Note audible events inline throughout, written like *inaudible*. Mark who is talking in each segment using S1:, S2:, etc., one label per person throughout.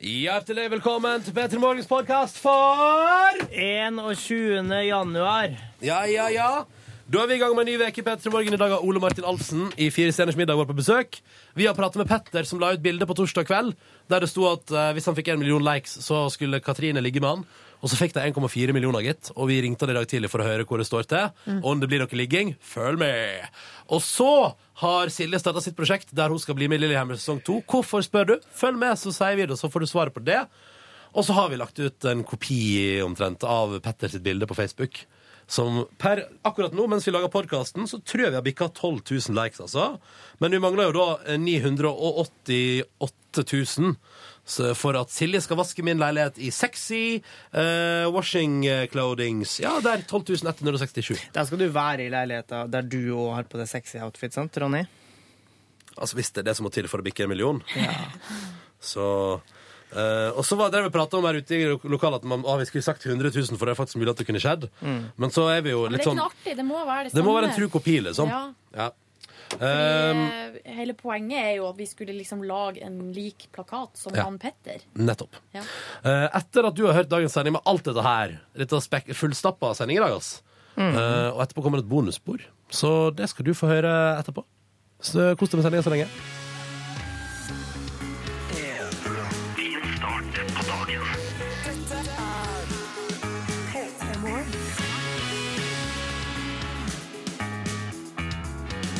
S1: Hjertelig velkommen til Petter Morgens podkast for
S2: 21. januar.
S1: Ja, ja, ja. Da er vi i gang med en ny uke i Petter Morgen. I dag har Ole Martin Alfsen i Fire stjerners middag vært på besøk. Vi har pratet med Petter, som la ut bilde på torsdag kveld der det sto at eh, hvis han fikk en million likes, så skulle Katrine ligge med han. Og så fikk de 1,4 millioner, gitt. Og vi ringte han i dag tidlig for å høre hvor det står til. Og om det blir noe ligging, følg med. Og så har Silje starta sitt prosjekt der hun skal bli med i Lillehammer sesong to. Hvorfor, spør du? Følg med, så sier vi det, så får du svaret på det. Og så har vi lagt ut en kopi omtrent av Petter sitt bilde på Facebook. Som per akkurat nå, mens vi lager podkasten, så tror jeg vi har bikka 12 000 likes, altså. Men vi mangler jo da eh, 988 000 så for at Silje skal vaske min leilighet i sexy eh, washing eh, clothings. Ja, det er 12 167.
S2: Der skal du være i leiligheta der du òg har på deg sexy outfit, sant, Ronny?
S1: Altså hvis det er det som må til for å bikke en million. Så eh, Og så var det vi prata om her ute i lo- lokalet, at man, ah, vi skulle sagt 100 000, for det er faktisk mulig at det kunne skjedd. Men så er vi jo
S3: Mm. Men
S1: litt
S3: det er ikke
S1: sånn
S3: noe artig. Det må være det
S1: Det
S3: samme.
S1: må være en tru kopi, liksom.
S3: Ja.
S1: Ja. Eh,
S3: Fordi, eh, hele poenget er jo at vi skulle liksom lage en lik plakat som
S1: Ja.
S3: han Petter.
S1: nettopp.
S3: Ja.
S1: Eh, etter at du har hørt dagens sending med alt dette her, dette spek- fullstappa sending i dag, ass,
S3: Mm.
S1: eh, og etterpå kommer det et bonusspor, så det skal du få høre etterpå. Så Kos deg med sendinga så lenge.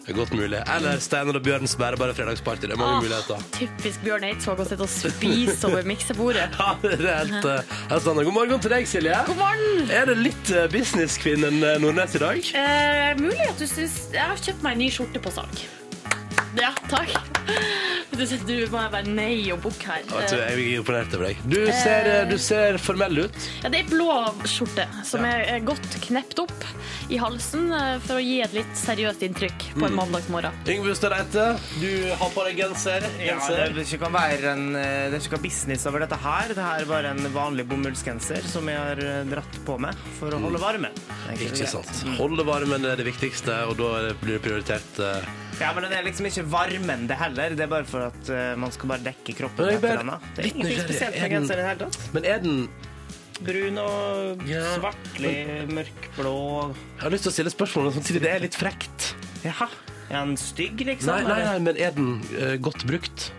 S1: Det er godt mulig. Eller Steinar og Bjørns bærebare fredagsparty. Det er mange
S4: Ah,
S1: muligheter.
S4: typisk Bjørn Eidsvåg å sitte og spise over miksebordet.
S1: *laughs* Ja, det er helt, eh, helt standard. God morgen til deg, Silje.
S4: God morgen!
S1: Er det litt eh, businesskvinnen eh, Nordnes i dag?
S4: Eh, mulig at du syns Jeg har kjøpt meg en ny skjorte på salg. Ja, takk. Du, du må bare nei og bukk her.
S1: Vet du, Jeg er imponert over deg. Du ser, eh, du ser formell ut.
S4: Ja, det er ei blå skjorte som er er godt knept opp i halsen eh, for å gi et litt seriøst inntrykk på en mandagsmorgen.
S1: Yngve Ustad Eite, du har på deg genser.
S2: Ja,
S1: genser.
S2: det er ikke kan være en, eh, det er ikke noe business over dette her. Dette er bare en vanlig bomullsgenser som jeg har eh, dratt på meg for å holde varmen. Mm. Det er så
S1: Ikke
S2: greit.
S1: sant. Holde varmen er det viktigste, og da er det- blir det prioritert. eh.
S2: Ja, men den er liksom ikke varmende heller. Det er bare for at eh, man skal bare dekke kroppen.
S1: Men jeg
S2: med et
S1: bare-
S2: eller annet. Det
S1: litt
S2: er ingenting
S1: nysgjerrig.
S2: spesielt
S1: Er
S2: med
S1: den-
S2: genseren i det hele tatt.
S1: Men er den
S2: Brun og
S1: Ja.
S2: svartlig, mørkblå.
S1: Jeg har lyst til å stille spørsmål, men samtidig det er litt frekt.
S2: Jaha. Er han stygg, liksom?
S1: Nei, nei,
S2: eller?
S1: nei, men er den eh, godt brukt?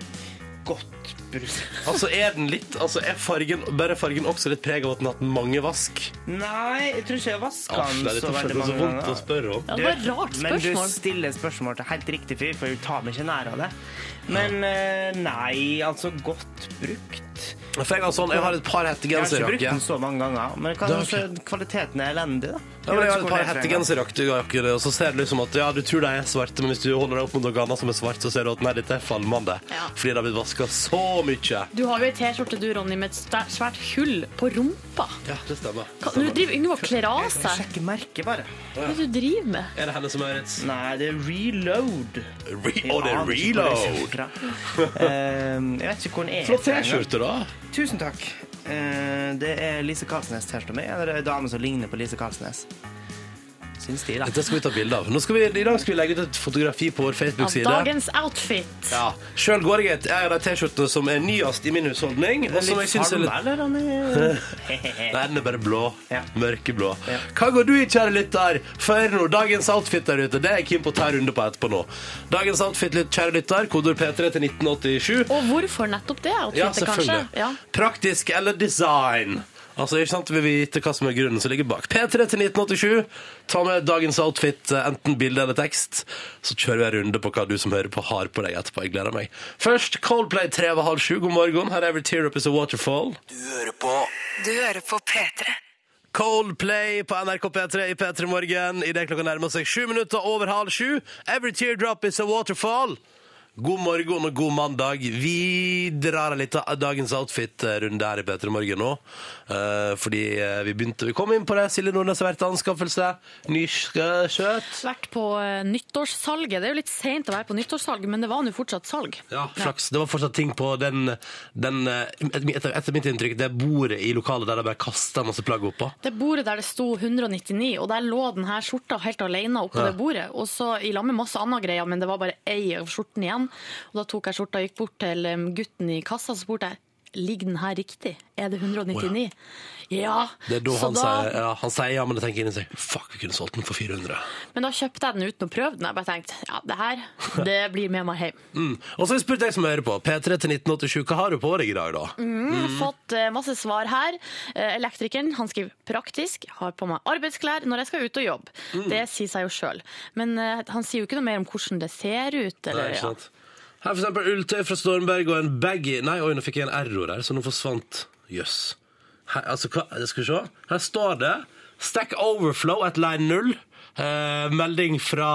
S2: Godt brukt.
S1: Altså, er den litt Altså, er fargen Bærer fargen også litt preg av at den har hatt mange vask?
S2: Nei, jeg tror ikke jeg vasker
S1: Aff,
S2: han
S1: det er litt
S2: så veldig
S1: så
S2: mange
S1: vondt å
S2: ganger.
S1: spørre om.
S4: Ja, det var et rart
S2: Men du
S4: spørsmål.
S2: stiller spørsmål til helt riktig fyr, for jeg tar meg ikke nær av det. Men eh, nei, altså godt brukt.
S1: For jeg har, sånn, jeg har et par
S2: Jeg har ikke brukt
S1: hettegenserjakker.
S2: den så mange ganger, men kan
S1: Det er
S2: altså, kvaliteten er elendig, da.
S1: Ja, men jeg har et par
S2: vet ikke hvor det er fra engang.
S1: hettegenserjakker, og så ser det liksom at ja, du tror de er svarte, men hvis du holder deg opp mot noe annet som er svart, så ser du at nei, dette er falmende.
S4: Ja.
S1: Fordi det har blitt vaska så mye.
S4: Du har jo ei T-skjorte du, Ronny, med et stær- svært hull på rumpa.
S1: Ja, det stemmer.
S4: Hva, nå driver Yngve og kler av
S2: Jeg
S4: seg.
S2: sjekker merket, bare.
S4: Hva er det du driver med?
S1: Er det henne som er et s-
S2: Nei, det er reload.
S1: Re
S2: Jeg
S1: oh, det er
S2: aner ikke hvor det kommer
S1: reload!
S2: fra. *laughs* Eh, jeg vet ikke hvor den er.
S1: Flott
S2: fra engang.
S1: T-skjorte, da.
S2: Tusen takk. Eh, det er Lise Karlsnes T-skjorta mi. Eller ei dame som ligner på Lise Karlsnes. Syns de, da.
S1: Dette skal vi ta bilde av. Nå skal vi, I dag skal vi legge ut et fotografi på vår
S4: Av
S1: Facebook-side.
S4: dagens outfit.
S1: Ja. Sjøl går jeg et jeg har de T-skjortene som er nyest i min husholdning. Og som jeg synes er litt
S2: eller,
S5: *laughs*
S2: Ronny?
S1: Nei, den er bare blå.
S2: Ja.
S1: Mørkeblå.
S2: Ja.
S1: Hva går du i, kjære lytter? Før nå, dagens outfit der ute. Det er jeg keen på å ta en runde på etterpå nå. Dagens outfit, lytt- kjære lytter, kodord P3 til 1987.
S4: Og hvorfor nettopp det outfitet, kanskje? Ja.
S1: Praktisk eller design? Altså, ikke sant, Vi vil vite hva som er grunnen som ligger bak. P3 til 1987. Ta med dagens outfit, eh, enten bilde eller tekst. Så kjører vi en runde på hva du som hører på, har på deg etterpå. Jeg gleder meg. Først Coldplay 3 over halv sju. God morgen. Her er Every Tear Up Is A Waterfall.
S6: Du hører på P3.
S1: Coldplay på NRK P3 i P3 Morgen idet klokka nærmer seg sju minutter over halv sju. Every teardrop is a waterfall. God morgen og god mandag. Vi drar en liten dagens outfit-runde her i Peter Morgen nå. Eh, fordi eh, vi begynte Vi kom inn på det. Silje Nordnes har vært til anskaffelse. Nyske kjøtt.
S4: Vært på eh, nyttårssalget. Det er jo litt seint å være på nyttårssalg, men det var nå fortsatt salg.
S1: Ja, flaks. Det var fortsatt ting på den, den eh, etter, etter mitt inntrykk, det bordet i lokalet der de bare kasta masse plagg oppå.
S4: Det bordet der det sto 199, og der lå denne skjorta helt alene oppå det bordet. Og så i lag med masse annet greier, men det var bare ei av skjorten igjen. Og da tok jeg skjorta og gikk bort til em, gutten i kassa og spurte jeg, ligger den her riktig. Er det 199? Ja!
S1: Det er da
S4: Så
S1: han, sier, ja, han sier ja, men jeg tenker inni seg Fuck, vi kunne solgt den for 400.
S4: Men da kjøpte jeg den uten å prøve den. Jeg bare tenkte ja, det
S1: *laughs*
S4: her det blir med meg hjem.
S1: Mm. Og så har vi spurt deg som hører på. P3 til 1987, hva har du på deg i dag, da?
S4: Mm. Fått eh, masse svar her. Eh, Elektrikeren han skriver praktisk, har på meg arbeidsklær når jeg skal ut og jobbe.
S1: Mm.
S4: Det sier seg jo sjøl. Men eh, han sier jo ikke noe mer om hvordan det ser ut.
S1: Nei,
S4: Eller,
S1: ikke sant? Her for eksempel ulltøy fra Stormberg og en baggy Nei, oi, nå fikk jeg en error her, så nå forsvant Jøss. Her- Altså, hva Skal vi se. Her står det Stack Overflow at line 0. Eh, melding fra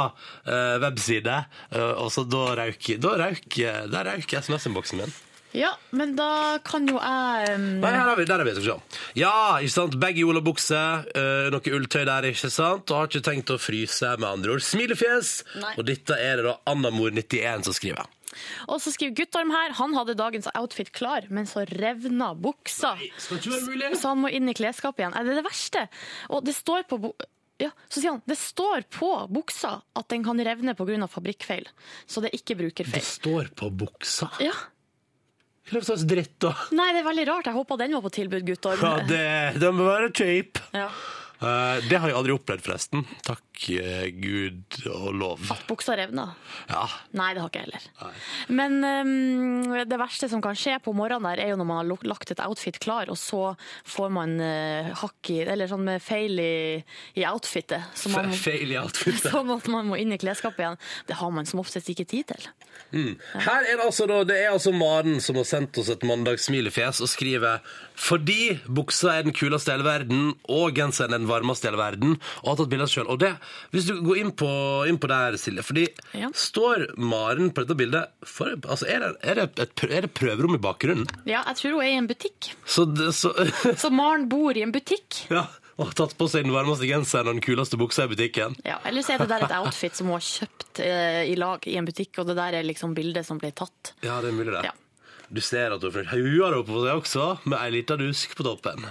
S1: eh, webside. Eh, og så da røyk Da røyk eh, Der røyk SMS-innboksen min.
S4: ja. ja, men da kan jo jeg mm, em,
S1: Nei, her har vi, der har vi, skal vi se. Ja, ikke sant? Begge olabukse, uh, noe ulltøy der, ikke sant? Og har ikke tenkt å fryse, med andre ord. Smilefjes!
S4: Nei.
S1: Og dette er det da Annamor91 som skriver.
S4: Og så skriver Guttorm her, han hadde dagens outfit klar, men så revna buksa.
S1: skal ikke være mulig.
S4: Så han må inn i klesskapet igjen. Er det det verste? Og det står på bu ja, så sier han, det står på buksa at den kan revne pga. fabrikkfeil, så det er ikke
S1: Det
S4: brukerfeil.
S1: står på buksa.
S4: Ja.
S1: Hva er det for slags dritt, da?
S4: Nei, det er veldig rart. Jeg håpa den var på tilbud, Guttorm.
S1: Ja, det, det må være kjip.
S4: Ja.
S1: Eh, det har jeg aldri opplevd, forresten. Takk eh, gud og lov.
S4: At buksa revna.
S1: Ja.
S4: Nei, det har ikke jeg heller. Men ehm, det verste som kan skje på morgenen der, er jo når man har lo- lagt et outfit klar, og så får man eh, hakk i Eller sånn med feil i, i outfitet. Så man,
S1: Fe- Feil i outfitet.
S4: *laughs* sånn at man må inn i klesskapet igjen. Det har man som oftest ikke tid til.
S1: Her er det altså da, det er altså Maren som har sendt oss et mandagssmilefjes og skriver fordi buksa er den kuleste i hele verden og genseren er den varmeste i hele verden, og har tatt bilder sjøl. Og det, hvis du går inn på, inn på det her, Silje, fordi
S4: Ja.
S1: står Maren på dette bildet for, altså er, det, er, det et, prø- er det prøverom i bakgrunnen?
S4: Ja, jeg tror hun er i en butikk.
S1: Så, det, så *laughs*
S4: Så Maren bor i en butikk.
S1: ja, og har tatt på seg den varmeste genseren og den kuleste buksa i butikken.
S4: Ja, Ellers er det der et outfit som hun har kjøpt eh, i lag i en butikk, og det der er liksom bildet som ble tatt.
S1: Ja, det er mulig, det.
S4: Ja.
S1: Du ser at hun har hua oppe på seg også, med ei lita dusk på toppen.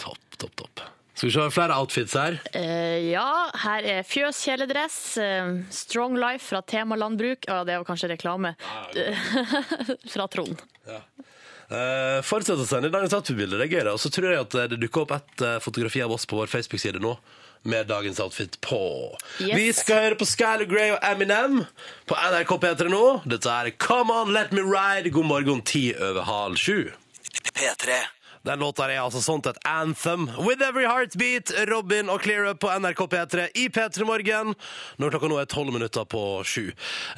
S1: Topp, topp, topp. Skal vi se flere outfits her.
S4: Eh, ja, her er fjøs kjeledress, eh, Strong Life fra Tema Landbruk. Ja, det var kanskje reklame. fra Trond.
S1: Eh, fortsett å sende dagens outfit-bilder, det er gøy. det. Og så tror jeg at det dukker opp et eh, fotografi av oss på vår Facebook-side nå. Med dagens outfit på.
S4: Yes.
S1: Vi skal høre på Skyler Grey og Eminem på NRK P3 nå. Dette er Come On Let Me Ride. God morgen, ti over halv sju.
S6: P3.
S1: Den låta er altså sånt et anthem. With every heartbeat, Robin og Clear Up på NRK P3 i P3 Morgen. Når klokka nå er tolv minutter på sju.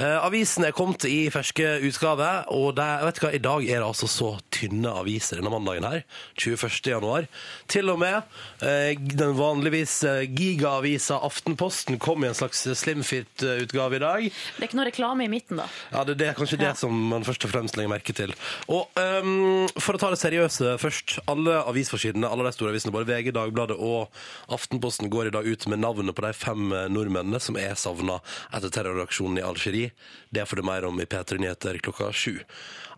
S1: Eh, avisen er kommet i ferske utgave, og det, vet du hva, i dag er det altså så tynne aviser denne mandagen her. 21. januar. Til og med eh, den vanligvis eh, gigaavisa Aftenposten kom i en slags slimfit-utgave i dag.
S4: Det er ikke noe reklame i midten, da.
S1: Ja, det, det er kanskje det som man først og fremst legger merke til. Og ehm, for å ta det seriøse først. Alle avisforsidene, alle de store avisene, både VG, Dagbladet og Aftenposten går i dag ut med navnet på de fem eh, nordmennene som er savna etter terroraksjonen i Algerie. Det får du mer om i P3 Nyheter klokka sju.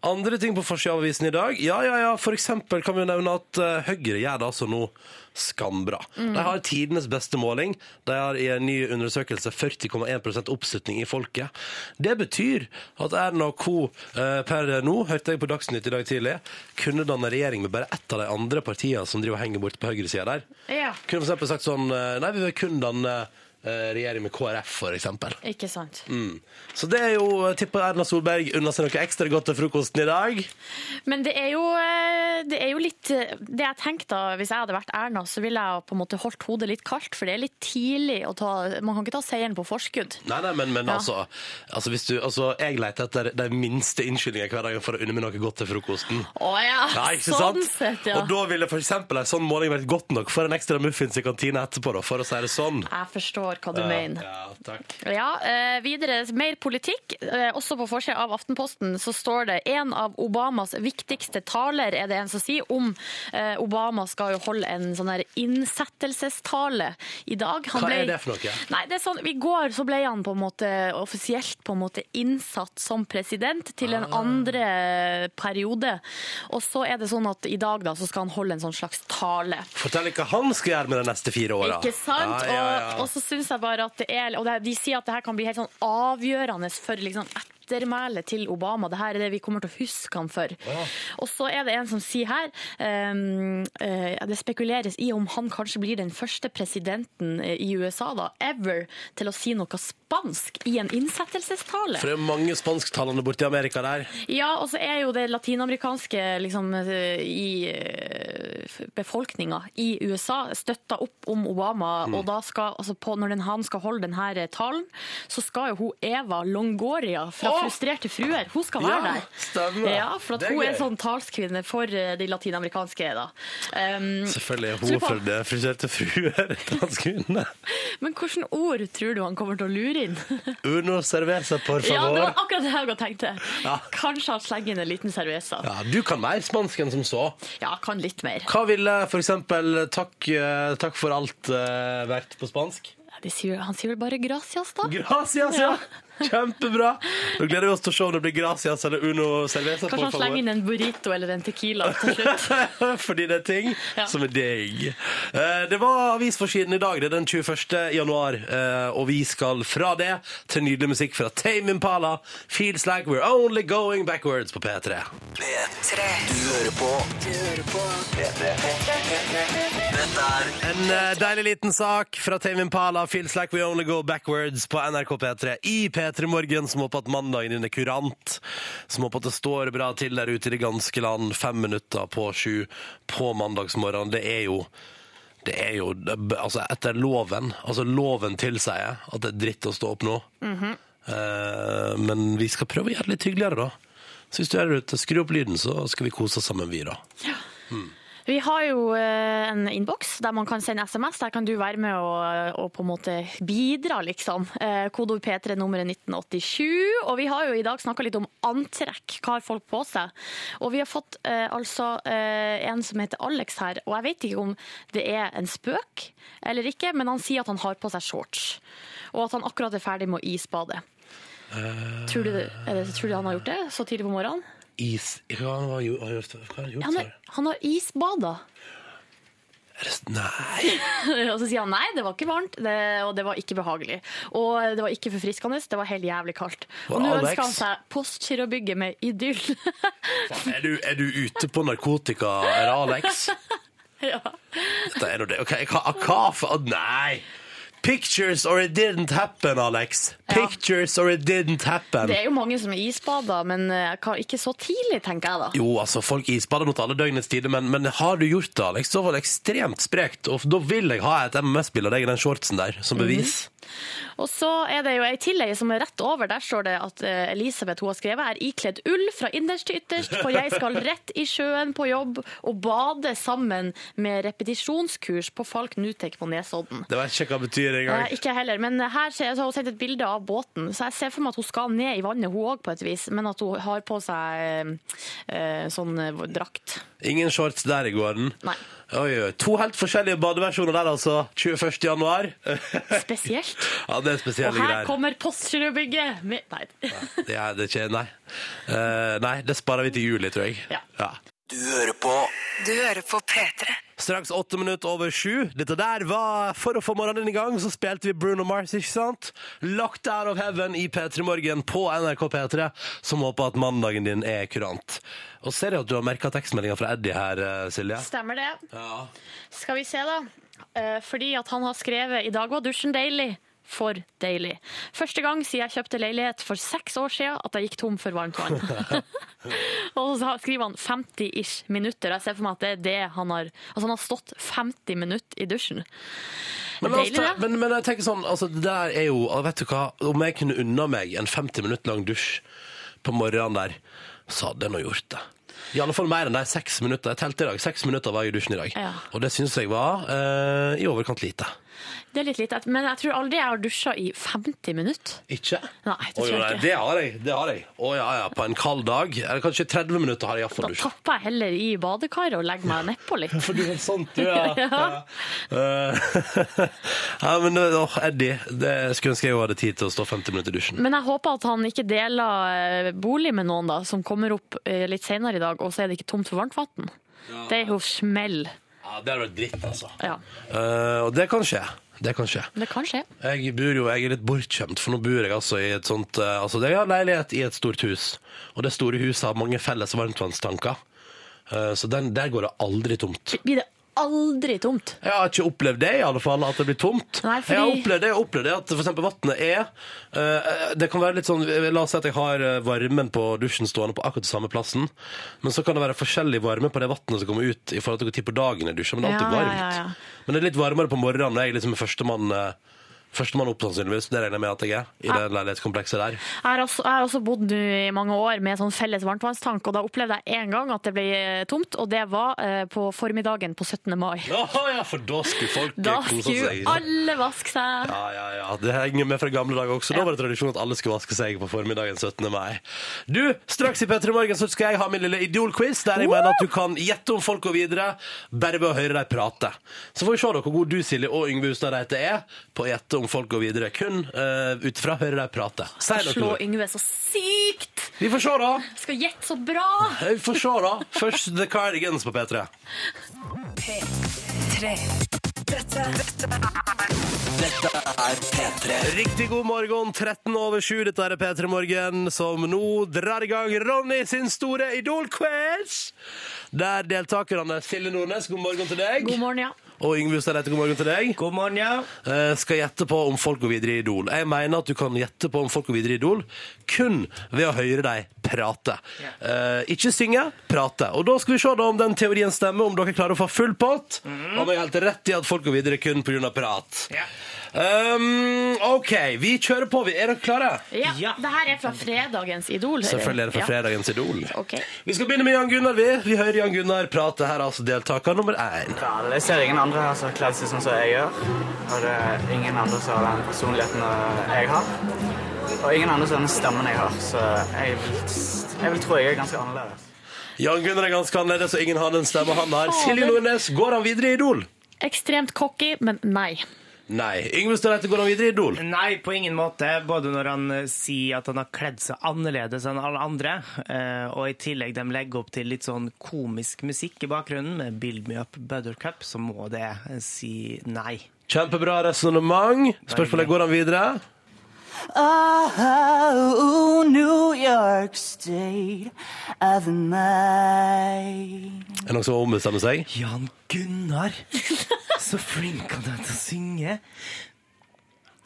S1: Andre ting på forsida av avisen i dag. Ja, ja, ja, for eksempel kan vi nevne at eh, Høyre gjør det altså nå skambra. De har tidenes beste måling. De har i en ny undersøkelse 40,1 oppslutning i folket. Det betyr at Erna og co. eh, per nå, hørte jeg på Dagsnytt i dag tidlig, kunne danne regjering med bare ett av de andre partiene som driver og henger bort på høyresida der.
S4: Ja.
S1: Kunne for eksempel sagt sånn eh, Nei, vi vil kun danne eh, regjering med KrF, for eksempel.
S4: Ikke sant.
S1: Mm. Så det er jo eh, tipper Erna Solberg unna seg noe ekstra godt til frokosten i dag.
S4: Men det er, jo, eh, det er jo litt eh, Det jeg tenkte da, hvis jeg hadde vært Erna, så ville jeg på en måte holdt hodet litt kaldt, for det er litt tidlig å ta Man kan ikke ta seieren på forskudd.
S1: Nei, nei, men, men
S4: Ja.
S1: altså, altså, hvis du, altså Jeg leter etter de minste innskyldningene hver dag for å unne meg noe godt til frokosten.
S4: Å ja,
S1: Ja, ikke
S4: sånn
S1: sant?
S4: sett, ja.
S1: Og da ville for eksempel en sånn måling vært godt nok for en ekstra muffins i kantina etterpå, da, for å si det sånn.
S4: Jeg forstår. forstår hva du mener.
S1: Ja, takk.
S4: Ja, eh, videre mer politikk. Eh, også på forsida av Aftenposten så står det en av Obamas viktigste taler, er det en som sier, om eh, Obama skal jo holde en sånn her innsettelsestale i dag. Han
S1: Hva
S4: ble-
S1: er det for noe?
S4: Nei, det er sånn, I går så ble han på en måte offisielt på en måte innsatt som president til
S1: Ah.
S4: en andre eh, periode. Og så er det sånn at i dag da, så skal han holde en sånn slags tale.
S1: Fortell hva han skal gjøre med de neste fire åra.
S4: Ikke sant?
S1: Ja, ja, ja.
S4: Og, og så syns jeg bare at det er Og det, de sier at det her kan bli helt sånn avgjørende for liksom ettermælet til Obama. Det her er det vi kommer til å huske han for. Og så er det en som sier her ehm, eh, Det spekuleres i om han kanskje blir den første presidenten eh, i USA da, ever til å si noe spansk i en innsettelsestale.
S1: For det er mange spansktalende borti Amerika der.
S4: Ja, og så er jo det latinamerikanske liksom, eh, i eh, befolkninga i USA støtta opp om Obama.
S1: Mm.
S4: Og da skal, altså på, når den, han skal holde denne eh, talen, så skal jo hun Eva Longoria fra
S1: Åh!
S4: Frustrerte fruer hun skal
S1: Ja,
S4: være der.
S1: stemmer.
S4: Ja, For at
S1: Det er
S4: hun
S1: gøy.
S4: er sånn talskvinne for eh, de latinamerikanske. da. Um,
S1: Selvfølgelig er
S4: Tror
S1: hun
S4: på-
S1: for *laughs* det friserte fruer. Danskvinne.
S4: men hvilke ord tror du han kommer til å lure inn?
S1: Uno cerveza, por
S4: ja, Det
S1: favor.
S4: var akkurat det jeg også tenkte.
S1: Ja.
S4: Kanskje han slenger inn en liten cerveza.
S1: Ja, du kan mer spansk enn som så.
S4: ja kan litt mer.
S1: Hva ville for eksempel takk, eh, takk for alt eh, vært på spansk?
S4: De sier, han sier vel bare 'gracias', da?
S1: Gracias, ja! Kjempebra. Nå gleder vi oss til å se om det blir gracias eller uno cerveza.
S4: Kanskje
S1: por
S4: han slenger
S1: favor.
S4: inn en burrito eller en tequila til slutt.
S1: *laughs* Fordi det er ting
S4: Ja.
S1: som er digg. Eh, Det var avisforsiden i dag. Det er den 21. januar. eh, Og vi skal fra det til nydelig musikk fra Tame Impala. Feels like we're only going backwards på P3.
S6: P3. Du hører på. Du hører på. P3. Dette er
S1: En eh, deilig liten sak fra Tame Impala. Feels like we only go backwards på NRK P3 i P3 Morgen. Som håper at mandagen din er kurant. Som håper at det står bra til der ute i det ganske land. Fem minutter på sju på mandagsmorgenen. Det er jo Det er jo det- altså etter loven. Altså loven tilsier at det er dritt å stå opp nå. Eh, men vi skal prøve å gjøre det litt hyggeligere, da. Så hvis du er der ute, skru opp lyden, så skal vi kose oss sammen, vi, da.
S4: *laughs* Vi har jo eh, en innboks der man kan sende SMS. Der kan du være med og, og på en måte bidra, liksom. Eh, Kodeord P3, nummeret 1987. Og vi har jo i dag snakka litt om antrekk. Hva har folk på seg? Og vi har fått eh, altså eh, en som heter Alex her, og jeg vet ikke om det er en spøk eller ikke, men han sier at han har på seg shorts. Og at han akkurat er ferdig med å isbade. Tror du, er det, tror du han har gjort det så tidlig på morgenen?
S1: Is Ja, hva har han gjort? Hva har han gjort? Hva har han gjort?
S4: Han
S1: sa
S4: har, han har isbada.
S1: du? Nei
S4: *laughs* Og så sier han nei, det var ikke varmt, det, og det var ikke behagelig. Og det var ikke forfriskende, det var helt jævlig kaldt. Og
S1: Og
S4: nå
S1: Alex-
S4: ønsker han seg Postgirobygget med idyll. *laughs*
S1: Er du, er du ute på narkotika, er det Alex?
S4: *laughs* ja.
S1: Dette er noe det. Ok, hva, hva for å- Nei! Pictures or it didn't happen, Alex. Pictures or it didn't happen.
S4: Det er jo mange som er isbader, men eh, hva- ikke så tidlig, tenker jeg da.
S1: Jo, altså, folk isbader mot alle døgnets tider, men, men har du gjort det, Alex, så var det ekstremt sprekt. Og da vil jeg ha et MMS-bilde av deg i den shortsen der, som
S4: Mhm.
S1: bevis.
S4: Og så er det jo ei tillegg som er rett over. Der står det at eh, Elisabeth hun har skrevet er ikledd ull fra innerst til ytterst, for jeg
S1: *laughs*
S4: skal rett i sjøen på jobb og bade sammen med repetisjonskurs på Falk Nutek på Nesodden.
S1: Det vet jeg ikke hva det betyr engang.
S4: Eh, Ikke jeg heller, men her ser jeg, så har hun sendt et bilde av båten, så jeg ser for meg at hun skal ned i vannet, hun òg, på et vis, men at hun har på seg eh, eh, sånn eh, drakt.
S1: Ingen shorts der i gården.
S4: Nei.
S1: Oi, oi. To helt forskjellige badeversjoner der, altså. 21. januar.
S4: Spesielt.
S1: ja, *laughs* det er spesielle
S4: Og her
S1: greier.
S4: kommer Postgirobygget! med- Nei.
S1: Det er det er ikke Nei. Eh, nei, det sparer vi til juli, tror jeg.
S4: Ja.
S6: Du hører på. Du hører på P3.
S1: Straks åtte minutter over sju. Dette der var For å få morgenen i gang, så spilte vi Bruno Mars, ikke sant? Locked out of heaven i P3 Morgen på NRK P3, som håper at mandagen din er kurant. Og ser jeg at du har merka tekstmeldinga fra Eddie her, eh, Silje?
S4: *laughs* Stemmer det.
S1: Ja.
S4: Skal vi se, da. Eh, Fordi at han har skrevet 'I dag var dusjen deilig'. For deilig. Første gang siden jeg kjøpte leilighet for seks år siden at jeg gikk tom for varmt vann. *laughs* og så skriver han 50-ish minutter. og Jeg ser for meg at det er det han har Altså, han har stått 50 minutter i dusjen.
S1: Men, la oss
S4: Deilig,
S1: ta,
S4: det.
S1: men, men jeg tenker sånn, altså det der er jo Vet du hva, om jeg kunne unna meg en 50 minutter lang dusj på morgenen der, så hadde jeg nå gjort det. I alle fall mer enn de seks minutter. Jeg telte i dag. Seks minutter var jeg i dusjen i dag.
S4: Ja.
S1: Og det syns jeg var eh, i overkant lite.
S4: Det er litt lite, men jeg tror aldri jeg har dusja i 50 minutter.
S1: Ikke?
S4: Nei, det
S1: Å, jo,
S4: tror
S1: nei,
S4: jeg ikke.
S1: det har jeg. det har jeg. Å ja, ja, På en kald dag. Eller kanskje 30 minutter har jeg
S4: Da
S1: iallfall dusj. *laughs*
S4: tapper jeg heller i badekaret og legger meg nedpå litt.
S1: For du er sånn, du,
S4: *laughs*
S1: ja. Eh, *laughs* ja, men åh, Eddie, det skulle ønske jeg hadde tid til å stå 50 minutter i dusjen.
S4: Men jeg håper at han ikke deler eh, bolig med noen da, som kommer opp eh, litt senere i dag, og så er det ikke tomt for varmt vann. Det er jo smell.
S1: Ja, Det hadde vært dritt, altså.
S4: Ja,
S1: Eh, og det kan skje. Det kan skje.
S4: det kan skje.
S1: Jeg bor jo, jeg er litt bortskjemt, for nå bor jeg altså i et sånt eh, Altså, jeg har leilighet i et stort hus, og det store huset har mange felles varmtvannstanker. Eh, Så den, der går det aldri tomt.
S4: Blir det aldri tomt?
S1: Jeg har ikke opplevd det, i alle fall, at det blir tomt.
S4: Nei, fordi-
S1: Jeg har opplevd det, jeg har opplevd det at for eksempel vannet er eh, Det kan være litt sånn La oss si at jeg har eh, varmen på dusjen stående på akkurat samme plassen, men så kan det være forskjellig varme på det vannet som kommer ut i forhold til hvor tid på dagen jeg dusjer, men det er alltid
S4: Ja, ja,
S1: varmt.
S4: ja, ja.
S1: Men det er litt varmere på morgenen. Jeg er liksom førstemann eh, Førstemann opp, sannsynligvis. Det regner jeg med at jeg er. I det leilighetskomplekset der.
S4: Jeg har også, jeg har også bodd nå i mange år med sånn felles varmtvannstank, og da opplevde jeg en gang at det ble eh, tomt, og det var eh, på formiddagen på 17. mai.
S1: Jaha, ja, for da skulle folk
S4: Da
S1: eh, kose
S4: skulle
S1: seg.
S4: alle vaske seg.
S1: Ja, ja, ja. Det henger med fra gamle dager også. Da var det tradisjon at alle skulle vaske seg på formiddagen 17. mai. Du, straks i P3 Morgen så skal jeg ha min lille Idol-quiz, der jeg mener at du kan gjette om folk går videre bare ved å høre dem prate. Så får vi se da hvor god du, Silje, og Yngve Hustad Reite er på å gjette om folk går videre, kun uh, ut fra å høre dem prate. Si
S4: Slå
S1: noe.
S4: Yngve så sykt!
S1: Vi får se, da.
S4: Skal gjette så bra!
S1: Vi får se, da. Først The Cardigans på P3.
S7: P3. Dette, dette
S1: Riktig god morgen, 13 over 7. Dette er P3 Morgen, som nå drar i gang Ronny sin store Idol-quiz. Der deltakerne Silje Nordnes, god morgen til deg.
S4: God morgen, ja.
S1: Og Yngve Ustadreite, god morgen til deg.
S2: God morgen, ja.
S1: Eh, skal gjette på om folk går videre i Idol. Jeg mener at du kan gjette på om folk går videre i Idol kun ved å høre dem prate. Eh, ikke synge, prate. Og da skal vi se da om den teorien stemmer, om dere klarer å få full pott. Om jeg har helt rett i at folk går videre kun pga. prat.
S2: Mhm. Ja.
S1: Um, OK, vi kjører på. Vi er dere klare?
S4: Ja,
S2: Ja.
S4: Det her er fra fredagens Idol.
S1: Selvfølgelig er det for fredagens Idol.
S4: Ok.
S1: Vi skal begynne med Jan Gunnar. Vi, vi hører Jan Gunnar prate her, altså deltaker nummer én.
S5: Jeg ser ingen andre her som har kledd seg sånn som jeg gjør. Og det er ingen andre som har den personligheten eh, jeg har. Og ingen andre som har den stemmen jeg har. Så jeg vil, jeg vil tro jeg er ganske annerledes.
S1: Jan Gunnar er ganske annerledes, og ingen har den stemmen han har.
S4: Fader.
S1: Silje Nordnes, går han videre i Idol?
S4: Ekstremt cocky, men nei.
S1: Nei. Yngve Støleite, går han videre i Idol?
S2: Nei, på ingen måte. Både når han eh, sier at han har kledd seg annerledes enn alle andre, eh, og i tillegg de legger opp til litt sånn komisk musikk i bakgrunnen, med 'Build Me Up Buttercup', så må det eh, si nei.
S1: Kjempebra resonnement. Spørsmålet er, går han videre?
S8: Oh, New York State of mine.
S1: Er det noen som ombestemmer seg?
S2: Jan Gunnar! *laughs* Så flink han er til å synge.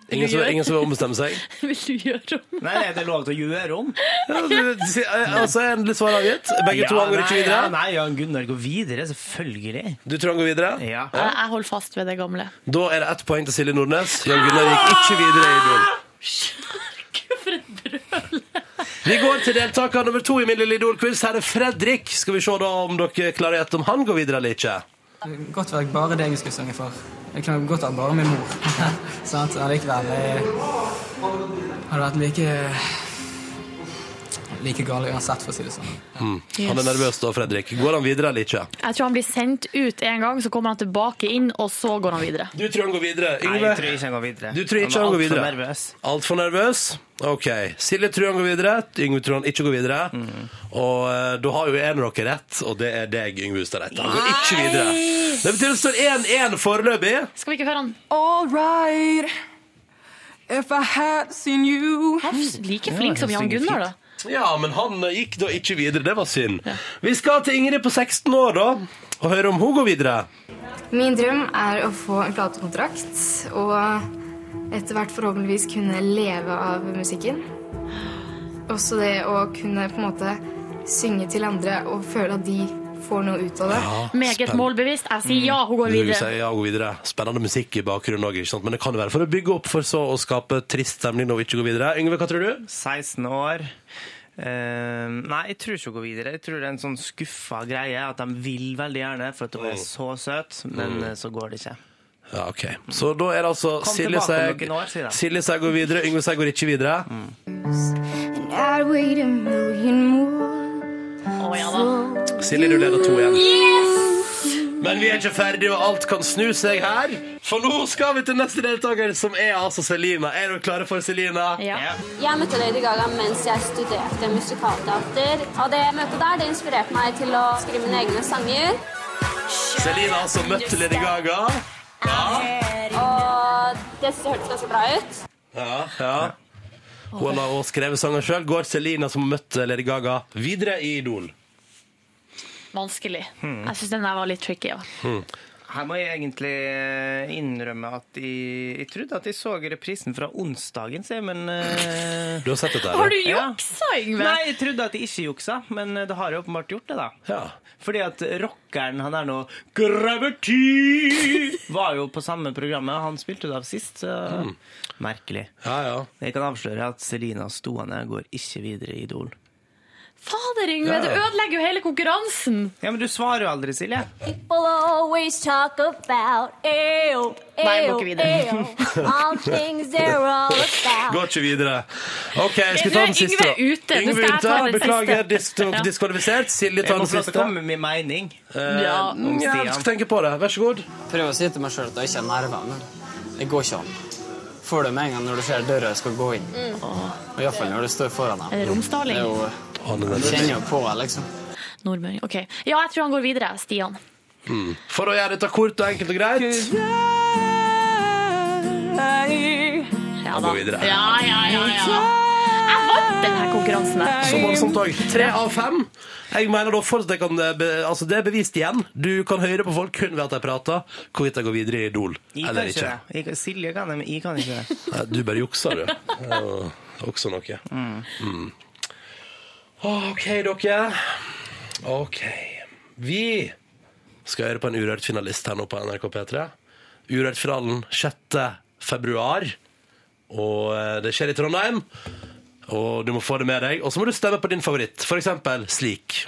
S1: Ingen som, ingen som ombestemmer seg?
S4: *laughs* Vil du gjøre om?
S2: Nei, er det lov til å gjøre om?
S1: Ja, du- si- eh, altså, Endelig svar avgitt. Begge to
S2: Ja,
S1: han går ikke
S2: nei, ja,
S1: videre.
S2: Nei, Jan Gunnar går videre, selvfølgelig.
S1: Du tror han går videre?
S2: Ja.
S4: Jeg jeg holder fast ved det *laughs* gamle.
S1: Da er det ett poeng til Silje Nordnes. Jan Gunnar gikk ikke videre i Idol.
S4: For et brøl!
S1: Vi går til deltaker nummer to i min lille Idol-quiz. Her er Fredrik. Skal vi se da om dere klarer å gjette om han går videre eller ikke.
S9: Det kan godt være bare deg jeg skulle synge for. Det kan godt være bare min *laughs* mor. Sant? Men Allikevel jeg hadde vært like like gal uansett, for å si det sånn.
S1: Han er nervøs da, Fredrik. Går han videre eller ikke?
S4: *laughs* Jeg tror han blir sendt ut en gang, så kommer han tilbake inn, og så går han videre.
S1: Du tror han går videre.
S2: Nei,
S1: Yngve?
S2: jeg tror ikke han går videre.
S1: Du tror ikke han
S2: var
S1: går
S2: alt for
S1: videre?
S2: nervøs.
S1: Altfor nervøs? OK. Silje tror han går videre. Yngve tror han ikke går videre. Og eh, da har jo en av dere rett, og det er deg, Yngve Hustad Reite. Han går ikke videre. Det betyr at det står 1-1 foreløpig.
S4: Skal vi ikke høre han?
S9: All right. If I had seen you
S4: Han er like flink som Jan
S2: synger
S4: Gunnar, da.
S1: Ja, men han eh, gikk da ikke videre. Det var synd. Vi skal til Ingrid på 16 år, da, og høre om hun går videre.
S10: Min drøm er å få en platekontrakt og etter hvert forhåpentligvis kunne leve av musikken. Også det å kunne på en måte synge til andre og føle at de får noe ut av det.
S4: Meget
S1: Spenn-
S4: målbevisst. Jeg
S2: Mm.
S4: sier ja, hun går
S1: Du
S4: videre.
S1: sier ja, gå videre. Spennende musikk i bakgrunnen òg, men det kan være for å bygge opp for så å skape trist stemning når vi ikke går videre. Yngve, hva tror du?
S2: 16 år. Eh, nei, jeg tror ikke hun går videre. Jeg tror det er en sånn skuffa greie at de vil veldig gjerne for at hun er så søt, men eh, så går det ikke.
S1: Ja, ok. Så da er det altså
S2: Kom
S1: Silje
S2: tilbake om
S1: Seig
S2: noen år, sier jeg.
S1: Silje Seig går videre, Yngve Seig går ikke videre.
S11: And I'd wait a million more.
S1: Silje, du leder to igjen.
S11: Yes!
S1: Men vi er ikke ferdige, og alt kan snu seg her. For nå skal vi til neste deltaker, som er altså Selina. Er dere klare for Selina? Ja.
S12: Jeg møtte Lady Gaga mens jeg studerte musikalteater. Og det møtet der det inspirerte meg til å skrive mine egne sanger.
S1: Selina har altså møtt Lady Gaga.
S12: Og det hørtes ganske bra ut.
S1: Ja, ja. Hun har også skrevet sanger sjøl. Går Selina, som møtte Lady Gaga, videre i Idol?
S4: Vanskelig.
S1: Hmm.
S2: Mm.
S4: Jeg syns den der var litt tricky. Ja.
S2: Her må jeg egentlig eh, innrømme at jeg, jeg trodde at jeg så reprisen fra onsdagen, sier jeg, men
S1: *laughs*
S2: eh,
S1: Du har sett dette?
S4: Har du juksa, Yngve?
S2: Nei, jeg trodde at jeg ikke juksa, men eh, det har jeg åpenbart gjort det, da. Fordi at rockeren han er nå Gravity! Var jo på samme programmet. Han spilte det av sist, så merkelig. Jeg kan avsløre at Selina Stoane går ikke videre i Idol.
S4: Fader, Yngve,
S2: Ja.
S4: du ødelegger jo hele konkurransen!
S2: Ja, men du svarer jo aldri, Silje.
S12: People always talk about ew,
S4: Nei, jeg
S12: ew,
S4: går ikke videre.
S12: ew, all things they're all about.
S1: Går ikke videre. OK, jeg skal ta den siste. da.
S12: Yngve er ute. Nå skal jeg ta den
S1: Beklager,
S12: siste.
S1: disk
S12: Ja.
S1: diskvalifisert. Silje
S2: Jeg
S1: tar den
S2: må få lov til
S1: siste.
S2: å komme med min mening.
S1: Eh,
S2: Ja, om
S1: ja,
S2: Stian.
S1: jeg skal tenke på det. Vær så god.
S9: Prøver å si til meg sjøl at jeg ikke er nerver, men det går ikke an. Får det med en gang når du ser døra jeg skal gå inn.
S4: Mm.
S9: Og Iallfall når du står foran dem.
S4: Er det romsdaling?
S9: Det er jo-
S1: det er
S9: Du kjenner jo på det, liksom.
S4: Nordmøring. OK. Ja, jeg tror han går videre. Stian.
S1: For å gjøre dette kort og enkelt og greit.
S4: Ja
S1: da. Gå videre.
S4: Ja, ja, ja, ja. Jeg vant denne konkurransen. her.
S1: Så voldsomt òg. Tre av fem. Jeg mener da fortsatt jeg kan be, altså Det er bevist igjen. Du kan høre på folk kun ved at de prater, hvorvidt de går videre i Idol
S2: Jeg kan
S1: eller
S2: ikke
S1: ikke.
S2: det. Jeg, kan- Silje kan det, men jeg kan ikke det.
S1: Nei, Du bare jukser, du. Det er jo Også noe. Mm. OK, dere. OK. Vi skal høre på en urørt finalist her nå på NRK P3. Urørt-finalen 6. februar. Og eh, det skjer i Trondheim. Og du må få det med deg. Og så må du stemme på din favoritt. For eksempel slik.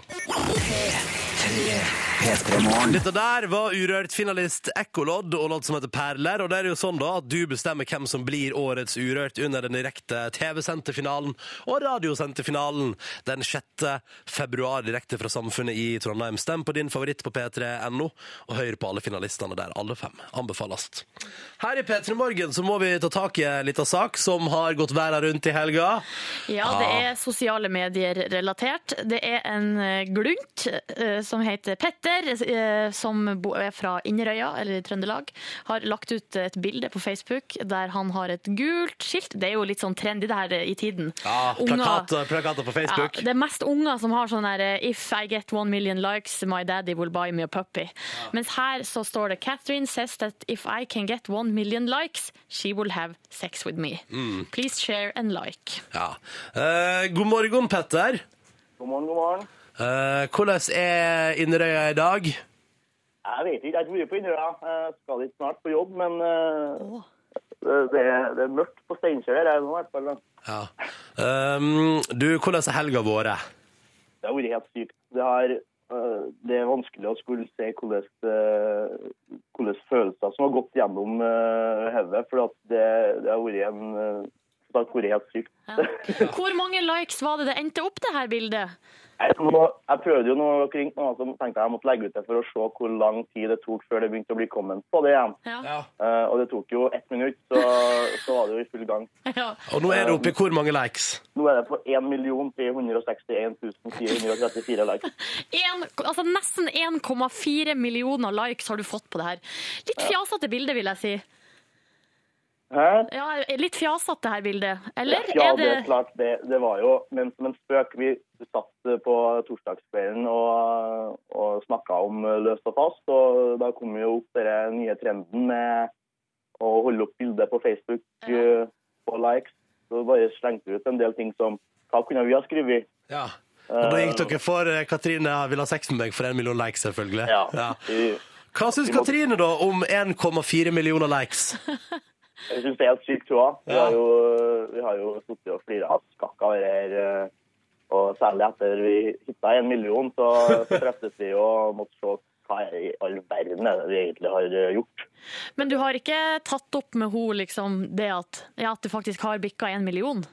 S1: Dette der var urørt finalist Ekkolodd og låt som heter Perler. Og det er jo sånn da at du bestemmer hvem som blir årets Urørt under den direkte TV-sendte finalen og radiosendte finalen den 6. februar direkte fra Samfunnet i Trondheim. Stem på din favoritt på p3.no, og hør på alle finalistene der, alle fem. Anbefales. Her i P3 Morgen så må vi ta tak i en liten sak som har gått verden rundt i helga.
S4: Ja, det er sosiale medier relatert. Det er en eh, glunt eh, som heter Petter, eh, som bo- er fra Inderøya, eller Trøndelag, har lagt ut et bilde på Facebook der han har et gult skilt. Det er jo litt sånn trendy det her eh, i tiden.
S1: Ja,
S4: Unger-
S1: plakater, plakater på Facebook.
S4: Ja, det er mest unger som har sånn her If I get one million likes, my daddy will buy me a puppy. Mens her så står det Catherine says that if I can get one million likes, she will have sex with me.
S1: Mm.
S4: Please share and like.
S1: Ja. Eh, god morgen, Petter.
S13: God morgen, god morgen.
S1: Eh, hvordan er Inderøya i dag?
S13: Jeg vet ikke, jeg har ikke vært på Inderøya. Jeg skal ikke snart på jobb, men eh, det, det er- det er mørkt på Steinkjer her. jeg nå i hvert fall. da.
S1: Ja. Um, du, hvordan er helga vår?
S13: Det har vært helt sykt. Det, har, eh, *laughs* det er vanskelig å skulle se hvordan, eh, hvordan følelser som har gått gjennom eh, hodet, for at det, det har vært en eh, det har vært helt sykt.
S4: Hvor mange likes var det det endte opp det her bildet?
S13: Jeg, nå, jeg prøvde jo noe kring noe som tenkte jeg måtte legge ut det for å se hvor lang tid det tok før det begynte å bli kommet på det igjen. Eh, og det tok jo ett minutt, så, så var det jo i full gang.
S1: Og nå er det oppe i hvor mange likes?
S13: Nå er det på 1 361 434 likes.
S4: En, altså nesten 1,4 millioner likes har du fått på det her. Litt fjasete bilde, vil jeg si.
S13: Hæ?
S4: Ja, litt fjasete det her bildet. Eller
S13: Ja,
S4: er
S13: det
S4: det
S13: er klart. Det, det var jo men som en spøk. Vi satt på torsdagskvelden og, og snakka om løst og fast, og da kom jo opp den nye trenden med å holde opp bilder på Facebook eh, på likes. Så bare slengte vi ut en del ting som Hva kunne vi ha skrevet?
S1: Ja. Og da gikk dere for eh, Katrine vil ha sex med meg for en million likes, selvfølgelig. Ja. Hva syns Katrine, da, om 1,4 millioner likes?
S13: Jeg synes det er helt sykt, tror jeg. Vi har jo, vi har jo sittet og flira av skakk av det her. eh, Og særlig etter vi hitta en million, så så treffes vi og måtte se hva i all verden er det vi egentlig har eh, gjort?
S4: Men du har ikke tatt opp med henne liksom, det at, ja, at du faktisk har bikka en million?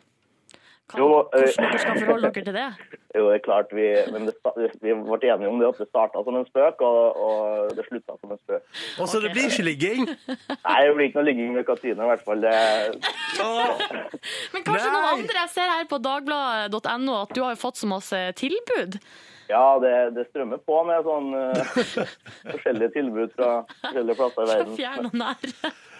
S4: Hva,
S13: Jo, eh,
S4: hvordan dere skal forholde dere til det?
S13: Jo, det er klart vi, men det, sta- vi ble enige om det at det starta som en spøk, og, og det slutta som en spøk.
S1: Og så det blir ikke ligging?
S13: Nei, det blir ikke noe ligging med Katrine, i hvert fall. Det,
S4: Men kanskje noen andre? Jeg ser her på dagbladet.no at du har jo fått så masse tilbud.
S13: ja, det, det strømmer på med sånn eh, forskjellige tilbud fra forskjellige plasser i
S4: Så
S13: verden.
S4: fjern og nær.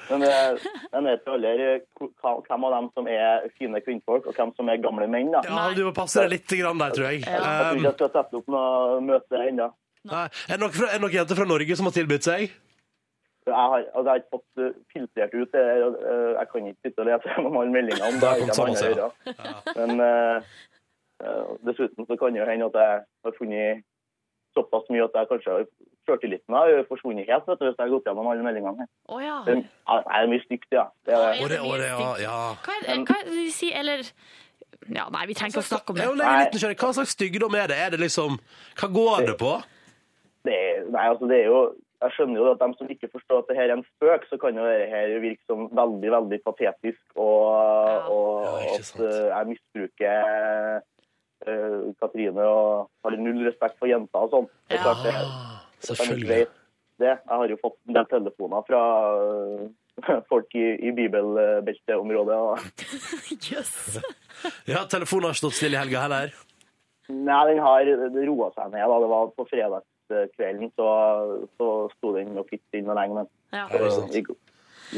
S13: Men eh, jeg vet jo aldri hva- hvem av dem som er fine kvinnfolk, og hvem som er gamle menn. da.
S1: Ja, eh. du må passe deg litt grann der, tror jeg. Ehm,
S13: Jeg tror ikke jeg skal sette opp noe møte ennå.
S1: Nei. Er det noen fra- er det noen jenter fra Norge som har tilbudt seg?
S13: Jeg har, altså, jeg har ikke fått eh, filtrert ut det. her, og, eh, Jeg kan ikke sitte og lese gjennom alle meldingene. om
S1: Det
S13: Det
S1: har kommet
S13: jeg ikke har
S1: samme
S13: annet å gjøre. Men eh, eh, dessuten så kan det jo hende at jeg har funnet såpass mye at jeg kanskje har sjøltilliten har jo forsvunnet helt vet du, hvis jeg har gått gjennom alle meldingene. her.
S4: Å ja.
S13: Det er, det er mye stygt, ja. Det er,
S4: Å, det- å, det- ja, Hva er, eh, hva er det de sier, eller Ja, nei, vi trenger ikke å snakke om det.
S1: Altså, Jeg er jo litt nysgjerrig. Hva slags styggedom er det? Er det liksom, Hva går det på?
S13: det er, nei, altså det er jo jeg skjønner jo at de som ikke forstår at det her er en spøk, så kan jo det her virke som veldig veldig patetisk, og, og at eh, jeg misbruker eh, Katrine og har null respekt for jenter og sånn. Det er klart det- det er
S1: Ah, selvfølgelig.
S13: greit, Det. Jeg har jo fått en del telefoner fra eh, *laughs* folk i, i bibelbelteområdet. Og... *laughs*
S1: Ja, Telefonen har ikke stått stille i helga heller.
S13: Nei, den har det roa seg ned. da. Det var på fredagskvelden, så, så sto den og fikk inn og lenge. Men
S4: Ja.
S1: Ja, det er sant.
S13: i går-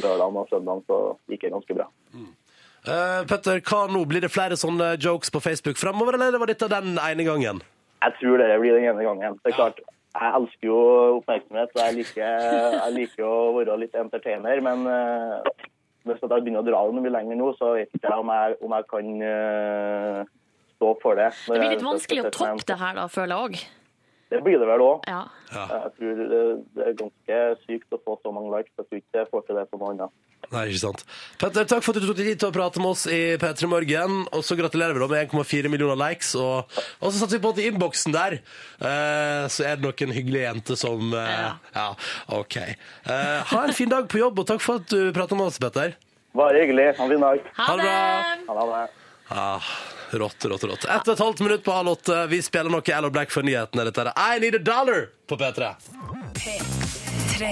S13: lørdagen og søndagen så gikk det ganske bra.
S1: Eh, Petter, hva nå? Blir det flere sånne jokes på Facebook fremover, eller var dette den ene gangen?
S13: Jeg tror det blir den ene gangen. Det er klart, jeg elsker jo oppmerksomhet, og jeg liker, jeg liker å være litt entertainer, men eh, hvis jeg begynner å dra det mye lenger nå, så vet ikke jeg om jeg, om jeg kan eh, stå for det. eh,
S4: Det blir litt vanskelig å toppe det her, da, føler jeg òg.
S13: Det blir det vel òg.
S4: Ja.
S13: Jeg tror det, det er ganske sykt å få så mange likes. Jeg tror ikke jeg får til det på noe annet.
S1: Nei, ikke sant. Petter, takk for at du tok deg tid til å prate med oss i P3 Morgen. Og så gratulerer vi da med 1,4 millioner likes. Og, og så satser vi på at i innboksen der eh, så er det noen hyggelige jenter som eh, Ja, OK. Eh, ha en fin dag på jobb, og takk for at du prata med oss, Petter.
S13: Bare hyggelig. Ha en fin dag.
S1: Ha det bra.
S13: Ha det.
S1: Ah, rått, rått, rått. Ett og et halvt minutt på halv åtte. Vi spiller noe Ella Black for nyhetene. Dette er I Need a Dollar på P3.
S7: P3.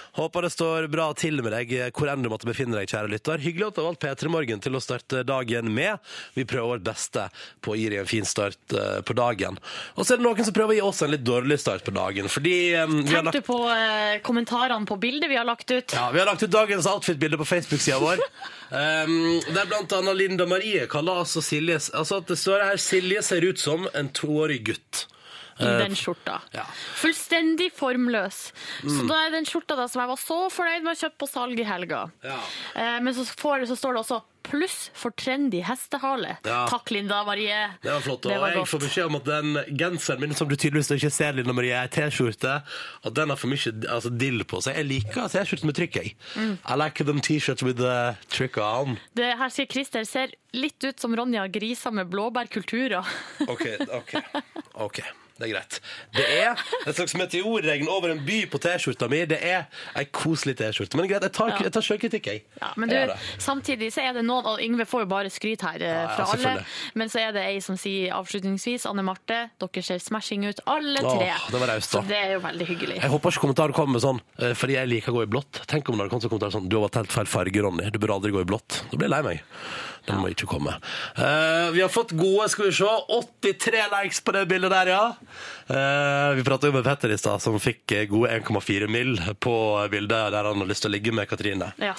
S1: Håper det står bra til med deg hvor enn du måtte befinne deg, kjære lytter. Hyggelig at du har valgt P3 Morgen til å starte dagen med. Vi prøver vårt beste på å gi deg en fin start eh, på dagen. Og så er det noen som prøver å gi oss en litt dårlig start på dagen, fordi eh, vi har
S4: Tenk
S1: lagt
S4: du på eh, kommentarene på bildet vi har lagt ut?
S1: ja, Vi har lagt ut dagens outfit-bilde på Facebook-sida vår. Um, der blant annet Linda Marie kaller altså Silje Altså at det står her Silje ser ut som en toårig gutt.
S4: I
S1: Eh,
S4: den skjorta. Fullstendig formløs.
S1: Mm.
S4: Så da er den skjorta da, som jeg var så fornøyd med å kjøpe på salg i helga. Eh, men så, får, så står det også 'pluss for trendy hestehale'.
S1: Ja.
S4: Takk, Linda Marie.
S1: Det var flott. Og
S4: Det var
S1: jeg
S4: godt.
S1: får beskjed om at den genseren min, som du tydeligvis ikke ser, Linda Marie, er T-skjorte, at den har for mye altså, dill på seg. Jeg liker T-skjorter med trykk, jeg.
S4: Mm.
S1: I like them T-shirts with the trick on.
S4: Det her sier Christer ser litt ut som Ronja Grisa med blåbærkulturer.
S1: *laughs* OK. ok,
S4: *laughs*
S1: ok, Det er greit. Det er et slags meteorregn over en by på T-skjorta mi. Det er ei koselig T-skjorte. Men greit, jeg tar, jeg tar sjølkritikk, jeg.
S4: Men
S1: Jeg
S4: du,
S1: gjør det.
S4: samtidig så er det noen, og Yngve får jo bare skryt her eh,
S1: Ja, ja,
S4: fra alle,
S1: selvfølgelig.
S4: men så er det ei som sier avslutningsvis, Anne Marte, dere ser smashing ut, alle
S1: Åh,
S4: tre.
S1: det var raust, da.
S4: Så det er jo veldig hyggelig.
S1: Jeg håper ikke kommentarer kommer med sånn eh, fordi jeg liker å gå i blått. Tenk om det hadde kommet en kommentar sånn Du har valgt helt feil farge, Ronny. Du bør aldri gå i blått. Da blir jeg lei meg. Den må ikke komme. Eh, vi har fått gode, skal vi se, 83 likes på det bildet der, ja. Eh, vi prata jo med Petter i stad, som fikk eh, gode 1,4 mill. på bildet der han har lyst til å ligge med Katrine.
S4: Ja.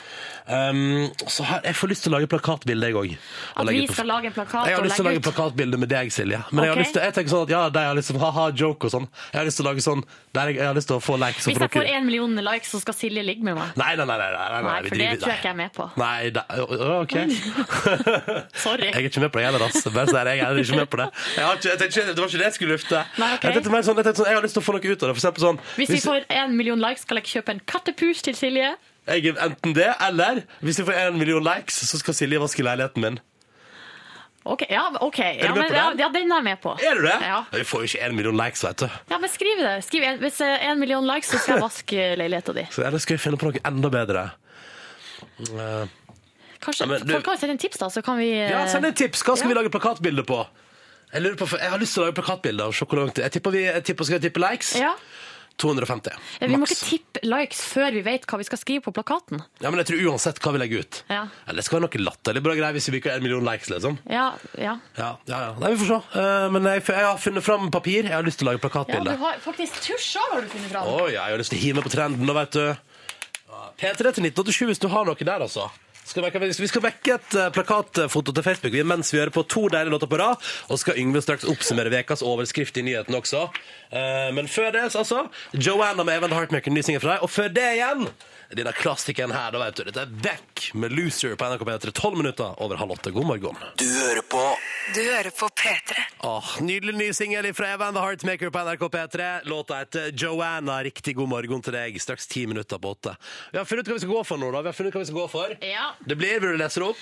S1: Um, så her, jeg får lyst til å lage plakatbilde, jeg òg.
S4: At vi skal lage en plakat
S1: Jeg har
S4: og
S1: lyst til å
S4: legge
S1: lage
S4: ut.
S1: plakatbilde med deg, Silje. Men jeg, har
S4: Ok.
S1: lyst til, jeg tenker sånn at ja, de har liksom ha-ha joke og sånn. Jeg har lyst til å lage sånn der jeg, jeg har lyst til å få likes og
S4: Hvis
S1: få
S4: jeg får
S1: dere-
S4: én million likes, så skal Silje ligge med meg.
S1: Nei, nei, nei. nei, nei, nei,
S4: Nei,
S1: vi
S4: for det
S1: driver-
S4: tror jeg ikke jeg er med på.
S1: Nei, da, Å, å, OK. *laughs*
S4: Sorry.
S1: Jeg er ikke med på det heller, ass. Bare si det, jeg er ikke med på det. Jeg har ikke, jeg tenkte ikke, det var ikke det jeg skulle lufte.
S4: Nei, ok.
S1: jeg, tenkte mer sånn, jeg, tenkte sånn, jeg har lyst til å få noe ut av det. For eksempel sånn
S4: Hvis vi får én million likes, skal jeg kjøpe en kattepus til Silje.
S1: jeg, Enten det, eller hvis vi får en million likes, så skal Silje vaske leiligheten min.
S4: Ok, ja, ok.
S1: du
S4: Ja,
S1: med
S4: men,
S1: på
S4: ja,
S1: den?
S4: ja, den er jeg med på.
S1: Er du det?
S4: Ja.
S1: Vi får jo ikke én million likes, vet du.
S4: ja, men skriv det. Skriv, en- hvis det er en million likes, så skal jeg vaske
S1: *laughs*
S4: leiligheta di.
S1: Så ellers skal vi finne på noe enda bedre. Eh,
S4: Kanskje
S1: Ja, men du-
S4: folk kan sende en tips, da, så kan vi eh,
S1: ja, send et tips! Hva skal vi lage plakatbilde på? Jeg, lurer på? for- jeg har lyst til å lage plakatbilde av sjokolade. Jeg tipper vi jeg tipper, skal jeg tippe likes.
S4: Ja.
S1: 250.
S4: Eh, Vi må
S1: maks.
S4: ikke tippe likes før vi vet hva vi skal skrive på plakaten.
S1: Ja, men jeg tror uansett hva vi legger ut.
S4: Ja,
S1: Ja, det skal være noe latterlig bra greier hvis vi ikke har en million likes, liksom.
S4: ja. ja.
S1: Ja, ja, ja. Nei, vi får se. Eh, men jeg, jeg har funnet fram papir. Jeg har lyst til å lage
S4: ja du
S1: plakatbilde.
S4: har faktisk tusj òg, har du funnet fram.
S1: Å ja, jeg har lyst til å hive meg på trenden nå, vet du. P3 til 1987 hvis du har noe der, altså. Skal vekke, vi skal vekke et eh, plakatfoto til Facebook vi, mens vi hører på to deilige låter på rad. Og skal Yngve straks oppsummere ukas overskrift i nyheten også. Eh, men før det, altså Joanna med Even Heartmaker, ny singel fra deg. Og før det igjen denne klassikeren her, da vet du. Dette er Beck med 'Loser' på NRK P3. Tolv minutter over halv åtte. God morgen.
S7: Du hører på Du hører på P3.
S1: Åh, nydelig ny singel fra Evan The Heartmaker på NRK P3. Låta heter eh, Joanna. Riktig god morgen til deg. Straks ti minutter på åtte. Vi har funnet ut hva vi skal gå for nå, da. Vi har funnet ut hva vi skal gå for.
S4: Ja.
S1: Det blir, vil du lese det opp?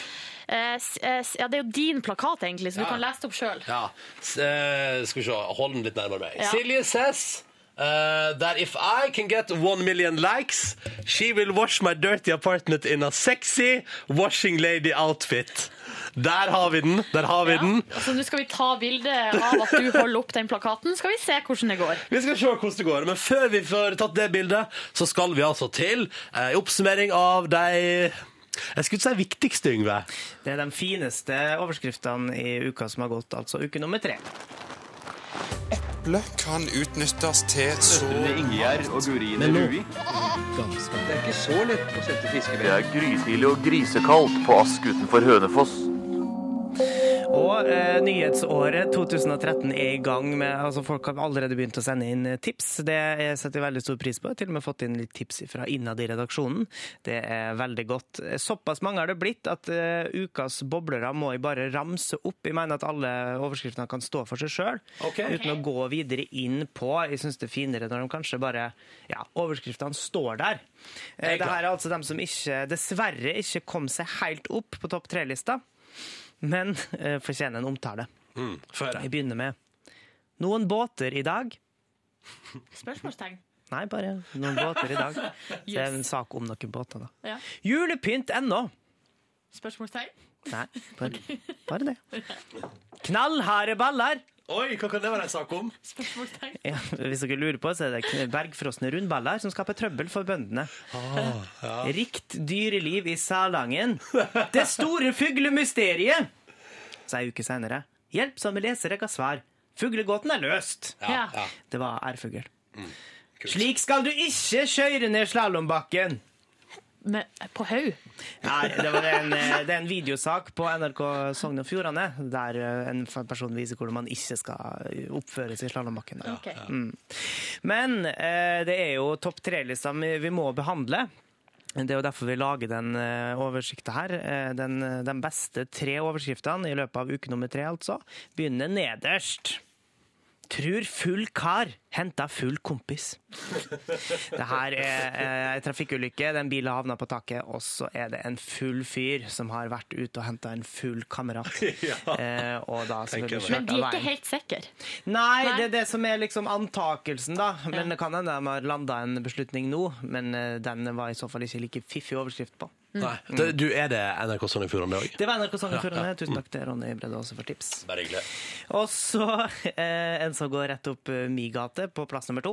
S4: Eh, s- eh, s- ja, det er jo din plakat, egentlig, så du
S1: Ja.
S4: kan lese det opp sjøl.
S1: Ja. S eh, skal vi se. Hold den litt nærmere meg.
S4: Ja.
S1: Silje Cess. Uh, that if I can get one million likes, she will wash my dirty apartment in a sexy washing lady outfit. Der har vi den. Der har vi den.
S4: Så altså, nå skal vi ta bilde av at du holder opp den plakaten. Skal vi se hvordan det går.
S1: Vi skal se hvordan det går, men før vi får tatt det bildet, så skal vi altså til eh, oppsummering av de Jeg skulle ikke si viktigste, Yngve.
S2: Det er de fineste overskriftene i uka som har gått, altså uke nummer tre.
S14: Eple kan utnyttes til så Ingjerd og Gurine
S2: Men nå-
S14: Rui. Det er ikke så lett å sette fiskevær.
S15: Det er grytidlig og grisekaldt på Ask utenfor Hønefoss.
S2: Og eh, nyhetsåret 2013 er i gang med altså Folk har allerede begynt å sende inn eh, tips. Det eh, setter jeg veldig stor pris på. Jeg har til og med fått inn litt tips fra innad i redaksjonen. Det er veldig godt. Eh, Såpass mange har det blitt at eh, ukas boblere må jeg bare ramse opp. Jeg mener at alle overskriftene kan stå for seg sjøl,
S1: Ok.
S2: uten å gå videre inn på. Jeg syns det er finere når de kanskje bare Ja, overskriftene står der. Eh, det her er altså dem som ikke, dessverre ikke kom seg helt opp på topp tre-lista men eh, fortjener en omtale. Jeg begynner med noen båter i dag.
S4: Spørsmålstegn.
S2: Nei, bare noen båter i dag. Det er en sak om noen båter, da.
S4: Ja.
S2: Julepynt ennå!
S4: Spørsmålstegn.
S2: Nei, bare, bare det. Knallharde baller!
S1: Oi, hva kan det være en sak om?
S4: Spørsmålstegn.
S2: Ja, hvis dere lurer på, så er det kn- bergfrosne rundballer som skaper trøbbel for bøndene. Rikt dyreliv i Salangen. Det store fuglemysteriet! Så ei uke seinere. Hjelpsomme lesere ga svar. Fuglegåten er løst!
S1: Ja, ja.
S2: Det var ærfugl. Slik skal du ikke kjøre ned slalåmbakken!
S4: eh, på haug?
S2: Nei, det, var en, eh, det er en videosak på NRK Sogn og Fjordane der eh, en f- person viser hvordan man ikke skal oppføre seg i slalåmbakken. da.
S4: Ok.
S2: Mm. Men eh, det er jo topp tre-lista vi vi må behandle. Det er jo derfor vi lager den eh, oversikta her. Eh, Den, de beste tre overskriftene i løpet av uke nummer tre, altså, begynner nederst. Tror full kar henta full kompis. Det her er eh, en trafikkulykke. Den bilen havna på taket, og så er det en full fyr som har vært ute og henta en full kamerat. Eh, og da selvfølgelig
S4: Men
S2: kjørt av
S4: de er ikke
S2: veien.
S4: helt sikre.
S2: Nei,
S4: Nei.
S2: det er det som er liksom antakelsen, da. Men det kan hende de har landa en beslutning nå, men eh, den var i så fall ikke like fiffig overskrift på.
S1: Nei, det, du, Er det NRK Sogn og Fjordane, det òg?
S2: Det var NRK Sogn og Fjordane.
S1: Ja, ja.
S2: Tusen takk til Ronny Brede også for tips.
S1: Bare hyggelig.
S2: Og så *laughs* eh, en som går rett opp eh, mi gate, på plass nummer to.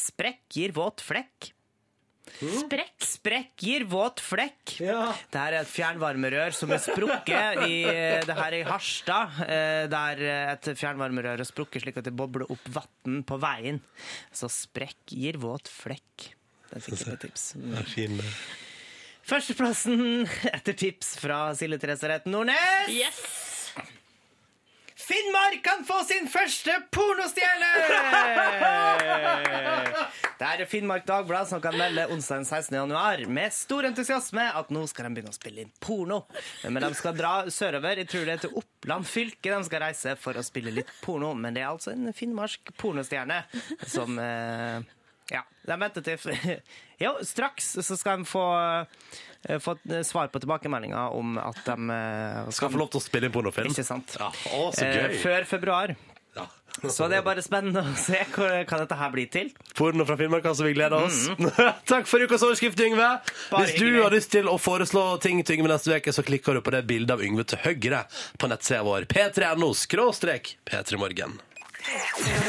S2: Sprekk gir våt flekk.
S4: Sprekk?
S2: Sprekk gir våt flekk. Det her er et fjernvarmerør som er sprukket i eh, det her er i Harstad. eh, Der et fjernvarmerør er sprukket slik at det bobler opp vann på veien. Så sprekk gir våt flekk. Den fikk jeg på tips.
S1: Ja, fin.
S2: Mm. Førsteplassen etter tips fra Silje Therese Reit Nordnes. Finnmark kan få sin første
S1: *laughs*
S2: pornostjerne! Det er Finnmark Dagblad som kan melde onsdag den 16. januar med stor entusiasme at nå skal de begynne å spille inn porno. Men de skal dra sørover. Jeg tror det er til Oppland fylke de skal reise for å spille litt porno. Men det er altså en finnmark pornostjerne som eh, Ja, de venter til *laughs* Jo, straks så skal de få, eh, få et svar på tilbakemeldinga om at de eh,
S1: Skal få lov til å spille inn pornofilm.
S2: Ikke sant?
S1: Ja, å, så
S2: Eh,
S1: gøy.
S2: Før februar. Så det er bare spennende å se hva, hva dette her blir til.
S1: Porno fra Finnmark, altså. Vi gleder oss. *laughs* Takk for ukas overskrift, Yngve.
S2: Mm. Bare
S1: Hvis du
S2: hyggelig.
S1: har lyst til å foreslå ting til Yngve neste uke, så klikker du på det bildet av Yngve til høyre på nettsida vår p3.no skråstrek p3morgen. Dette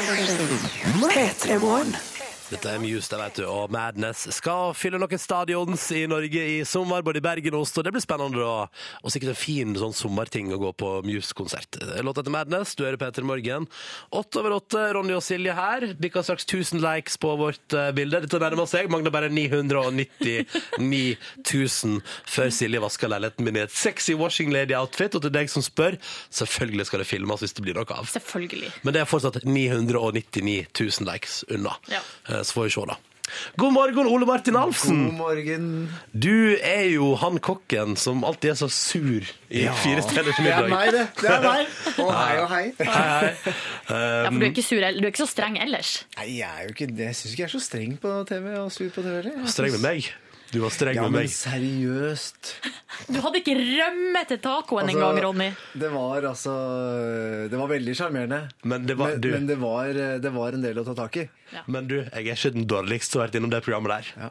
S1: er Muse, det vet du, og Madness skal fylle noen stadions i Norge i sommer, både i Bergen og Oslo. Det blir spennende, da. Og sikkert en fin sånn sommerting å gå på Muse-konsert. Låt etter Madness, du hører Peter Morgen. Åtte over åtte, Ronny og Silje her. Bikka straks 1000 likes på vårt eh, bilde. Dette nærmer seg. Mangler bare 999 000 før Silje vasker leiligheten min i et sexy washing lady-outfit. Og til deg som spør, selvfølgelig skal det filmes hvis det blir noe av.
S4: Selvfølgelig.
S1: Men det er fortsatt 999 000 likes unna.
S4: Ja.
S1: Eh, Så får vi se, da. God morgen, Ole Martin Alfsen.
S16: God morgen.
S1: Du er jo han kokken som alltid er så sur i
S16: Ja.
S1: Fire stjerners
S16: Det
S1: middag.
S16: er meg, det. Det er meg. Å, hei og hei.
S1: hei, Eh,
S4: Ja, for du er ikke sur, du er ikke så streng ellers.
S16: Nei, jeg er jo ikke det. Jeg syns ikke jeg er så streng på TV og sur på TV heller.
S1: Um,
S4: altså-
S1: Streng med meg. Du var streng
S16: Ja,
S1: med
S16: men
S1: meg.
S16: seriøst.
S4: Du hadde ikke rømme til tacoen
S16: Altså,
S4: engang, Ronny.
S16: Det var altså Det var veldig sjarmerende.
S1: Men det var-
S16: men,
S1: du-
S16: men det, var, øh, det var en del å ta tak i.
S1: Men du, jeg er ikke den dårligste som har vært innom det programmet der.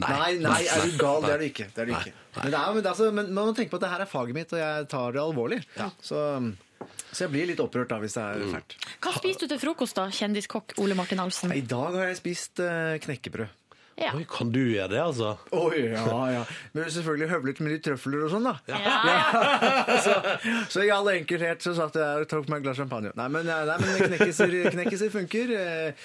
S16: Nei, nei, er du gal? Det er du ikke. Det er du ikke. Men, det er, men, det er, altså- men man må tenke på at det her er faget mitt, og jeg tar det alvorlig. Så, um, så jeg blir litt opprørt da hvis det er fælt.
S4: Hva spiste du til frokost, da, kjendiskokk Ole Martin Alfsen?
S16: I dag har jeg spist eh, knekkebrød.
S4: Ja.
S1: Oi, kan du gjøre det, altså?
S16: Å ja, ja. *laughs* Men selvfølgelig høvlet med litt trøfler og sånn, da.
S4: Ja.
S16: så, så i all enkelhet så satt jeg der og tok meg et glass champagne. Nei, men, eh, nei, men
S17: *laughs*
S16: knekkeser, knekkeser funker. Eh,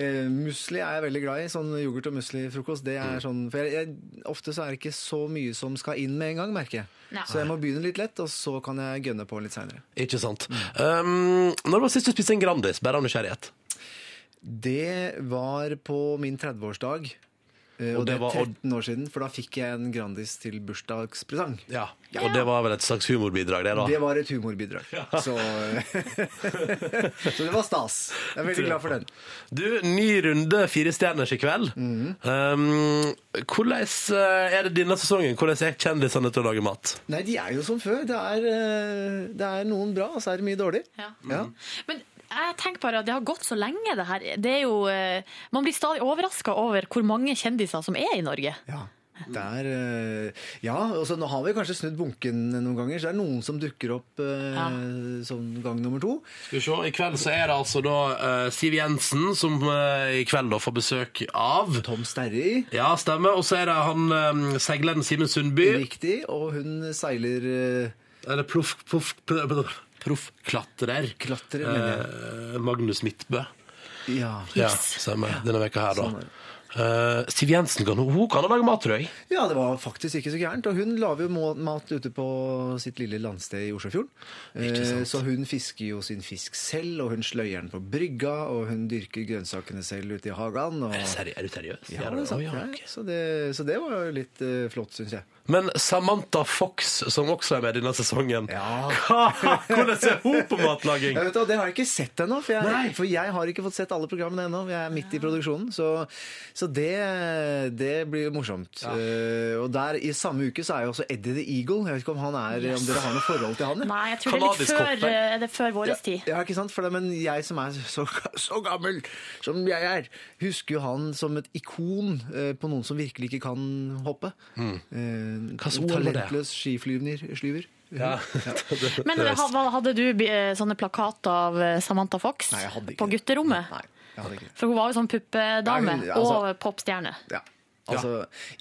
S16: eh, musli er jeg veldig glad i. Sånn yoghurt og musli-frokost. Det
S17: Mm.
S16: er sånn For jeg, jeg, ofte så er det ikke så mye som skal inn med en gang, merker jeg.
S4: Nei.
S16: Så jeg må begynne litt lett, og så kan jeg gønne på litt seinere.
S1: Ikke sant. Um, når var sist du spiste en Grandis? Bare av nysgjerrighet.
S16: Det var på min 30-årsdag. eh,
S1: Og
S16: Og det
S1: det var-
S16: er 13 år siden, for da fikk jeg en Grandis til bursdagspresang.
S1: Og det var vel et slags humorbidrag, det, da?
S16: Det var et humorbidrag. Så, så det var stas. Jeg er veldig glad for den.
S1: Du, ny runde fire stjerners i kveld. Um, hvordan eh, er det denne sesongen? Hvordan er kjendisene til å lage mat?
S16: Nei, de er jo som før. Det er, eh, det er noen bra, og så er det mye dårlig.
S4: Ja.
S16: Ja. Mm.
S4: Men jeg tenker bare at det har gått så lenge, det her. Det er jo, eh, man blir stadig overraska over hvor mange kjendiser som er i Norge.
S16: Det er, eh, ja, og så nå har vi kanskje snudd bunken noen ganger, så det er noen som dukker opp eh, som gang nummer to.
S1: Skal vi se, I kveld så er det altså da eh, Siv Jensen som eh, i kveld da får besøk av
S16: Tom Sterry.
S1: Ja, stemmer. Og så er det han eh, seileren Simen Sundby.
S16: Riktig. Og hun seiler
S1: Eller proff... proff... proff... Proffklatrer.
S16: Klatrer,
S1: Eh, Magnus Midtbø.
S16: Ja.
S1: Ja, stemmer. Denne veka her, da. Eh, Siv Jensen kan, hun kan lage mat, tror jeg.
S16: Ja, det var faktisk ikke så gærent. Og hun lager jo må- mat ute på sitt lille landsted i Oslofjorden.
S1: Ikke sant.
S16: Eh, Så hun fisker jo sin fisk selv, og hun sløyer den på brygga, og hun dyrker grønnsakene selv ute i hagen. Og...
S1: Seri- Er du seriøs?
S16: Ja,
S1: Er du-
S16: det er sant.
S1: Å, ja,
S16: Ja, så, det, så det var jo litt eh, flott, syns jeg.
S1: Men Samantha Fox, som også er med denne sesongen Hva? Hvordan ser hun på matlaging?
S16: Ja, vet du, hva, det har jeg ikke sett ennå, for, jeg- for jeg har ikke fått sett alle programmene ennå. Jeg er midt i produksjonen, så, så det, det blir morsomt. Eh, og der i samme uke så er jo også Eddie the Eagle. Jeg vet ikke om, han er, om dere har noe forhold til han? ja?
S4: Nei, jeg tror det er litt før, eh, det er før vår tid.
S16: Ja, ja, ikke sant? For det, men jeg som er så, så gammel som jeg er, husker jo han som et ikon eh, på noen som virkelig ikke kan hoppe.
S4: Hmm.
S16: Eh,
S1: Hva så
S16: en
S1: ord var det?
S16: talentløs skiflyver.
S1: Ja.
S4: Men ha- hva- hadde du eh, sånne plakater av eh, Samantha Fox
S16: Nei, jeg hadde ikke
S4: på gutterommet?
S16: Jeg hadde ikke
S4: For hun var jo sånn puppedame
S16: Nei, hun- altså-
S4: og popstjerne.
S16: Ja. Altså,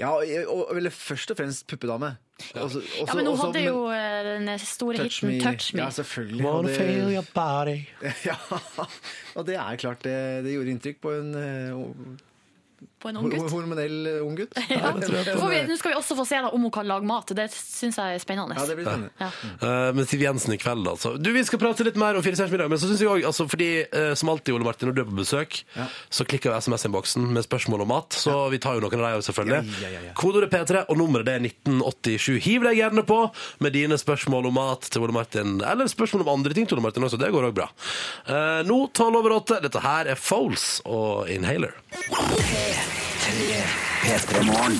S16: ja, og, og, eller først og fremst puppedame. Også-
S4: Ja,
S16: også-
S4: men hun
S16: også-
S4: hadde jo eh, den store
S16: Touch
S4: hiten
S16: Me.
S4: 'Touch Me'.
S16: Ja, selvfølgelig.
S1: Wanna
S16: og det-
S1: feel your body.
S16: ja, og det er klart det, det gjorde inntrykk på en eh,
S4: på en ung gutt.
S16: Hormonell eh, ung gutt. *laughs*
S4: Ja. Får vi- Nå skal vi også få se da om hun kan lage mat. Det syns jeg er spennende.
S16: Ja, det blir spennende.
S4: Ja.
S1: Eh, med Siv Jensen i kveld, altså. Du, Vi skal prate litt mer om Fire stjerners middag, men så synes jeg også, altså, fordi eh, som alltid, Ole Martin, når du er på besøk, så klikker jo SMS-innboksen med spørsmål om mat, så vi tar jo noen av dem selvfølgelig.
S16: Ja, ja, ja, ja.
S1: Kodeordet P3, og nummeret det er 1987. Hiv deg gjerne på med dine spørsmål om mat til Ole Martin, eller spørsmål om andre ting til Ole Martin også, det går også bra. Eh, nå, 12 over 8, dette her er Foles og Inhaler.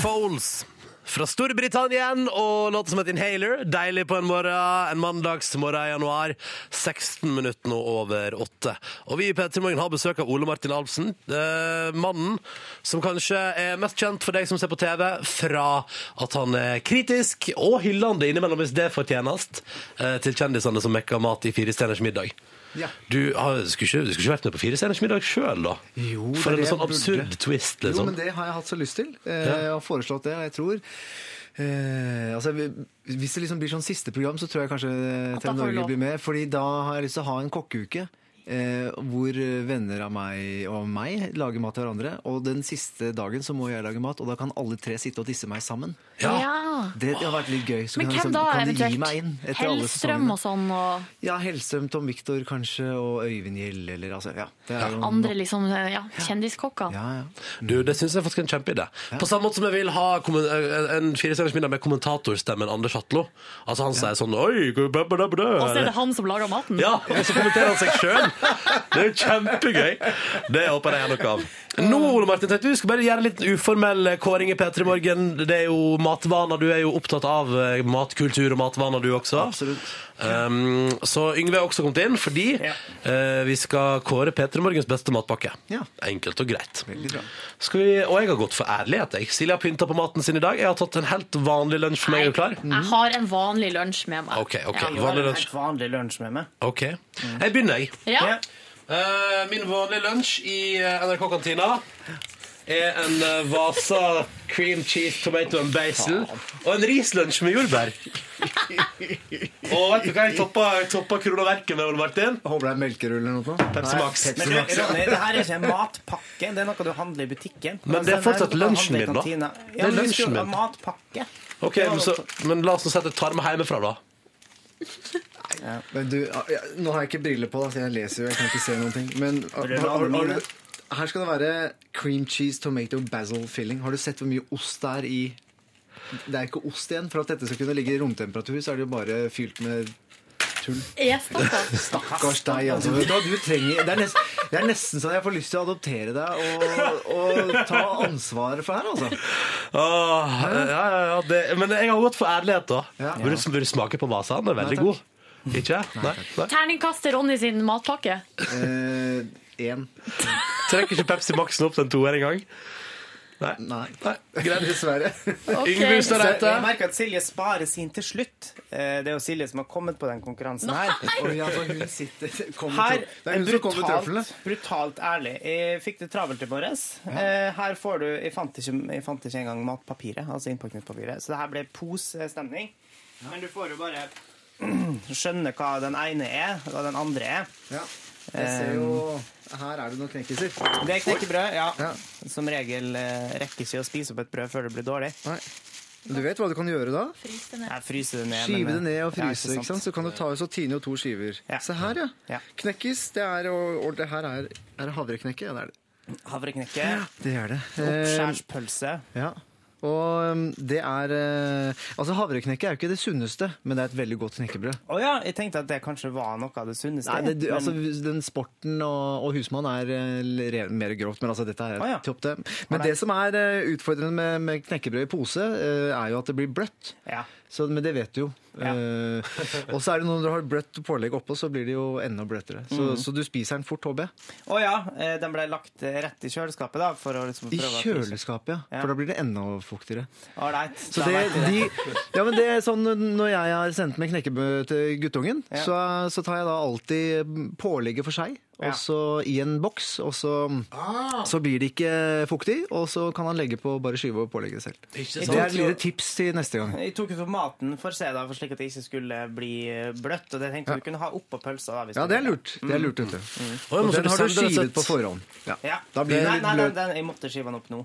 S1: Foles fra Storbritannia igjen, og låten som heter Inhaler. Deilig på en morgen, en mandagsmorgen i januar. 16 minutter nå over åtte. Og vi i P3 Morgen har besøk av Ole Martin Alvsen. Eh, mannen som kanskje er mest kjent for deg som ser på TV, fra at han er kritisk og hyllende innimellom, hvis det fortjenes, eh, til kjendisene som mekker mat i Fire stjerners middag.
S16: Ja.
S1: Du, har, skulle ikke, du skulle ikke vært med på Fire stjerners middag sjøl, da?
S16: Jo, det
S1: for
S16: er
S1: en
S16: det jeg
S1: sånn absurd
S16: burde.
S1: twist,
S16: Jo,
S1: liksom.
S16: men det sånn. har jeg hatt så lyst til. Eh, Jeg har foreslått det, og jeg tror eh, altså, vi- Hvis det liksom blir sånn siste program, så tror jeg kanskje eh,
S17: da
S16: TV
S17: får vi
S16: Norge
S17: lov.
S16: blir med. Fordi da har jeg lyst til å ha en kokkeuke. Eh, hvor venner av meg og meg lager mat til hverandre. Og den siste dagen så må jeg lage mat, og da kan alle tre sitte og disse meg sammen.
S4: Ja.
S16: Det har vært litt gøy. Så
S4: Men
S16: kan,
S4: hvem
S16: jeg liksom,
S4: da,
S16: kan de gi meg inn
S4: eventuelt?
S16: etter alle
S4: Hellstrøm
S16: sesongene?
S4: og sånn, og
S16: Ja, Hellstrøm, Tom Victor kanskje, og Øyvind Gjelle, eller altså ja, det er jo
S4: andre liksom, ja, kjendiskokker.
S1: Du, det syns jeg faktisk er en kjempeidé. På samme måte som jeg vil ha kommen- en en firestjerners middag med kommentatorstemmen Anders Hatlo. Altså han sier sånn Oi, gu- bæ, bæ, bæ, bæ.
S4: Og så er det han som lager maten.
S1: Ja, *laughs* og så kommenterer han seg sjøl! Det er jo kjempegøy. Det håper jeg er noe av. Nå, Ole Martin, tenkte vi skulle bare gjøre en liten uformell eh, kåring i P3 Morgen. Det er jo matvaner. Du er jo opptatt av eh, matkultur og matvaner, du også. Absolutt. Um, så Yngve er også kommet inn, fordi eh, vi skal kåre P3 Morgens beste matpakke.
S16: Ja.
S1: Enkelt og greit. Skal vi, og jeg har gått for ærlighet. Jeg. Silje har pynta på maten sin i dag. Jeg har tatt en helt vanlig lunsj for meg. Er du klar?
S4: Jeg har en vanlig lunsj med meg.
S1: Ok, ok.
S4: Ja.
S1: Vanlig lunsj.
S2: Vanlig lunsj med meg.
S1: Ok. Jeg begynner, jeg.
S4: Ja.
S1: Eh, min vanlige lunsj i eh, NRK-kantina er en eh, Vasa cream cheese tomato and basil og en rislunsj med jordbær. og vet du hva jeg toppa, toppa kroneverket med, Ole Martin?
S16: Håper det er melkerull eller noe sånt.
S1: Pepsi Max.
S2: Men du, Ronny, det her er ikke en matpakke, det er noe du handler i butikken.
S1: Men det er
S2: Altså,
S1: fortsatt
S2: nei, du kan
S1: lunsjen
S2: handle i
S1: min, da.
S2: kantina.
S1: Det er
S2: Ja, men vi skal
S1: lunsjen
S2: jo ha
S1: min.
S2: Matpakke.
S1: Ok, men, så, men la oss nå sette tarm hjemmefra, da.
S16: Men du, ja, nå har jeg ikke briller på, da, så jeg leser jo, jeg kan ikke se noen ting. Men har, har, har du, her skal det være cream cheese tomato basil filling. Har du sett hvor mye ost det er i Det er ikke ost igjen. For at dette skal kunne ligge i romtemperatur, så er det jo bare fylt med tull. Stakkars deg, altså. Vet du, hva, du trenger, det, er nesten, det er nesten sånn jeg får lyst til å adoptere deg og, og ta ansvaret for her, altså.
S1: Åh, ja, ja, ja, det, men jeg har gått for ærlighet, da. Burde, burde smake på vasaen. Den er veldig god. Ikke? Nei, nei.
S4: Terningkast til Ronny sin matpakke.
S16: Én.
S1: Trekker ikke Pepsi Maxen opp den toer engang? Nei.
S16: Nei.
S1: Greit.
S16: Dessverre.
S1: Ok. Yngve Hustad
S2: Så
S4: *laughs*
S1: Reite.
S2: Jeg merker at Silje sparer sin til slutt. Eh, Det er jo Silje som har kommet på den konkurransen her.
S16: Oi, altså, hun sitter, kommer
S2: Her,
S16: til- det er hun som kommer med trøflene.
S2: brutalt, brutalt ærlig. Jeg fikk det travelt i morges. Eh, Her får du Jeg fant ikke, jeg fant ikke engang matpapiret, altså innpakningspapiret. Så det her ble posestemning. Men du får jo bare *clears throat* skjønne hva den ene er, og hva den andre er.
S16: Ja. Jeg ser jo
S2: Ehm.
S16: Her er det noen knekkelser.
S2: Det er knekkebrød, ja. Som regel eh, rekker ikke å spise opp et brød før det blir dårlig.
S16: Du vet hva du kan gjøre da?
S2: Jeg fryser det ned. men-
S16: Skyve det ned og
S2: Ja,
S16: fryse. ikke sant? Så kan du ta så tine jo to skiver. Se her, ja. Knekkis. Det er, og, og det her er, er det havreknekke. Ja, det er det.
S2: Havreknekke.
S16: Det er det. Ehm,
S2: Oppskjærspølse.
S16: Ja. Og um, det er eh, Altså, havreknekke er jo ikke det sunneste, men det er et veldig godt knekkebrød.
S2: Å ja, jeg tenkte at det kanskje var noe av det sunneste.
S16: Nei, det, du,
S2: men-
S16: altså, den sporten og, og husmann er eh, re- mer grovt, men altså, dette er
S2: Å, ja.
S16: topp det. Men det som er eh, utfordrende med, med knekkebrød i pose, eh, er jo at det blir bløtt. Så, men det vet du jo. Eh, og så er det når du har bløtt pålegg oppå, så blir det jo enda bløttere. Så,
S2: Mm.
S16: så du spiser den fort, HB.
S2: Å ja, eh, den ble lagt eh, rett i kjøleskapet, da. For å liksom
S16: I
S2: prøve at-
S16: kjøleskapet, ja.
S2: Ja.
S16: For da blir det enda fuktigere.
S2: Alright,
S16: Så
S2: da
S16: det,
S2: vet vi
S16: de,
S2: det.
S16: ja, men det er sånn Når jeg har sendt med knekkebrød til guttungen,
S2: Ja.
S16: så, så tar jeg da alltid pålegget for seg,
S2: Ja. Ah.
S16: og så i en boks. Og så, så blir det ikke fuktig, og så kan han legge på bare skyve over pålegget selv.
S2: Ikke
S16: Det
S2: sant?
S16: er et lite tips til neste gang.
S2: sånn. Jeg tok jo tomaten for å se, da, for slik at det ikke skulle bli eh, bløtt. Og det tenkte jeg vi kunne ha oppå pølsa. da. hvis
S16: Ja,
S2: vi
S16: det er
S2: ville.
S16: lurt. Det er lurt, vet du.
S2: Mm.
S16: Og den har du skivet på forhånd.
S2: Ja.
S16: Da blir
S2: nei,
S16: den
S2: nei,
S16: litt
S2: den,
S16: bløt.
S2: den, jeg måtte skive den opp nå.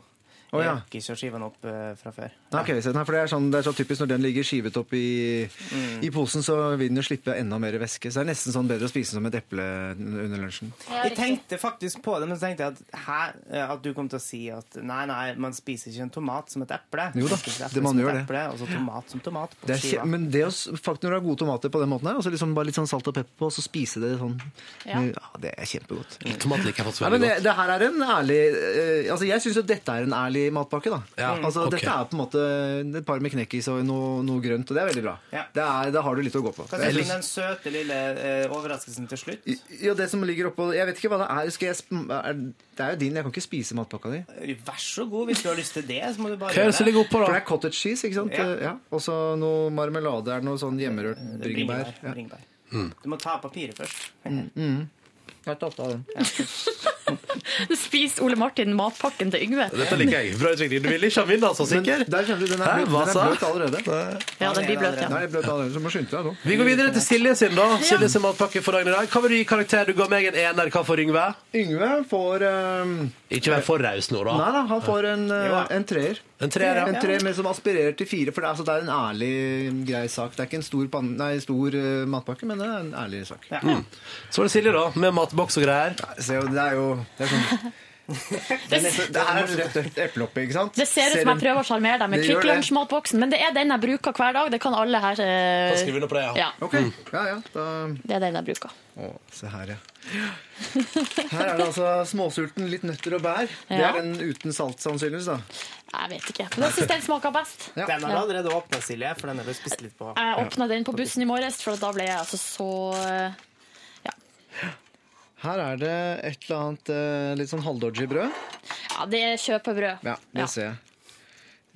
S16: Å,
S2: Jeg
S16: ja.
S2: rakk ikke å skive den opp eh, fra før.
S16: Nei, ok, så- nei, for det er, sånn, det er så typisk når den ligger skivet opp i,
S2: Mm.
S16: i posen, så vil den jo slippe enda mer væske. Så det er nesten sånn bedre å spise den som et eple under lunsjen.
S2: Jeg tenkte faktisk på det, men så tenkte jeg at, hæ, eh, at du kom til å si at nei, nei, man spiser ikke en tomat som et eple.
S16: Jo da,
S2: Man spiser et eple
S16: det man
S2: som et
S16: gjør det.
S2: Eple, og så tomat som tomat på
S16: Det er,
S2: skiva.
S16: kje- men det å, s- faktisk når du har gode tomater på den måten her, og så liksom bare litt sånn salt og pepper på, og så spise det sånn
S2: Ja.
S16: ja. det er kjempegodt.
S1: Tomat liker jeg faktisk
S16: Nei,
S1: veldig
S16: men det,
S1: godt.
S16: det her er en ærlig eh, Altså, jeg syns jo dette er en ærlig matpakke, da.
S1: Ja,
S16: altså,
S1: ok.
S16: Dette er på en måte et par med knekkis og noe, noe grønt, og det er veldig bra.
S2: Ja.
S16: Det er, da har du litt å gå på.
S2: Hva
S16: Det er-
S2: syns du om den søte lille eh, overraskelsen til slutt?
S16: Ja, det som ligger oppå Jeg vet ikke hva det er. Skal jeg, sp- er det er jo din, jeg kan ikke spise matpakka di.
S2: Vær så god, hvis du har lyst til det, så må du bare
S16: For det er cottage cheese, ikke sant? Eh,
S2: Ja.
S16: Ja. Og så noe marmelade. Er det noe sånn hjemmerørt bringebær?
S2: Bringebær. bringebær. Du må ta av papiret først.
S16: Mm. Mm. Jeg er stolt av den.
S4: Du spiste Ole Martin matpakken til Yngve.
S1: Dette liker jeg. Bra utvikling. Du ville ikke ha min, altså, sikker?
S16: Der kjenner du, den er
S1: Hæ,
S16: bløt,
S1: hva
S16: den er
S1: sa?
S16: bløt allerede.
S4: Ja, den blir bløt, ja.
S16: Den er bløt allerede, så du må skynde deg nå.
S1: Vi går videre til Silje sin, da. Silje sin matpakke for dagen i dag. Hva vil du gi karakter? Du ga meg en ener. Hva får Yngve?
S16: Yngve får ehm,
S1: Ikke vær for raus nå, da.
S16: Nei da, han får en, eh, en treer.
S1: En treer, ja.
S16: En treer, men som aspirerer til fire. For det er, altså, det er en ærlig, grei sak. Det er ikke en stor, pan nei, stor eh, matpakke, men det er en ærlig sak.
S1: Mm. Så var det Silje, da, med matboks og greier.
S16: Se, det er jo det
S2: *laughs*
S16: er sånn. Det, er nesten- det her er et rødt eple- eplehoppe, ikke sant?
S4: Det ser ut som jeg prøver å sjarmere deg med
S16: Det gjør
S4: Kvikk
S16: det.
S4: Lunsj-matboksen, men det er den jeg bruker hver dag. Det kan alle her eh,
S16: Da skriver vi under på det, ja. Ok. Ja, ja,
S4: Det er den jeg bruker.
S16: Å, se her,
S4: *laughs*
S16: ja. Her er det altså småsulten, litt nøtter og bær. Det
S4: Ja.
S16: er den uten salt, sannsynligvis. da.
S4: Jeg vet ikke. Men jeg syns den smaker best.
S2: Den har du
S4: Ja.
S2: allerede åpna, Silje, for den har du spist litt på.
S4: Jeg åpna den på bussen i morges, for da ble jeg altså så eh,
S16: Her er det et eller annet eh, litt sånn halvdodgy brød.
S4: Ja, det er kjøpebrød.
S16: Ja, det ser jeg.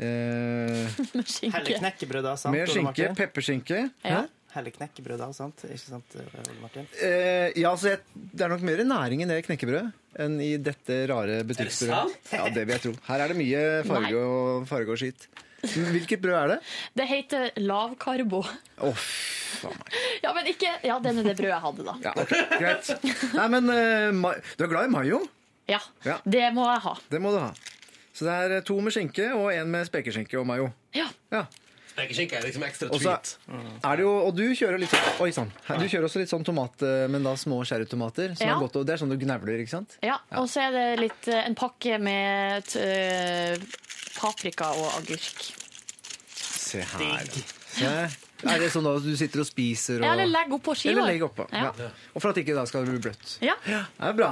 S16: Eh,
S4: *laughs* Med skinke.
S2: Heller knekkebrød da, sant?
S16: mer
S2: Ole
S16: skinke.
S2: Martin?
S16: Pepperskinke.
S2: Ja.
S16: Hæ?
S2: Heller knekkebrød da, sant? Ikke sant, Ole Martin?
S16: Eh, ja, altså, jeg, Det er nok mer næring i det knekkebrødet enn i dette rare
S2: sant?
S16: butikkbrødet. Ja, det vil jeg tro. Her er det mye farge
S4: Nei.
S16: og, farge og skitt. Hvilket brød er det?
S4: Det heter lavkarbo. *laughs*
S16: Å, faen meg.
S4: Ja, men ikke Ja, det er det brødet jeg hadde, da.
S16: Ja, ok, greit. Nei, men eh, ma du er glad i mayo?
S4: Ja,
S16: Ja.
S4: Det må jeg ha.
S16: Det må du ha. Så det er eh, to med skinke og en med spekeskinke og mayo.
S1: Spekeskinke er liksom ekstra
S16: Og så
S1: tweet.
S16: er det jo, og du kjører litt sånn Oi sann. Du kjører også litt sånn tomat, eh, men da små sherrytomater. Som
S4: Ja.
S16: er godt, og det er sånn du gnavler, ikke sant?
S4: Ja, Og så er det litt, eh, en pakke med t- eh, paprika og agurk.
S16: Se her. Se. Er det sånn at du sitter og spiser og
S4: Ja, eller legg oppå skiva.
S16: Eller legg oppå.
S4: Ja.
S16: Ja. Og for at ikke da skal det bli bløtt.
S4: Ja.
S16: Det er bra.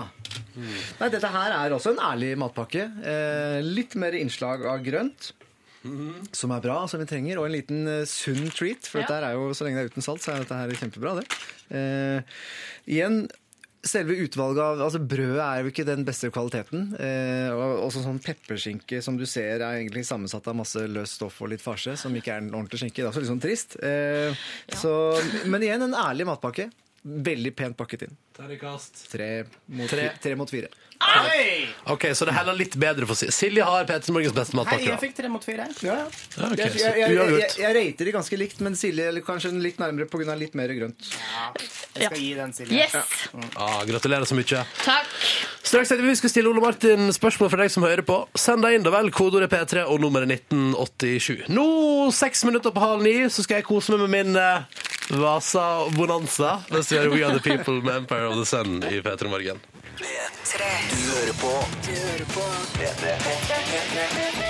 S16: Nei, dette her er også en ærlig matpakke. Eh, litt mer innslag av grønt. Som er bra, som vi trenger, og en liten eh, sunn treat. For
S17: Ja.
S16: dette her er jo, så lenge det er uten salt, så er dette her kjempebra, det. Eh, igjen, selve utvalget av altså Brødet er jo ikke den beste kvaliteten. Eh, og også sånn pepperskinke som du ser er egentlig sammensatt av masse løst stoff og litt farse, som ikke er en ordentlig skinke. Det er også litt sånn trist. Eh, så, men igjen, en ærlig matpakke. Veldig pent pakket inn.
S1: Terningkast.
S16: Tre mot,
S1: Tre.
S16: Tre. Tre mot fire.
S1: OK, så det heller litt bedre for Silje. Silje har Peter Morgens beste
S2: Hei,
S1: matpakke.
S2: jeg fikk tre mot fire.
S16: Ja,
S1: Ja, ok,
S16: jeg,
S1: så
S16: jeg, jeg, jeg, jeg,
S1: uavgjort.
S16: jeg rater de ganske likt, men Silje eller kanskje en litt nærmere pga. litt mer grønt.
S1: *laughs*
S2: Jeg skal gi den, Silje.
S1: Yes. Ah, gratulerer så mye.
S4: Takk.
S1: Straks etter vi skal stille Ole Martin spørsmål for deg som hører på. Send deg inn, da vel. Kodeordet P3 og nummeret 1987. Nå, seks minutter på halv ni, så skal jeg kose meg med min eh, Vasa Bonanza. Let's gjøre We Are The People med Empire of the Sun i P3 Morgen.
S6: P3. Du hører på. Du hører på. Dette.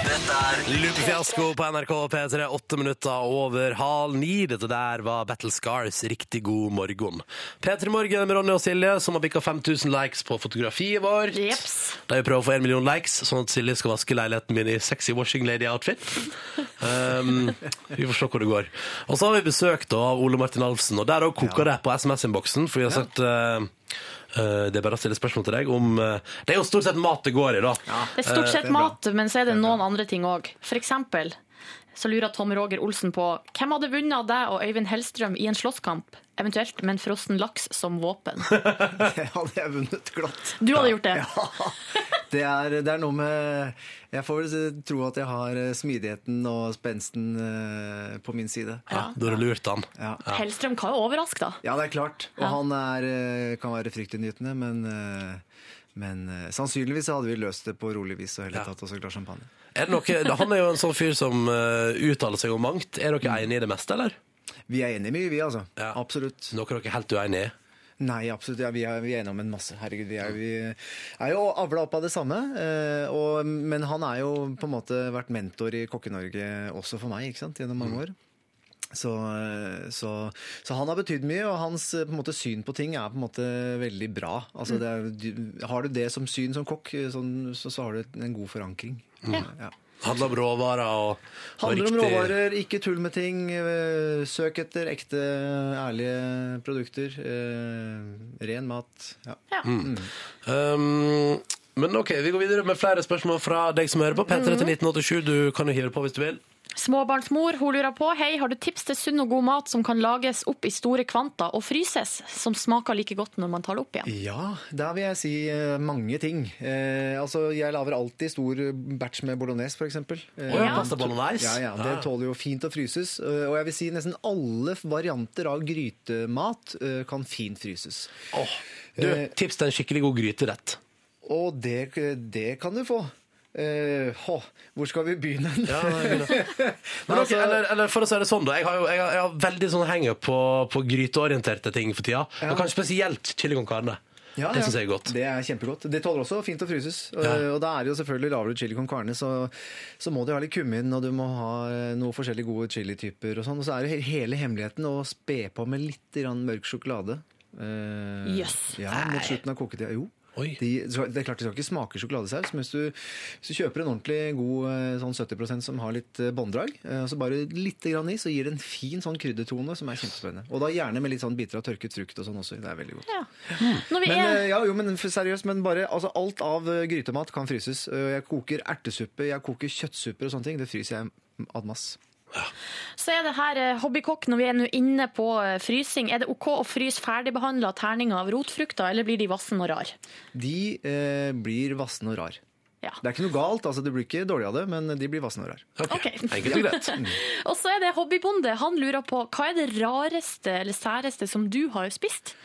S6: Dette er
S1: Lupe Fiasko på NRK P3, åtte minutter over halv ni. Dette der var Battle Scars, riktig god morgen. P3 Morgen med Ronny og Silje, som har bikka 5000 likes på fotografiet vårt. De prøver å få en million likes, sånn at Silje skal vaske leiligheten min i sexy washing lady-outfit. Um, vi får se hvor det går. Og så har vi besøk da av Ole Martin Alfsen, og der òg koker det på SMS-innboksen, for vi har sagt eh, eh, det er bare å stille spørsmål til deg om eh, Det er jo stort sett mat det går i, da.
S4: Det er stort
S1: Eh,
S4: sett mat, men så er det noen andre ting òg. For eksempel så lurer Tom Roger Olsen på hvem hadde vunnet av deg og Øyvind Hellstrøm i en slåsskamp, eventuelt med en frossen laks som våpen.
S16: hadde jeg vunnet glatt.
S4: *laughs* Du hadde gjort det.
S16: Det er, det er noe med Jeg får vel tro at jeg har eh, smidigheten og spensten eh, på min side.
S1: Ja, Da har du lurt han.
S16: Ja.
S4: Hellstrøm kan jo overraske, da.
S16: Ja, det er klart. Og
S4: Ja.
S16: han er, eh, kan være fryktinngytende, men, eh, men eh, sannsynligvis så hadde vi løst det på rolig vis og heller tatt oss et glass champagne.
S1: Er det noe, han er jo en sånn fyr som eh, uttaler seg om mangt. Er dere enige i det meste, eller?
S16: Vi er enige i mye, vi, altså. Absolutt.
S1: Noe dere er helt uenige i?
S16: Nei, absolutt. Ja, vi, er, vi er enige om en masse. Herregud, vi er, vi er jo avla opp av det samme. eh, Og, men han er jo på en måte vært mentor i Kokke-Norge også for meg, ikke sant? gjennom mange år. Så, eh, så, så han har betydd mye, og hans eh, på en måte, syn på ting er på en måte veldig bra. Altså, det er, du- har du det som syn som kokk, eh, sånn, så, så har du en god forankring. Ja.
S1: Handler om råvarer og, og
S16: Handler om
S1: riktig-
S16: råvarer, ikke tull med ting. eh, Søk etter ekte, ærlige produkter. eh, Ren mat. Ja.
S1: Mm. Um, men OK, vi går videre med flere spørsmål fra deg som hører på. P3
S16: Mhm.
S1: til 1987, du kan jo hive på hvis du vil.
S4: Småbarnsmor hun lurer på Hei, har du tips til sunn og god mat som kan lages opp i store kvanta og fryses, som smaker like godt når man tar det opp igjen?
S16: Ja, der vil jeg si eh, mange ting. Eh, altså, jeg lager alltid stor batch med bolognese, f.eks. Eh,
S1: Å ja, pasta bolognese? Ah.
S16: Ja, ja, det
S1: Ja.
S16: tåler jo fint å fryses. Eh, og jeg vil si nesten alle varianter av grytemat eh, kan fint fryses.
S1: Du,
S16: Eh,
S1: tips til en skikkelig god gryterett.
S16: Og det, det kan du få. Eh, hå, hvor skal vi begynne?
S1: Ja, nei,
S16: *laughs*
S1: Men ok,
S16: Altså-
S1: eller, eller for å si det sånn, da. Jeg har, jo, jeg har, jeg har veldig sånn hang-up på, på gryteorienterte ting for tida.
S16: Ja.
S1: Og kanskje spesielt chili con carne.
S16: Ja,
S1: det
S16: ja.
S1: syns jeg er godt.
S16: Det er kjempegodt. Det tåler også fint å fryses. Eh, Og da er det jo selvfølgelig lavere chili con carne, så, så må du ha litt kummin, og du må ha eh, noen forskjellige gode chilityper og sånn. Og så er det he- hele hemmeligheten å spe på med litt grann mørk sjokolade. Eh,
S6: Yes.
S16: Ja, mot slutten av koketida. Jo. De, så det er klart de skal ikke smake sjokoladesaus, men hvis du, hvis du kjøper en ordentlig god eh, sånn 70 som har litt eh, bånddrag, eh, og så bare litt grann i, så gir det en fin sånn kryddertone som er kjempespennende. Og da gjerne med litt sånn biter av tørket frukt og sånn også. Det er veldig godt.
S4: Når vi
S16: Men,
S4: er...
S16: eh, ja, jo, men f- seriøst, men bare altså, alt av eh, grytemat kan fryses. Eh, Jeg koker ertesuppe, jeg koker kjøttsupper og sånne ting. Det fryser jeg ad mass.
S4: Så er det her eh, hobbykokk, når vi er nå inne på eh, frysing, er det OK å fryse ferdigbehandla terninger av rotfrukter, eller blir de vassen og rar?
S16: De eh, blir vassende og rar. Det er ikke noe galt, altså det blir ikke dårlig av det, men de blir vassende og rar.
S4: og og så er det hobbybonde. Han lurer på hva er det rareste eller særeste som du har spist?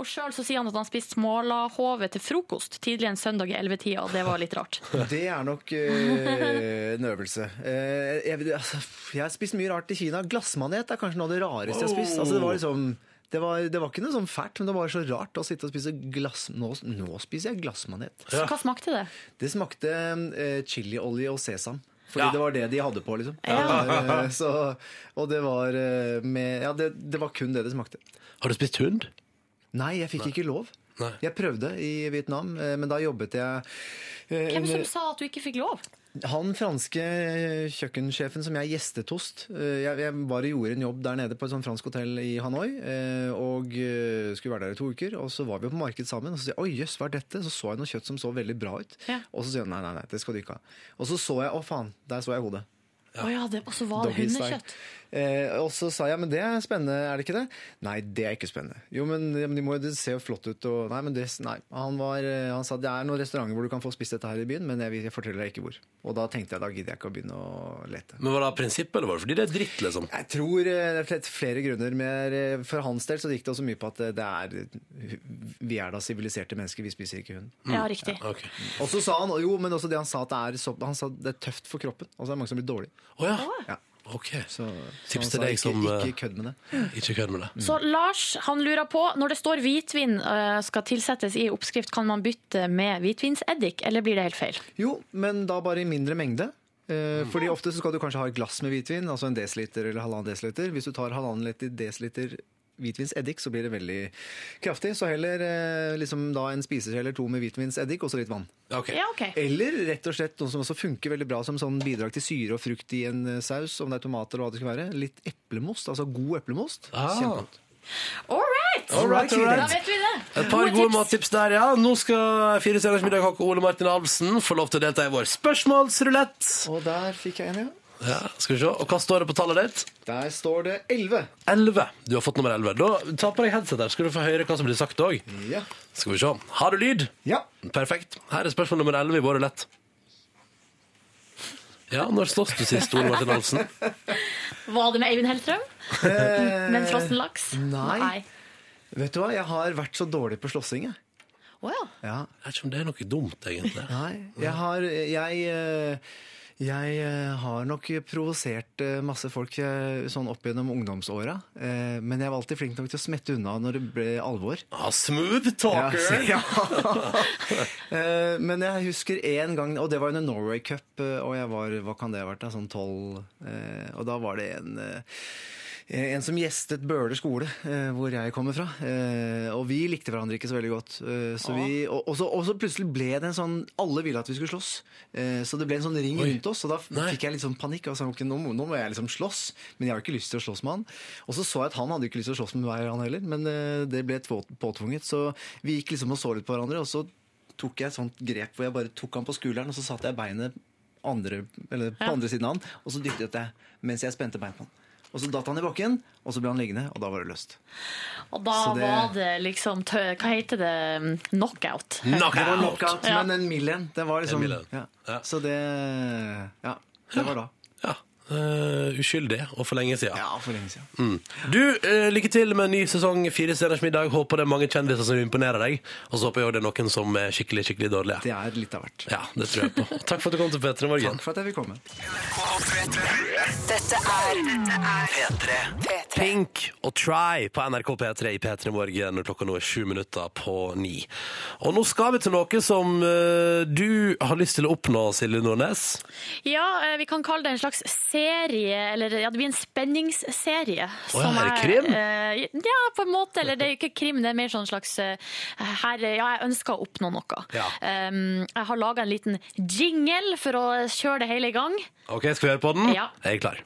S4: Og sjøl sier han at han spiste smålahove til frokost tidlig en søndag i 11-tida, og det var litt
S1: *laughs*
S4: rart.
S16: Det er nok eh, en øvelse. Eh, jeg, vet- altså, jeg har spist mye rart i Kina. Glassmanet er kanskje noe av det rareste jeg har spist. Altså, det, var liksom, det, var, det var ikke noe sånn fælt, men det var så rart å sitte og spise glass... Nå, nå spiser jeg glassmanet.
S4: Så hva smakte det?
S16: Det smakte eh, chiliolje og sesam. Fordi
S1: Ja.
S16: det var det de hadde på, liksom.
S1: Ja.
S16: *laughs* Eh, så, og det var eh, med Ja, det, det var kun det det smakte.
S1: Har du spist hund?
S16: Nei, jeg fikk
S1: Nei.
S16: ikke lov.
S1: Nei.
S16: Jeg prøvde i Vietnam, eh, men da jobbet jeg eh,
S4: Hvem
S16: under-
S4: som sa at du ikke fikk lov?
S16: han franske eh, kjøkkensjefen som jeg gjestet hos eh, Jeg, jeg bare gjorde en jobb der nede på et sånt fransk hotell i Hanoi. eh, Og eh, skulle være der i to uker. Og så var vi på marked sammen. Og så sier jeg 'oi, jøss, hva er dette?' Så så jeg noe kjøtt som så veldig bra ut. Og så sier han 'nei, nei, nei, det skal du ikke ha'. Og så så jeg 'å faen, der så jeg hodet'.
S4: Å ja, det, og så var det
S16: Doggy style.
S4: hundekjøtt.
S16: Eh, og så sa jeg men det er spennende, er det ikke det? Nei, det er ikke spennende. Jo, men, ja, men de må, jo- det ser jo flott ut. Og, nei, men det, nei. Han, var, eh, han sa det er noen restauranter hvor du kan få spist dette her i byen, men jeg, vil- jeg forteller deg ikke hvor. Og da tenkte jeg da gidder jeg ikke å begynne å lete.
S1: Men Var det av prinsipp, eller var det fordi det er dritt, liksom?
S16: Jeg tror eh, det er flere- flere grunner. Men eh, for hans del så gikk det også mye på at eh, det er, vi er da siviliserte mennesker, vi spiser ikke hund.
S1: Mm.
S4: Ja, riktig.
S16: Og så sa han jo, men også det han sa at det er, så, han sa det er tøft for kroppen. Altså det er mange som blir dårlige.
S1: Oh, ja.
S16: Ja. Så, så
S1: Tips
S16: han
S1: til
S16: sa,
S1: deg
S16: ikke,
S1: som, eh,
S16: Ikke kødd med det.
S1: Ikke kødd med det.
S4: Så Lars han lurer på, når det står hvitvin eh, skal tilsettes i oppskrift, kan man bytte med hvitvinseddik, eller blir det helt feil?
S16: Jo, men da bare i mindre mengde. Eh, Fordi ofte så skal du kanskje ha et glass med hvitvin, altså en desiliter eller halvannen desiliter. Hvis du tar halvannen liter- desiliter hvitvinseddik, så blir det veldig kraftig. Så heller eh, liksom da en spiseskje eller to med hvitvinseddik og så litt vann.
S4: Ja, ok.
S16: Eller rett og slett noe som også funker veldig bra som sånn bidrag til syre og frukt i en eh, saus, om det er tomater eller hva det skal være. Litt eplemost, altså god eplemost. Kjempegodt.
S4: All right!
S1: All right, all right.
S4: Da vet vi det.
S1: Et par gode mattips der, ja. Nå skal Fire stjerners middagkokk Ole Martin Alvsen få lov til å delta i vår spørsmålsrulett.
S16: Og der fikk jeg en, ja.
S1: Ja, skal vi se. Og hva står det på tallet ditt?
S16: Der står det 11.
S1: 11. Du har fått nummer 11. Da ta på deg headset her, skal du få høre hva som blir sagt òg.
S16: Ja.
S1: Skal vi se. Har du lyd?
S16: Ja.
S1: Perfekt. Her er spørsmål nummer 11 i vår rulett. Ja, når slåss du sist, Ole Martin Olsen?
S4: Var det med Eivind Hellstrøm?
S16: Eh,
S4: Med en frossen laks?
S16: nei. Vet du hva, jeg har vært så dårlig på slåssing, jeg.
S4: Å ja.
S1: Jeg vet ikke om det er noe dumt, egentlig.
S16: Nei, jeg har Jeg, eh, jeg eh, har nok provosert eh, masse folk eh, sånn opp gjennom ungdomsåra. eh, Men jeg var alltid flink nok til å smette unna når det ble alvor.
S1: Ah, smooth talker!
S16: Ja, så- ja. Eh, Men jeg husker én gang, og det var under Norway Cup, eh, og jeg var hva kan det ha vært, da, sånn tolv. eh, Og da var det en eh, en som gjestet Bøler skole, eh, hvor jeg kommer fra. Eh, og vi likte hverandre ikke så veldig godt. Eh, så vi, og, og, så, og så plutselig ble det en sånn Alle ville at vi skulle slåss. Eh, så det ble en sånn ring rundt oss, og da f- fikk jeg litt sånn panikk. Og sa, ok, nå, må- nå må jeg liksom slåss, men jeg har ikke lyst til å slåss med han. Og så så jeg at han hadde ikke lyst til å slåss med meg, han heller, men eh, det ble två- påtvunget. Så vi gikk liksom og så litt på hverandre, og så tok jeg et sånt grep hvor jeg bare tok han på skulderen, og så satte jeg beinet andre, eller på
S4: Ja.
S16: andre siden av han, og så dyttet jeg mens jeg spente bein på han. Og så datt han i bakken, og så ble han liggende, og da var det løst.
S4: Og da
S16: Så det-
S4: var det liksom tø Hva heter det? Knockout.
S16: Det var knockout,
S4: Ja.
S16: men en mild en. Det var liksom
S1: En mild en.
S16: Ja. Så det Ja, det var da.
S1: Eh, uskyldig, og for lenge siden.
S16: Ja, for lenge siden.
S1: Mm. Du, eh, lykke til med en ny sesong Fire stjerners middag. Håper det er mange kjendiser som imponerer deg. Og så håper jeg også det er noen som er skikkelig skikkelig dårlige.
S16: Det er litt av hvert.
S1: Ja, det tror jeg på. Og Takk for at du kom til P3 Morgen.
S16: Takk for at jeg fikk komme.
S7: Dette er P3.
S1: Pink og Try på NRK P3 i P3 Morgen når klokka nå er sju minutter på ni. Og nå skal vi til noe som eh, du har lyst til å oppnå, Silje Nordnes.
S4: Ja, eh, vi kan kalle det en slags serie, eller ja, det blir en spenningsserie.
S1: Å ja,
S4: som
S1: er det krim?
S4: eh, ja, på en måte. Eller det er jo ikke krim, det er mer sånn slags eh, her, eh, Ja, jeg ønsker å oppnå noe.
S1: Ja.
S4: Um, jeg har laga en liten jingle for å kjøre det hele i gang.
S1: OK, skal vi høre på den?
S4: Ja.
S1: Jeg er klar.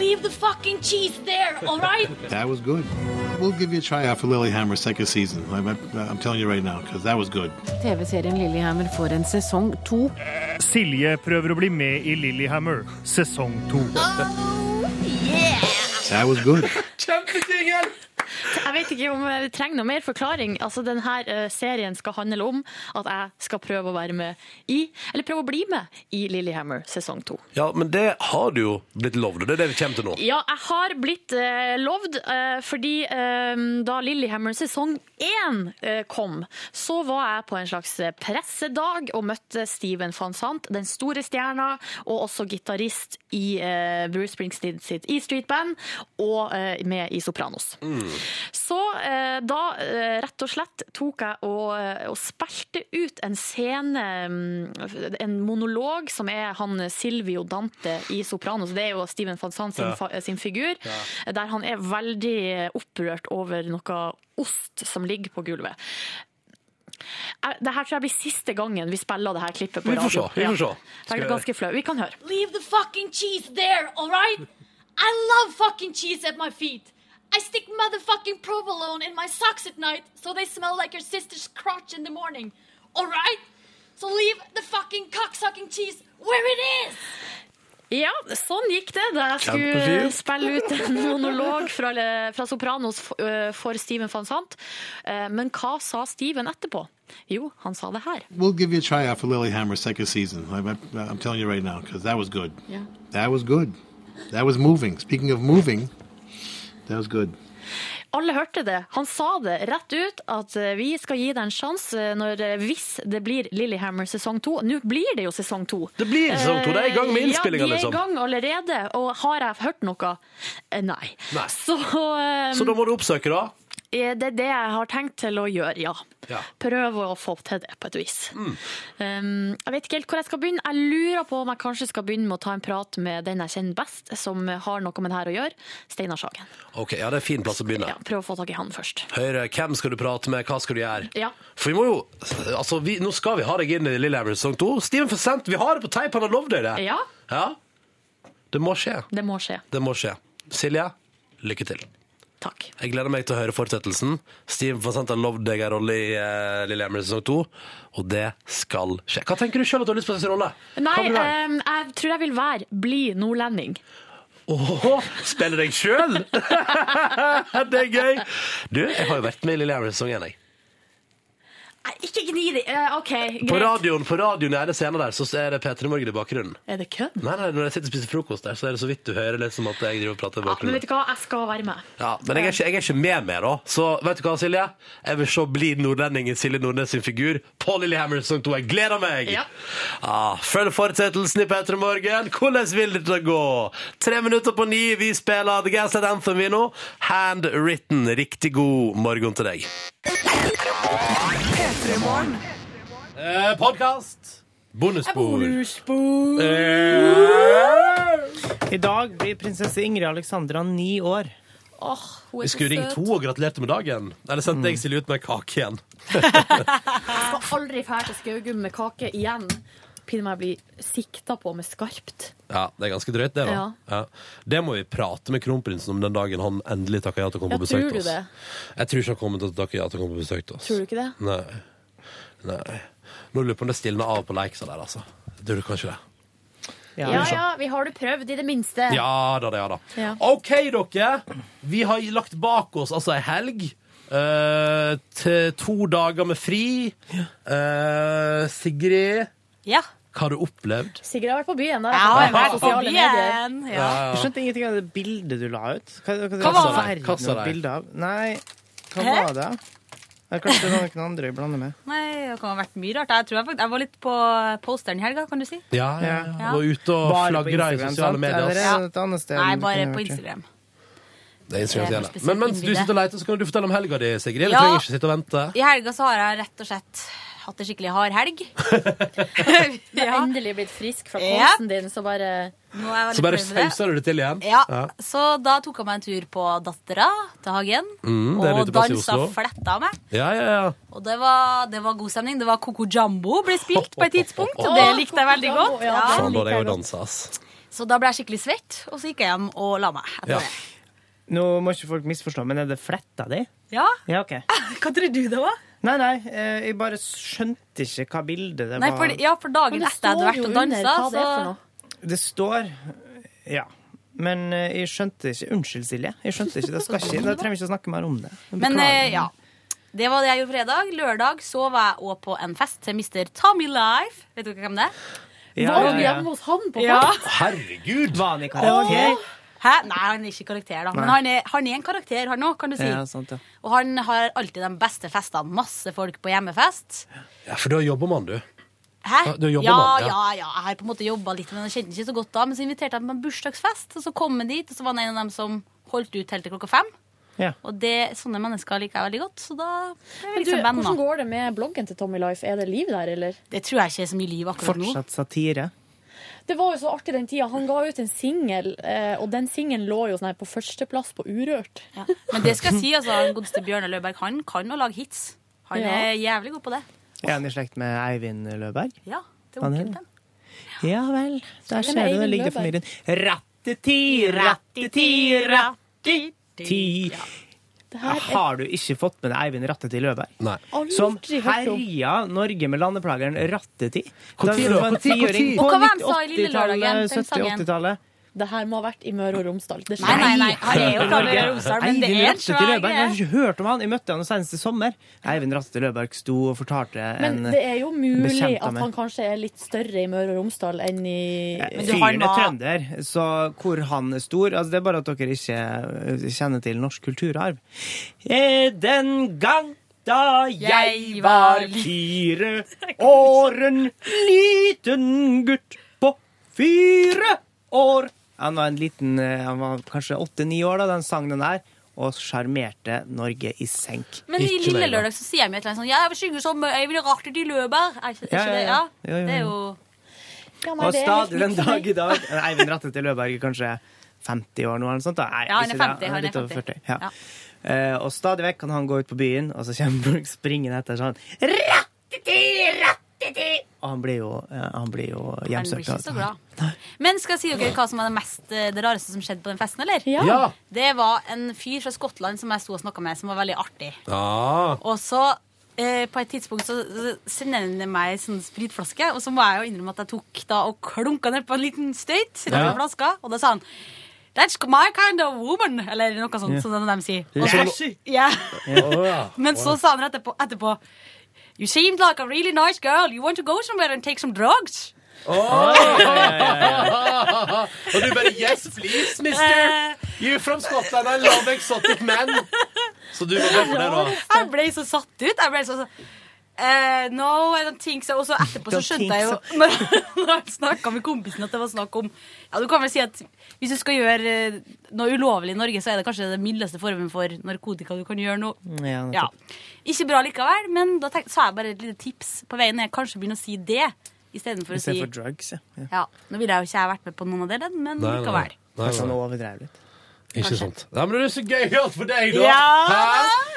S4: Leave the fucking cheese there, all right?
S17: That was good. We'll give you a tryout for Lilyhammer second season. I'm, I'm telling you right now, because that was good.
S18: TV-serien Lillehammer får en sesong to.
S19: Silje prøver å bli med i Lillehammer, sesong to.
S17: That was good.
S1: Kjempejingel!
S4: Jeg vet ikke om vi trenger noe mer forklaring. Altså, Denne serien skal handle om at jeg skal prøve å være med i, eller prøve å bli med, i Lillehammer sesong to.
S1: Ja, men det har du jo blitt lovd, og det er det vi kommer til nå.
S4: Ja, jeg har blitt eh, lovd, eh, fordi eh, da Lillehammer sesong 1 eh, kom, så var jeg på en slags eh, pressedag og møtte Steven van Sant, den store stjerna, og også gitarist i eh, Bruce Springsteen sitt E Street Band, og eh, med i Sopranos. Så eh, da eh, rett og slett tok jeg og, eh, og spilte ut en scene, mm, en monolog som er han Silvio Dante i Sopranos. Det er jo Steven van Sant sin,
S20: Ja.
S4: fa- sin figur,
S20: Ja.
S4: der han er veldig opprørt over noe ost som ligger på gulvet. Jeg- Det her tror jeg blir siste gangen vi spiller det her klippet på
S1: Vi får
S4: radio.
S1: se, vi får se. Skal
S4: Ja. Det
S1: vi-
S4: er ganske flau. Vi kan høre.
S20: Leave the fucking cheese there, alright? I love fucking cheese at my feet. I stick motherfucking provolone in my socks at night so they smell like your sister's crotch in the morning, alright? So leave the fucking cocksucking cheese where it is!
S4: Ja, sånn gikk det da jeg skulle
S20: Kjempefint.
S4: spille ut en *laughs* monolog fra, fra Sopranos for- øh, for Steven van Sant. Eh, Men hva sa Steven etterpå? Jo, han sa det her.
S17: We'll give you a tryout for Lilyhammer second season. I'm, I'm telling you right now, because that was good.
S4: Yeah.
S17: That was good. That was moving. Speaking of moving, that was good.
S4: Alle hørte det. Han sa det rett ut at eh, vi skal gi deg en sjanse når, eh, hvis det blir Lillehammer sesong to. Nå blir det jo sesong to.
S1: Det blir sesong to. Det er i gang med
S4: Eh,
S1: innspillingen,
S4: Ja, de er
S1: liksom.
S4: i gang allerede. Og har jeg hørt noe? Eh, Nei.
S1: Nei.
S4: Så, eh,
S1: Så da må du oppsøke, da.
S4: eh, det er det jeg har tenkt til å gjøre, ja.
S1: Ja. Mm.
S4: Prøve å få til det på et vis. Um, jeg vet ikke helt hvor jeg skal begynne. Jeg lurer på om jeg kanskje skal begynne med å ta en prat med den jeg kjenner best, som har noe med det her å gjøre, Steinar Sagen.
S1: Ok, ja, Det er en fin plass å begynne.
S4: Prøve å få tak i han først.
S1: Høyre, hvem skal du prate med, hva skal du gjøre?
S4: Ja.
S1: For vi må jo, altså vi, Nå skal vi ha deg inn i Lillehammer sesong to. Steven for sent, vi har det på teip, han har lovd deg det.
S4: Ja,
S1: Ja? Det må skje.
S4: det må skje.
S1: Det må skje. Silje, lykke til.
S4: Takk.
S1: Jeg gleder meg til å høre fortsettelsen. Steven for sent har lovd deg en rolle i uh, Lillehammer sesong to, og det skal skje. Hva tenker du sjøl at du har lyst på sin rolle?
S4: Nei,
S1: Hva vil du være?
S4: um, jeg tror jeg vil være bli nordlending.
S1: Åh, spiller deg *laughs* sjøl? det er gøy! Du, jeg har jo vært med i Lillehammer sesong én, jeg.
S21: ikke gni det! Eh, OK, greit.
S1: På radioen, på radioen er det scenen der, så er det P3 Morgen i bakgrunnen.
S21: Er det kødd?
S1: Nei, nei, når jeg sitter og spiser frokost der, så er det så vidt du hører litt som at jeg driver og prater i
S21: Men
S1: bakgrunnen.
S21: vet du hva, jeg skal være med.
S1: Ja, men jeg er, ikke, jeg er ikke med mer, da. Så vet du hva, Silje? Jeg vil se blid nordlending i Silje Nordnes sin figur på Lillehammer sesong 2. Jeg gleder meg!
S22: Ja.
S1: Ah, følg fortsettelsen i P3 Morgen. Hvordan vil det gå? Tre minutter på ni, vi spiller The Gaslight Anthem vi nå. Handwritten. Riktig god morgen til deg. Eh, Podkast. Bonusbord.
S2: I dag blir prinsesse Ingrid Alexandra ni år.
S4: Åh, hun
S1: Vi skulle ringt to og gratulerte med dagen. Eller sendte jeg Silje ut med en kake igjen.
S4: Jeg skal aldri fære til Skaugum med kake igjen. Pinner meg bli sikta på med skarpt.
S1: Ja, Det er ganske drøyt, det. da
S4: Ja.
S1: ja. Det må vi prate med kronprinsen om den dagen han endelig takker ja til å komme
S4: Ja,
S1: på besøk
S4: tror
S1: til
S4: du
S1: oss.
S4: det?
S1: Jeg tror ikke han kommer til å takke ja til å komme på besøk til oss.
S4: Tror du ikke det?
S1: Nei. Nei. Nå lurer jeg på om det stilner av på Leiksa der, altså. Jeg Tror du kanskje det?
S4: Ja ja, vi har det prøvd, i det minste.
S1: Ja da, det, ja da.
S4: Ja.
S1: OK, dere. Vi har lagt bak oss altså ei helg. eh, til to dager med fri. Eh, Sigrid,
S5: Ja.
S1: hva har du opplevd?
S4: Sigrid har vært på byen. da.
S5: Ja, jeg har vært
S4: På
S5: på
S4: sosiale medier.
S5: byen,
S1: ja.
S2: Jeg skjønte ingenting av det bildet du la ut. Hva, hva,
S5: Hva var det?
S2: Verden,
S5: Kassa
S2: noe
S5: deg.
S2: bilde av? Nei, hva
S5: Hæ?
S2: var det? Ja, Kanskje det var noen andre jeg blander med.
S5: Nei, det kan ha vært mye rart. Jeg tror jeg, fakt- jeg var litt på posteren i helga, kan du si.
S1: Ja, ja, ja.
S5: Ja.
S1: Var ute og
S2: Bare på
S1: flagra i
S2: Instagram,
S1: sosiale
S2: sant?
S1: medier.
S2: Eller er det et annet sted?
S5: Nei,
S2: det
S5: bare
S2: kunne
S5: på
S2: vært, ja.
S5: Instagram.
S1: Det er Instagram
S5: Det er
S1: som
S5: noe
S1: gjelder. Men mens du
S5: spesielt
S1: sitter og leter, så kan du fortelle om helga di, Sigrid. Vi
S5: Ja.
S1: trenger ikke sitte og vente.
S5: I helga så har jeg rett og slett hatt en skikkelig
S1: *laughs*
S5: hard helg.
S4: Du har endelig blitt frisk fra
S5: Ja.
S4: posen din, så bare
S5: Nå er
S1: Så
S5: jeg veldig
S1: bare
S5: fornøyd med det.
S1: sauser du det til igjen.
S5: Ja, så da tok jeg meg en tur på Dattera til Hagen.
S1: Mm, det er en
S5: og
S1: uteplass i
S5: dansa
S1: Oslo.
S5: fletta meg.
S1: Ja, ja, ja.
S5: Og det var, det var god stemning. Det var Coco Jumbo ble spilt
S1: *laughs*
S5: på et tidspunkt, og det
S4: Å,
S5: likte jeg veldig
S4: Coco Jumbo,
S5: godt.
S4: ja,
S1: Faen, Sånn, da hadde
S5: Ja.
S1: jeg jo dansa, ass.
S5: Så da ble jeg skikkelig svett, og så gikk jeg hjem og la meg. etter
S2: Ja.
S5: det.
S2: Nå må ikke folk misforstå, men er det fletta di?
S5: Ja?
S2: Ja, OK.
S5: Hva tror du det var?
S2: Nei, nei, eh, jeg bare skjønte ikke hva bildet det
S5: Nei,
S2: var.
S5: for, ja, for dagen
S4: Men det
S5: etter jeg hadde
S4: står
S5: vært
S4: jo
S5: og
S4: under
S5: dansa,
S4: hva det er for
S5: så
S4: noe.
S2: Det står Ja. Men eh, jeg skjønte ikke Unnskyld, Silje. Jeg skjønte ikke, Da skal ikke, da trenger vi ikke å snakke mer om det.
S5: Men
S2: Beklager.
S5: eh, ja. Det var det jeg gjorde fredag. Lørdag så var jeg òg på en fest til Mr. Tommy Life. Vet dere hvem det er?
S2: Ja, ja, ja.
S5: hos han
S4: på
S5: fest?
S1: Herregud!
S2: Var han i karaoke?
S5: Hæ? Nei, han er ikke karakter, da. Men
S2: Nei.
S5: han er, han er en karakter, han òg, kan du si.
S2: Ja, altså. sant, ja.
S5: Og han har alltid de beste festene. Masse folk på hjemmefest.
S1: Ja, for da jobber man, du.
S5: Hæ?
S1: Ja, du jobber
S5: ja,
S1: med han, ja.
S5: ja, ja. Jeg har på en måte jobba litt, men jeg kjente ikke så godt da. Men så inviterte jeg ham på en bursdagsfest, og så kom han dit, og så var han en av dem som holdt ut helt til klokka fem.
S2: Ja.
S5: Og det, sånne mennesker liker jeg veldig godt, så da ble vi
S4: Men du,
S5: liksom venner.
S4: hvordan går det med bloggen til Tommy Life? Er det liv der, eller?
S5: Det tror jeg ikke er så mye liv akkurat nå.
S2: Fortsatt satire.
S4: Det var jo så artig den tida. Han ga ut en singel, eh, og den singelen lå jo sånn her på førsteplass på Urørt.
S5: Men det skal jeg si, altså, han godeste Bjørnar Løberg, han kan å lage hits. Han
S4: Ja.
S5: er jævlig god på det.
S2: Er han i slekt med Eivind Løberg?
S5: Ja, det er
S2: Han er
S5: onkelen
S2: det.
S5: din.
S2: Ja vel. Der
S5: Hvem er
S2: ser du, der
S5: Eivind
S2: ligger
S5: Løberg?
S2: familien. Ratteti, ratteti, ratteti. Har du ikke fått med deg Eivind Ratteti Løberg?
S1: Nei.
S2: Som
S5: Aldri hørt om.
S2: herja Norge med landeplageren Ratteti.
S1: Hvor tid da?
S2: var en
S1: Hvor tid? Hvor
S2: tiåring
S1: tid?
S2: på
S5: Og hva var han sa i
S2: 90-,
S5: Lille Lørdagen, den
S2: 70-,
S5: sangen?
S2: 80-tallet.
S4: Det her må ha vært i Møre og Romsdal. Det
S5: Nei, nei, nei. Han er jo fra
S2: Norge.
S5: Møre og Romsdal, men det
S2: Eivind
S5: er en
S2: Rattete
S5: svær
S2: Løberg. Jeg har
S5: greie.
S2: ikke hørt om han. Jeg møtte han seneste sommer. Eivind Rattete Løberg sto og fortalte en
S4: Men det er jo mulig
S2: bekjent av
S4: at
S2: meg.
S4: han kanskje er litt større i Møre og Romsdal enn i
S2: Fyren er trønder, så hvor han er stor altså Det er bare at dere ikke eh, kjenner til norsk kulturarv. Eh, Den gang da jeg var *laughs* fire år, en liten gutt på fire år Han var en liten, eh, han var kanskje åtte-ni år da den sang den der, og sjarmerte Norge i senk.
S5: Men i Lille Lørdag så sier de et eller annet sånn Ja, jeg vil synge som Øyvind Rartet i Løberg. Er ikke, er
S2: Ja,
S5: ikke det?
S2: ja, ja. Ja, ja,
S5: Ja, det er
S2: ja.
S5: jo
S2: og stadig den dag i dag Eivind Rattete Løberg er kanskje 50 år nå, eller noe sånt? Da. Nei,
S5: Ja, han
S2: ikke
S5: er
S2: det.
S5: 50, han er
S2: litt over
S5: 50.
S2: 40. Ja. Eh, og stadig vekk kan han gå ut på byen, og så kommer folk springende etter sånn. Og han blir jo, eh, han blir jo
S5: Han blir
S2: hjemsøkt.
S5: ikke
S2: av-
S5: så glad. Men skal jeg si dere hva som var det, mest, eh, det rareste som skjedde på den festen, eller?
S1: Ja. Ja.
S5: Det var en fyr fra Skottland som jeg sto og snakka med, som var veldig artig.
S1: Ja.
S5: Og så eh, på et tidspunkt så så sender han meg en sånn spritflaske, og så må jeg jo innrømme at jeg tok da og klunka ned på en liten støyt, i
S1: Ja.
S5: den flaska, og da sa han That's my kind of woman, eller noe sånt,
S1: Ja.
S5: som de sier.
S1: Lashy.
S5: ja.
S1: Ja, å, ja.
S5: Men så sa han etterpå, etterpå You seemed like a really nice girl. You want to go somewhere and take some drugs?
S1: Og du bare Yes, please,
S5: Eh,
S1: mister! You from Scotland, I love exotic men. Så du var med på det, da.
S5: Jeg ble så satt ut. Jeg ble så sånn eh, no, I don't think so. Og så etterpå så
S1: Don't think
S5: skjønte jeg jo Når *laughs* når han snakka med kompisen, at det var snakk om Ja, du kan vel si at hvis du skal gjøre eh, noe ulovlig i Norge, så er det kanskje den mildeste formen for narkotika du kan gjøre nå.
S1: Mm.
S23: Ja,
S5: Ja. Ikke bra likevel, men da tenkte, sa jeg bare et lite tips på veien ned. Kanskje begynne å si det istedenfor å si
S2: Istedenfor drugs, ja. ja.
S5: ja, Nå ville jeg jo ikke jeg vært med på noen av dere, men
S1: Nei, nei, nei.
S5: likevel.
S1: Nei, nei.
S2: Kanskje han overdrev litt.
S1: Ikke sant. Nei, men det er så gøy alt for deg, da!
S5: Ja.
S1: Hæ?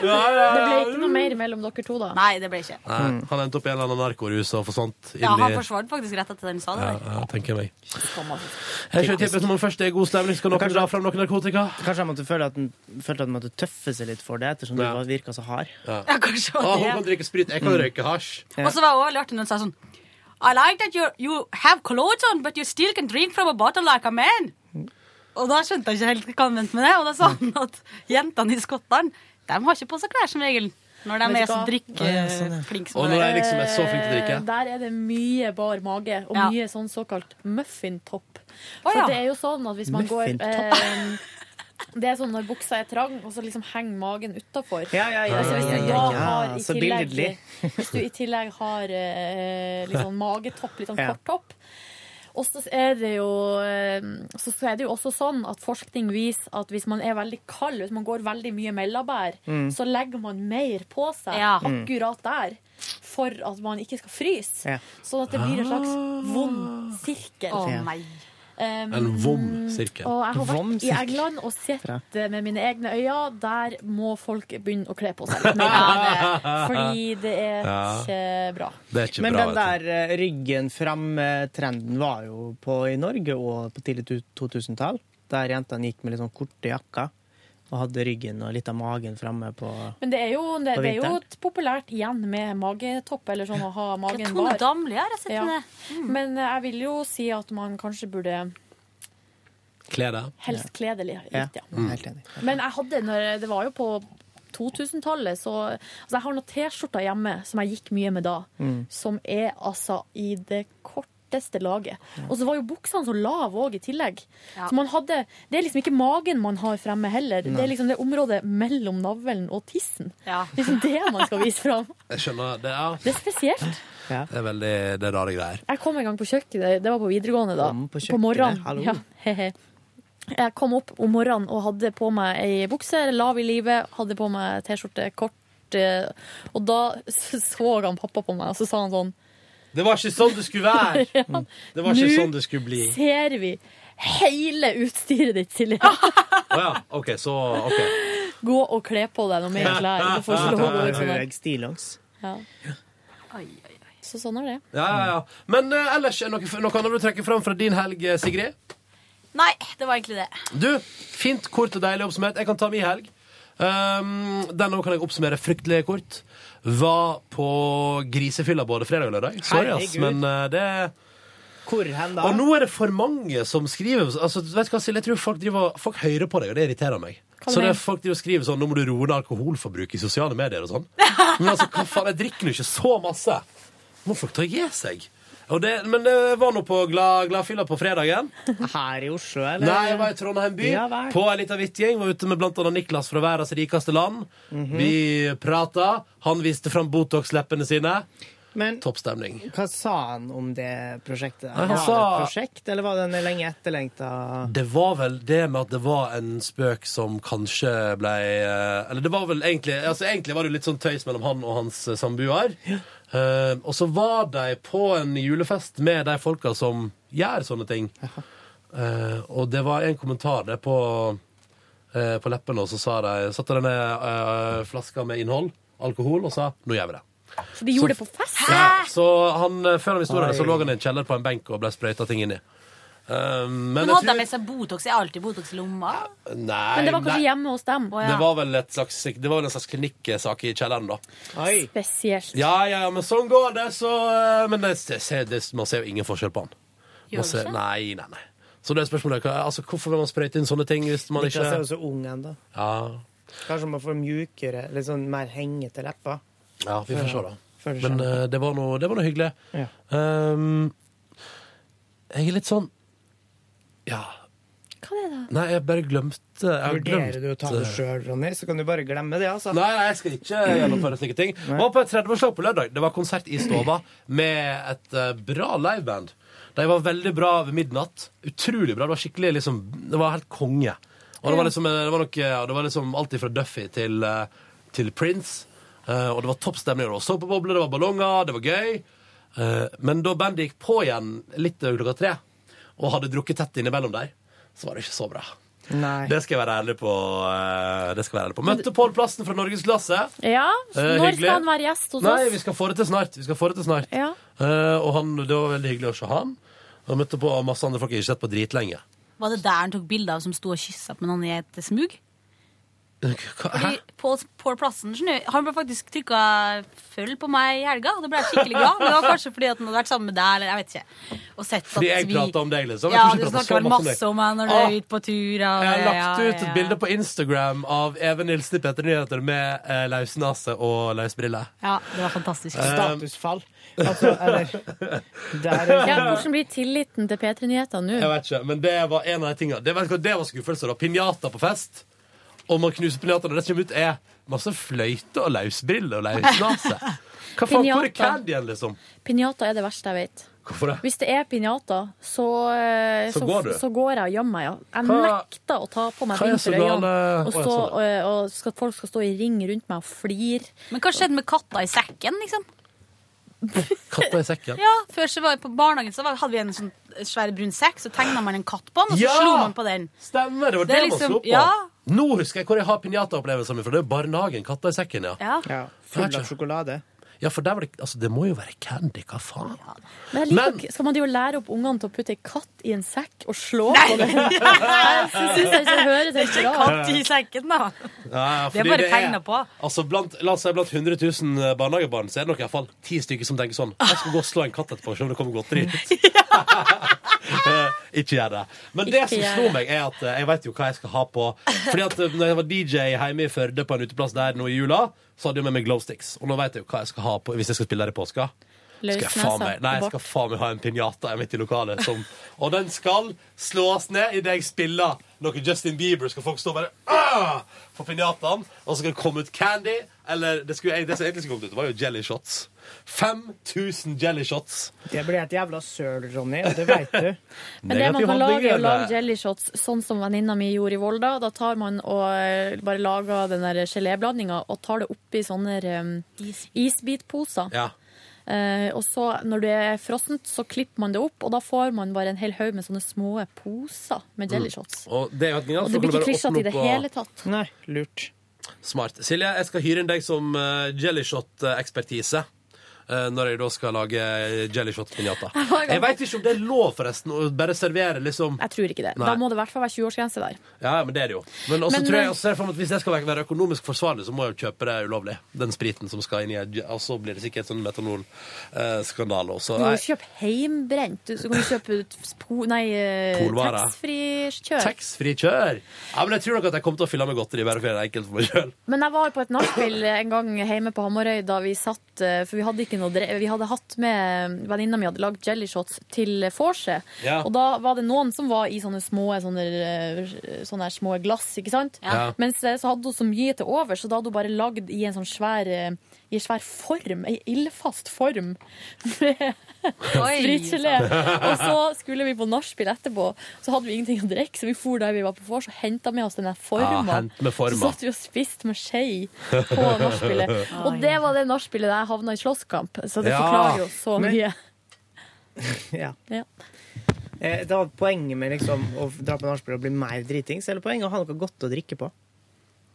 S1: Ja, ja,
S4: Det ble
S1: ja.
S4: ikke noe mer mellom dere to, da?
S5: Nei, det ble ikke.
S1: Nei, han endte opp i en eller annen narkorus og forsvant inn
S5: Mm. Ja,
S1: i-
S5: Han forsvant faktisk rett etter den sa det.
S1: ja,
S5: der.
S1: ja, tenker jeg meg. Jeg skjønner tippet når man først er i god stemning, så kan dere dra frem noe narkotika.
S2: Kanskje han måtte føle at han, følte at han måtte tøffe seg litt for det, ettersom du var- virka så hard.
S5: Ja, kanskje det var
S1: Å,
S5: det.
S1: hun kan drikke sprit, jeg kan
S2: Mm.
S1: røyke hasj.
S5: Og så var det også litt artig når han sa sånn I like that you, you have clothes on, but you still can drink from a bottle like a man. Og da skjønte jeg ikke helt hva han mente med det, og da sa han at jentene i Skottland de har ikke på seg klær som regel når de
S4: Vet
S5: er
S4: du
S5: så
S4: hva? sånn,
S5: drikkeflinke som
S1: Og
S5: det
S1: når de liksom er så flinke til å drikke.
S4: Eh, Der er det mye bar mage, og
S5: Ja.
S4: mye sånn såkalt muffintopp.
S5: Å,
S4: For
S5: ja.
S4: det er jo sånn at hvis man går
S5: Muffintopp.
S4: eh, *laughs* Det er sånn når buksa er trang, og så liksom henger magen utafor.
S2: Ja, ja, ja,
S4: Altså, hvis
S2: ja,
S4: du
S2: ja,
S4: da
S2: ja.
S4: har i
S2: Så
S4: tillegg-
S2: billedlig.
S4: *laughs* Hvis du i tillegg har eh, litt sånn magetopp, litt sånn
S2: Ja.
S4: kort topp og så er det jo eh, Så er det jo også sånn at forskning viser at hvis man er veldig kald, hvis man går veldig mye mellabær,
S23: Mm.
S4: så legger man mer på seg
S23: Ja. Mm.
S4: akkurat der for at man ikke skal fryse.
S23: Ja.
S4: Sånn at det blir en slags vond sirkel.
S1: Å, Ja.
S5: nei.
S4: Um,
S1: En vom sirkel.
S4: Og jeg har
S1: Vom
S4: vært i
S1: sirkel.
S4: England og sett
S1: Bra.
S4: det med mine egne øyne. Der må folk begynne å kle på seg litt mer.
S1: Ja, det-
S4: Fordi det er
S2: Ja.
S4: ikke bra.
S2: Men den der eh, ryggen fram-trenden var jo på i Norge og på tidlig tu- 2000-tall. Der jentene gikk med litt sånn korte jakker og hadde ryggen og litt av magen framme på
S4: Men det er jo, det,
S2: På
S4: det er jo
S2: vinteren.
S4: et populært igjen med magetopp, eller sånn å ha magen
S5: Tone Damli har jeg sett henne.
S4: Men eh, jeg vil jo si at man kanskje burde
S1: Kle deg.
S4: helst kle det litt.
S1: Ja.
S4: Ja.
S1: Mm.
S4: Men jeg hadde, når, det var jo på 2000-tallet, så altså jeg har noen T-skjorter hjemme som jeg gikk mye med da,
S23: Mm.
S4: som er altså i det korteste laget. Og så var jo buksene så lave òg, i tillegg.
S23: Ja.
S4: Så man hadde Det er liksom ikke magen man har fremme heller. Det
S1: Nei.
S4: er liksom det området mellom navlen og tissen. Det er liksom det man skal vise fram.
S1: Jeg skjønner. Det er,
S4: Det er spesielt.
S1: det er veldig det er rare greier.
S4: Jeg kom en gang på kjøkkenet, det var på videregående da.
S1: Kom på
S4: På,
S1: kjøkkenet,
S4: morgenen.
S1: hallo.
S4: Ja, hehe. jeg kom opp om morgenen og hadde på meg ei bukse, lav i livet, hadde på meg T-skjorte, kort. eh, Og da s- så han pappa på meg, og så sa han sånn
S1: Det var ikke sånn det skulle være!
S4: *laughs* Ja.
S1: Det var ikke
S4: Nå
S1: sånn det skulle bli.
S4: Ser vi hele utstyret ditt, Silje?
S1: Å ja. OK, så OK.
S4: Gå og kle på deg noe mer klær. Du får ikke lov å gå sånn der.
S2: Stillongs.
S4: Ja. Så sånn er det.
S1: Ja, ja, ja. Men eh, ellers, er det noe, noe annet du trekker fram fra din helg, eh, Sigrid?
S5: Nei, det var egentlig det.
S1: Du, fint, kort og deilig oppsummert. Jeg kan ta min helg. Um, denne kan jeg oppsummere fryktelig kort. Var på grisefylla både fredag og lørdag. Sorry, ass,
S2: Herregud.
S1: men eh, det
S2: Hvor hen da?
S1: Og nå er det for mange som skriver altså, vet du hva, Silje, jeg tror folk, driver, folk hører på deg, og det irriterer meg.
S2: Hva
S1: Så det
S2: mener
S1: er folk driver og skriver sånn Nå må du roe ned alkoholforbruket i sosiale medier
S2: *laughs*
S1: og sånn. Men altså, hva faen, jeg drikker nå ikke så masse. Må folk ta og gi seg. Og det, men det var nå på glad- Gladfylla på fredagen.
S2: Her i Oslo, eller?
S1: Nei, jeg var i Trondheim by.
S2: Ja vel.
S1: på en liten vitjing. Var ute med blant annet Niklas fra verdens rikeste land. Vi prata. Han viste fram Botox-leppene sine.
S2: Men-
S1: Topp stemning.
S2: Hva sa han om det prosjektet?
S1: Nei, han
S2: Var det
S1: sa-
S2: et prosjekt, eller var den lenge etterlengta?
S1: Det var vel det med at det var en spøk som kanskje ble eh, Eller det var vel egentlig altså Egentlig var det jo litt sånn tøys mellom han og hans eh, samboer. Eh, og så var de på en julefest med de folka som gjør sånne ting. Eh, og det var en kommentar der på, eh, på leppene, og så sa de, satte de ned eh, flaska med innhold, alkohol, og sa 'nå gjør vi det'.
S4: For de gjorde det på fest?
S1: Ja, så han, eh, før han visste ordet av det, så
S2: Oi.
S1: lå han i en kjeller på en benk og ble sprøyta ting inni. Eh, men
S5: Men
S1: jeg
S5: hadde
S1: tror-
S5: de med seg Botox? Er alltid Botox i lomma?
S1: Nei,
S4: Men det var kanskje
S1: nei.
S4: hjemme hos dem.
S1: Det var vel et slags, det var vel en slags klinikksak i kjelleren, da.
S4: Spesielt.
S1: Ja, ja, ja, men sånn går det, så eh, Men det, det, ser- det, man ser jo ingen forskjell på han.
S2: Gjør
S1: Man
S2: du
S1: ser,
S2: ikke?
S1: nei, nei, nei. Så det er spørsmålet hva- altså, hvorfor vil man sprøyte inn sånne ting hvis man
S2: Niklas er jo
S1: ikke
S2: så ung ennå.
S1: Ja,
S2: Kanskje man får mjukere, litt sånn mer hengete lepper.
S1: ja vi får se, da.
S2: For før du
S1: Men
S2: skjønner.
S1: eh, det var noe, det var noe hyggelig.
S2: Ja.
S1: Ehm, jeg er litt sånn Ja.
S4: Hva er det, da?
S1: Nei, jeg bare glemte jeg har
S2: Vurderer
S1: glemt,
S2: du å ta det
S1: eh,
S2: sjøl, Ronny, så kan du bare glemme det, altså.
S1: Nei, nei, jeg skal ikke gjennomføre slike ting. Var på et 30-årslag på lørdag. Det var konsert i Stova med et eh, bra liveband. De var veldig bra ved midnatt. Utrolig bra. Det var skikkelig liksom Det var helt konge. Og det var liksom, eh, det var nok, eh, det var liksom alt fra Duffy til, eh, til Prince. Eh, og det var topp stemning. Det var såpebobler, det var ballonger, det var gøy. Eh, men da bandet gikk på igjen litt over klokka tre, og hadde drukket tett innimellom der, så var det ikke så bra.
S2: Nei.
S1: Det skal jeg være ærlig på. eh, Det skal jeg være ærlig på. Møtte Pål Plassen fra Norgesklasse.
S4: Ja,
S1: Eh,
S4: Når
S1: hyggelig.
S4: skal han være gjest hos
S1: Nei, vi
S4: oss?
S1: skal få det til snart. Vi skal få det til snart.
S4: Ja.
S1: Eh, og han, det var veldig hyggelig å se han. Og møtte på masse andre folk jeg ikke har sett på dritlenge.
S5: Var det der han tok bilde av som sto og kyssa med noen i et smug? Fordi Pål Pål Plassen skjønner du, Han ble faktisk trykka følg på meg i helga, og det ble jeg skikkelig glad. Men det var kanskje fordi at han hadde vært sammen med deg, eller jeg vet ikke. Og sett
S1: Fordi jeg
S5: at vi
S1: pratet om deg, liksom. Jeg
S5: Ja,
S1: tror ikke
S5: du
S1: jeg pratet så
S5: snakker vel
S1: masse om deg.
S5: masse om meg når du
S1: Ah.
S5: er ute på tur. Og,
S1: Jeg har lagt
S5: ja,
S1: ut et
S5: ja.
S1: bilde på Instagram av Even Nilsen i Petter Nyheter med eh, løsnase og løsbriller.
S5: Ja, det var
S1: Eh,
S5: fantastisk.
S2: Statusfall. Altså, eller Der er
S4: Ja, hvordan blir tilliten til P3-nyhetene
S1: Jeg
S4: nå?
S1: vet ikke, men det var en av de tingene. Det, vet du hva, det var skuffelser. da. Pinjata på fest. Og man knuser pinjataen, og det som kommer ut, er masse fløyte og løsbriller og løsnase. Hva faen, hvor er
S4: Pinjata.
S1: caddien, liksom?
S4: Pinjata er det verste jeg vet.
S1: Hvorfor det?
S4: Hvis det er pinjata, så, eh,
S1: Så går du?
S4: så går jeg og gjemmer meg. Ja. Jeg
S1: Hva-
S4: nekter å ta på meg
S1: Hva er
S4: bind
S1: så
S4: for øynene.
S1: gale-
S4: Og,
S1: Å, jeg
S4: stå,
S1: så
S4: og, og skal, folk skal stå i ring rundt meg og flire.
S5: Men hva skjedde med katta i sekken, liksom?
S1: Katta i sekken.
S5: Ja, Før så var jeg på barnehagen så var- hadde vi en sånn svær brun sekk, så tegna man en katt på den, og så
S1: Ja!
S5: slo man på den.
S1: Stemmer, det var det,
S5: Det er
S1: man
S5: liksom-
S1: slo på.
S5: ja.
S1: Nå husker jeg hvor jeg har pinjata-opplevelsen min fra. Det er barnehagen. Katta i sekken, ja.
S5: Ja.
S1: full av
S2: sjokolade.
S1: Ja, for der var det, altså, det må jo være candy, hva faen?
S4: Men jeg liker, ikke- Skal man jo lære opp ungene til å putte en katt i en sekk og slå
S1: *laughs*
S5: Nei!
S4: på den? Jeg synes jeg ikke hører
S5: Det er ikke en katt i sekken, da.
S1: Ja,
S5: Det er
S1: fordi
S5: bare tegnet på.
S1: Altså, blant, la oss si blant 100 000 barnehagebarn så er det nok i hvert fall ti stykker som tenker sånn Jeg skal gå og slå en katt etterpå, se om det kommer godteri ut.
S24: *laughs*
S1: *laughs* Eh, Ikke gjør det. Men det
S24: Ikke
S1: som
S24: gjør
S1: slo
S24: det.
S1: meg, er at eh, jeg vet jo hva jeg skal ha på. Fordi at eh, når jeg var DJ hjemme i Førde på en uteplass der nå i jula, så hadde jeg med meg glowsticks. Og nå vet jeg jo hva jeg skal ha på hvis jeg skal spille der i påska. Skal jeg faen meg, nei, jeg skal faen meg ha en pinjata midt i lokalet. Som, og den skal slås ned idet jeg spiller noe Justin Bieber. Skal folk stå bare «Åh!» på pinjataen, og så skal det komme ut candy. Eller det, skulle, det som egentlig skulle kommet ut, var jo jelly shots. 5000 jelly shots.
S2: Det blir et jævla søl, Ronny, og det veit du.
S1: *laughs*
S4: Men det man kan lage, er å lage jelly-shots, sånn som venninna mi gjorde i Volda. Da tar man og eh, bare lager den der geléblandinga og tar det oppi sånne em, isbitposer.
S1: Ja.
S4: Eh, og så når det er frossent, så klipper man det opp, og da får man bare en hel haug med sånne små poser med jelly-shots.
S1: Mm. Og det, er jo et genialt,
S4: Og det
S1: for
S4: blir
S1: kan du bare
S4: ikke klisjete
S1: åpne
S4: i det
S1: opp og- Mm.
S4: hele tatt.
S2: Nei, lurt.
S1: Smart. Silje, jeg skal hyre inn deg som eh, jelly shot-ekspertise. eh, Når jeg da skal lage jelly shot-pinjata. Jeg veit ikke om det er lov, forresten, å bare servere liksom
S4: Jeg tror ikke det.
S1: Nei.
S4: Da må det i hvert fall være 20-årsgrense der.
S1: Ja, men det er det jo. Men også
S4: Men,
S1: tror jeg
S4: eh,
S1: også ser jeg for meg at hvis det skal være økonomisk forsvarlig, så må jeg jo kjøpe det ulovlig. Den spriten som skal inn i Og så blir det sikkert sånn metanolskandale også.
S4: Du må
S1: Nei,
S4: jo kjøpe heimbrent. Du så kan du kjøpe ut po, nei, eh,
S1: Polvarer.
S4: taxfree-kjør.
S1: Taxfree kjør! Ja, men jeg tror nok at jeg kommer til å fylle med godteri bare for å gjøre det enkelt for meg sjøl.
S4: Men jeg var på et nachspiel en gang hjemme på Hamarøy da vi satt eh, For vi hadde ikke noe dre- Vi hadde hatt med Venninna mi hadde lagd jellyshots til vorset.
S25: Ja.
S4: Og da var det noen som var i sånne små, sånne, eh, sånne her små glass, ikke sant?
S25: Ja.
S4: Mens eh, så hadde hun så mye til over, så da hadde hun bare lagd i en sånn svær eh, i en svær form, ei ildfast form, *laughs* med spritgelé. Og så skulle vi på nachspiel etterpå, så hadde vi ingenting å drikke, så vi for der vi var på vors og henta med oss den der
S1: Ja,
S4: forma.
S1: hent med forma.
S4: Så satt vi og spiste med skje på *laughs* nachspielet. Og det var det nachspielet der jeg havna i slåsskamp, så det
S2: Ja.
S4: forklarer jo så
S2: Men-
S4: mye.
S2: Ja.
S4: Ja.
S2: Eh, Det var poenget med liksom, å dra på nachspiel og bli mer dritings, eller poenget å ha noe godt å drikke på?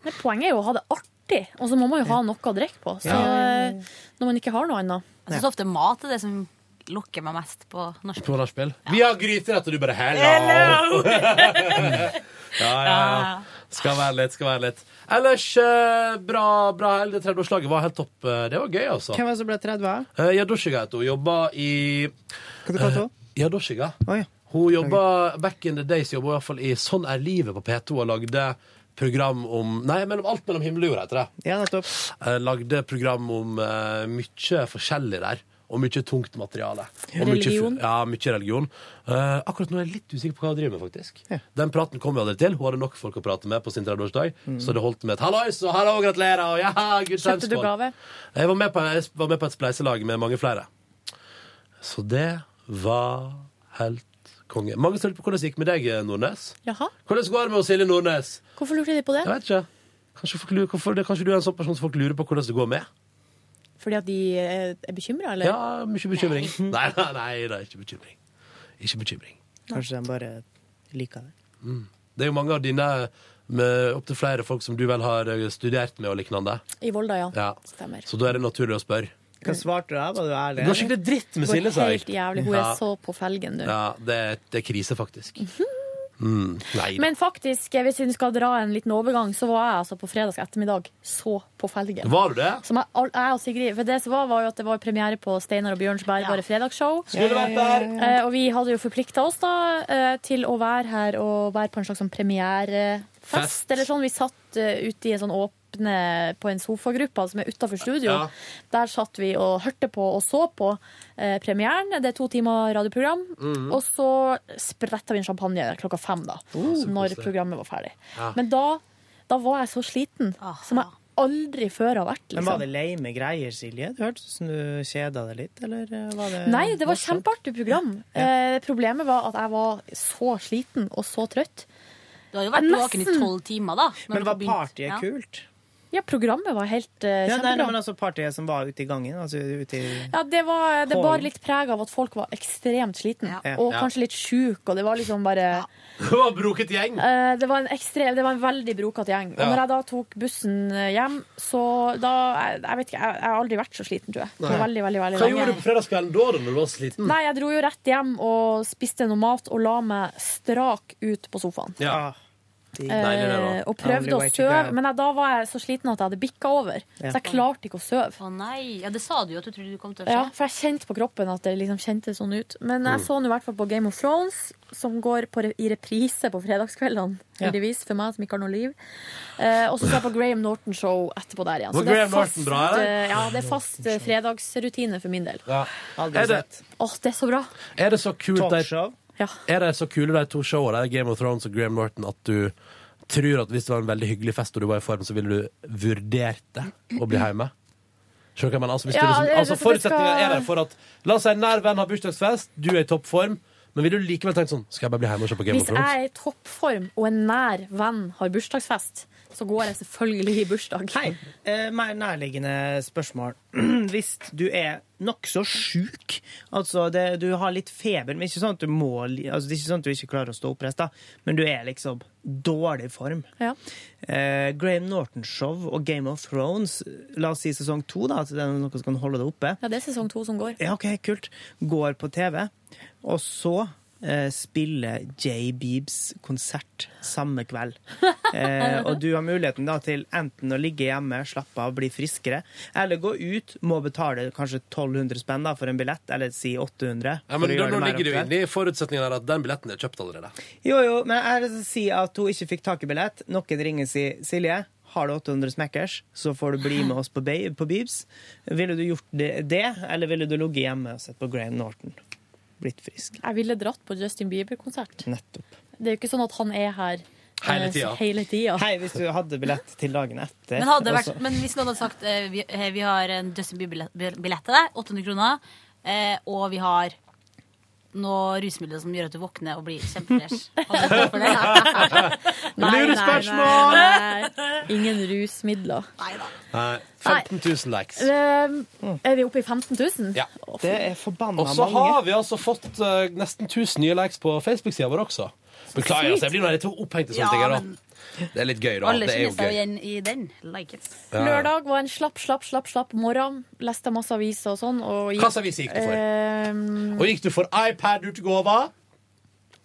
S4: Men poenget er jo å ha det artig, og så må man jo ha noe å drikke på. Så
S2: Ja.
S4: eh, når man ikke har noe annet.
S5: Jeg syns ofte mat er det som lokker meg mest på norsk.
S1: På nachspiel. Vi har gryterett, og du bare hello!
S5: Hello!
S1: *laughs* ja, ja, ja. Skal være litt, skal være litt. Ellers eh, bra, bra helg. Det 30-årslaget var helt topp. Eh, Det var gøy, altså.
S2: Hvem var det som ble 30 her?
S1: Eh, Yadoshiga heter hun. Jobba i eh,
S2: Hva kalte du henne?
S1: Yadoshiga. Hun jobba back in the days jobba hun i hvert fall i Sånn er livet på P2 og lagde program om Nei, mellom alt mellom himmel og jord, heter det.
S2: Ja, nettopp.
S1: Eh, lagde program om eh, mye forskjellig der. Og mye tungt materiale. Og mye fu-
S2: Religion.
S1: ja, mye religion. Eh, akkurat nå er jeg litt usikker på hva hun driver med, faktisk. Den praten kom vi aldri til. Hun hadde nok folk å prate med på sin 30-årsdag, så det holdt med et hallois og hallo, gratulerer og jaha, good times.
S4: Mm. Kjøpte du
S1: Pål.
S4: gave?
S1: Jeg var med på, jeg var med på et spleiselag med mange flere. Så det var helt konge. Mange som lurte på hvordan det gikk med deg, Nordnes.
S4: Jaha.
S1: Hvordan går det med Silje Nordnes?
S4: Hvorfor lurte de på det?
S1: Jeg vet ikke. Kanskje, folk lurer, hvorfor, det, kanskje du er en sånn person som folk lurer på hvordan det går med?
S4: Fordi at de eh, er bekymra, eller?
S1: Ja, mye bekymring. *laughs* Nei, nei, nei, det er ikke bekymring. Ikke bekymring.
S2: Kanskje de bare liker det.
S1: Mm. Det er jo mange av dine med opptil flere folk som du vel har eh, studert med og lignende.
S4: I Volda, ja.
S1: Ja.
S4: Stemmer.
S1: Så da er det naturlig å spørre.
S2: Hva svarte du da? Var du ærlig?
S1: Det går skikkelig dritt med Silje, sa
S4: Går
S1: jeg.
S4: helt jævlig. Hun
S1: Ja.
S4: er så på felgen nå.
S1: Ja, det, er- det er krise, faktisk. Mm. Nei.
S4: Men faktisk, hvis vi skal dra en liten overgang, så var jeg altså på fredags ettermiddag så på felgen.
S1: Var du det? *laughs*
S4: Som jeg, all- jeg og Sigrid, for det som var, var jo at det var premiere på Steinar og Bjørns bærbare fredagsshow.
S1: Skulle vært der.
S4: Eh, og vi hadde jo forplikta oss da eh, til å være her og være på en slags sånn premierefest.
S26: Fest.
S4: Eller sånn, vi satt eh, ute i en sånn åpne på en sofagruppe altså, som er utafor studio.
S26: Ja.
S4: Der satt vi og hørte på og så på eh, premieren. Det er to timer radioprogram.
S26: Mhm.
S4: Og så spretta vi en champagne klokka fem, da. når
S26: koselig.
S4: programmet var ferdig.
S2: Ja.
S4: Men da, da var jeg så sliten, som jeg aldri før har vært.
S2: Men var det
S4: Liksom.
S2: leime greier, Silje? Du hørtes ut som du kjeda deg litt, eller eh, var det
S4: Nei, det var
S2: morsomt?
S4: kjempeartig program. Eh, problemet var at jeg var så sliten og så trøtt.
S5: Du har jo vært våken i 12 timer, da. når
S2: Men
S5: du
S2: var
S5: begynte.
S2: partiet
S5: Ja.
S2: kult?
S4: Ja, programmet var helt eh,
S2: Ja, nei,
S4: kjempebra.
S2: nei, men altså partiet som var ute i gangen? Altså ute i
S4: Ja, det, var, det
S2: Kål.
S4: bar litt preg av at folk var ekstremt slitne,
S2: Ja.
S4: og
S2: Ja.
S4: kanskje litt sjuke, og det var liksom bare
S1: Det var broket gjeng.
S4: Eh, det, var en ekstrem, det var en veldig brokete gjeng. Og
S1: Ja.
S4: når jeg da tok bussen eh, hjem, så da Jeg, jeg vet ikke, jeg, jeg har aldri vært så sliten, tror jeg. Det var
S1: Nei.
S4: veldig, veldig, veldig
S1: Hva
S4: lenge.
S1: gjorde du på fredagskvelden da, da når du var sliten?
S4: Nei, jeg dro jo rett hjem og spiste noe mat og la meg strak ut på sofaen.
S1: Ja. Deilig det, da.
S4: Eh, og prøvde å
S5: Only way to
S4: sove,
S5: go.
S4: men jeg, da var jeg så sliten at jeg hadde bikka over.
S5: Ja.
S4: Så jeg klarte ikke å sove.
S5: Å nei. Ja, det sa du jo at du trodde du kom til å skje.
S4: Ja, for jeg kjente på kroppen at det liksom kjentes sånn ut. Men
S5: Mm.
S4: jeg så nå i hvert fall på Game of Thrones, som går på, re- i reprise på fredagskveldene.
S5: Ja.
S4: Heldigvis, for meg som ikke har noe liv. Eh, og så ser jeg på Graham Norton-show etterpå der igjen.
S1: Var
S4: Så det er
S1: Graham Norton
S4: fast,
S1: bra, eller?
S4: eh, Ja, det er fast eh, fredagsrutine for min del.
S1: Ja. Er det,
S4: Åh, det er så bra.
S1: er det så kult de,
S4: Ja.
S1: Er det så kule de to showene, Game of Thrones og Graham Norton, at du tror at hvis det var en veldig hyggelig fest og du var i form, så ville du vurdert det å bli hjemme? Skjønner du hva jeg mener? Altså, hvis
S4: Ja,
S1: du liksom,
S4: det-
S1: altså
S4: det- det
S1: Forutsetninga
S4: skal-
S1: er der for at La oss si en nær venn har bursdagsfest, du er i toppform, men vil du likevel tenke sånn Skal jeg bare bli hjemme og se på Game of
S4: Hvis jeg
S1: Thrones?
S4: er i toppform og en nær venn har bursdagsfest, så går jeg selvfølgelig i bursdag.
S2: Hei, eh, mer nærliggende spørsmål. *clears throat* Hvis du er nokså sjuk, altså det, du har litt feber, men ikke sånn at du må li- altså det er ikke sånn at du ikke klarer å stå oppreist, da, men du er liksom dårlig form. Eh, Graham Norton-show og Game of Thrones, la oss si sesong to, da, at det er noe som kan holde deg oppe.
S4: Ja, det er sesong to som går.
S2: Ja, OK, kult. Går på TV. Og så eh, spiller Jay Beebs konsert samme kveld. Eh, og du har muligheten da til enten å ligge hjemme, slappe av, bli friskere, eller gå ut, må betale kanskje 1200 spenn da for en billett, eller si 800.
S1: Ja,
S2: for
S1: men
S2: å
S1: da, Nå
S2: gjøre det mer
S1: ligger det jo
S2: aktuelt.
S1: inne i forutsetningen her at den billetten er kjøpt allerede.
S4: Eh,
S2: Jo, jo, men jeg vil si at hun ikke fikk tak i billett. Noen ringer og sier Silje, har du 800 smekkers, så får du bli med oss på, Be- på Beebs. Ville du gjort det, det, eller ville du ligget hjemme og sett på Graham Norton? Blitt frisk.
S4: Jeg ville dratt på Justin Bieber-konsert.
S1: Mm.
S2: Nettopp.
S4: Det er jo ikke sånn at han er her eh,
S2: Hele tida.
S4: hele tida.
S2: Hei, hvis du hadde billett til dagen etter. altså,
S5: Men, hadde det vært,
S2: og så-
S5: men hvis noen hadde sagt eh, vi, eh, vi har en Justin Bieber-billett til deg, 800 kroner, eh, og vi har noe rusmiddel som gjør at du våkner og blir kjempefresh. Hadde du gått for det?
S4: nei, nei. Ingen rusmidler.
S1: Nei. 15 000 likes.
S4: Eh, Er vi oppe i 15 000?
S1: Mm. Ja.
S2: Det er forbanna
S1: Og så har vi altså fått eh, nesten 1000 nye likes på Facebook-sida vår også. Beklager,
S5: sykt.
S1: altså, jeg blir nå litt opphengt i sånne
S5: Ja,
S1: ting. her,
S5: men-
S1: da. Det er litt gøy, da.
S5: Alle
S1: Det er
S5: kjenner
S1: jo
S5: seg
S1: gøy.
S5: igjen i den. Like it.
S1: Ja.
S4: Lørdag var en slapp, slapp, slapp slapp morgen. Leste masse aviser og sånn. Og
S1: Hva slags aviser gikk du for?
S4: Eh,
S1: Og gikk du for iPad ut til gava?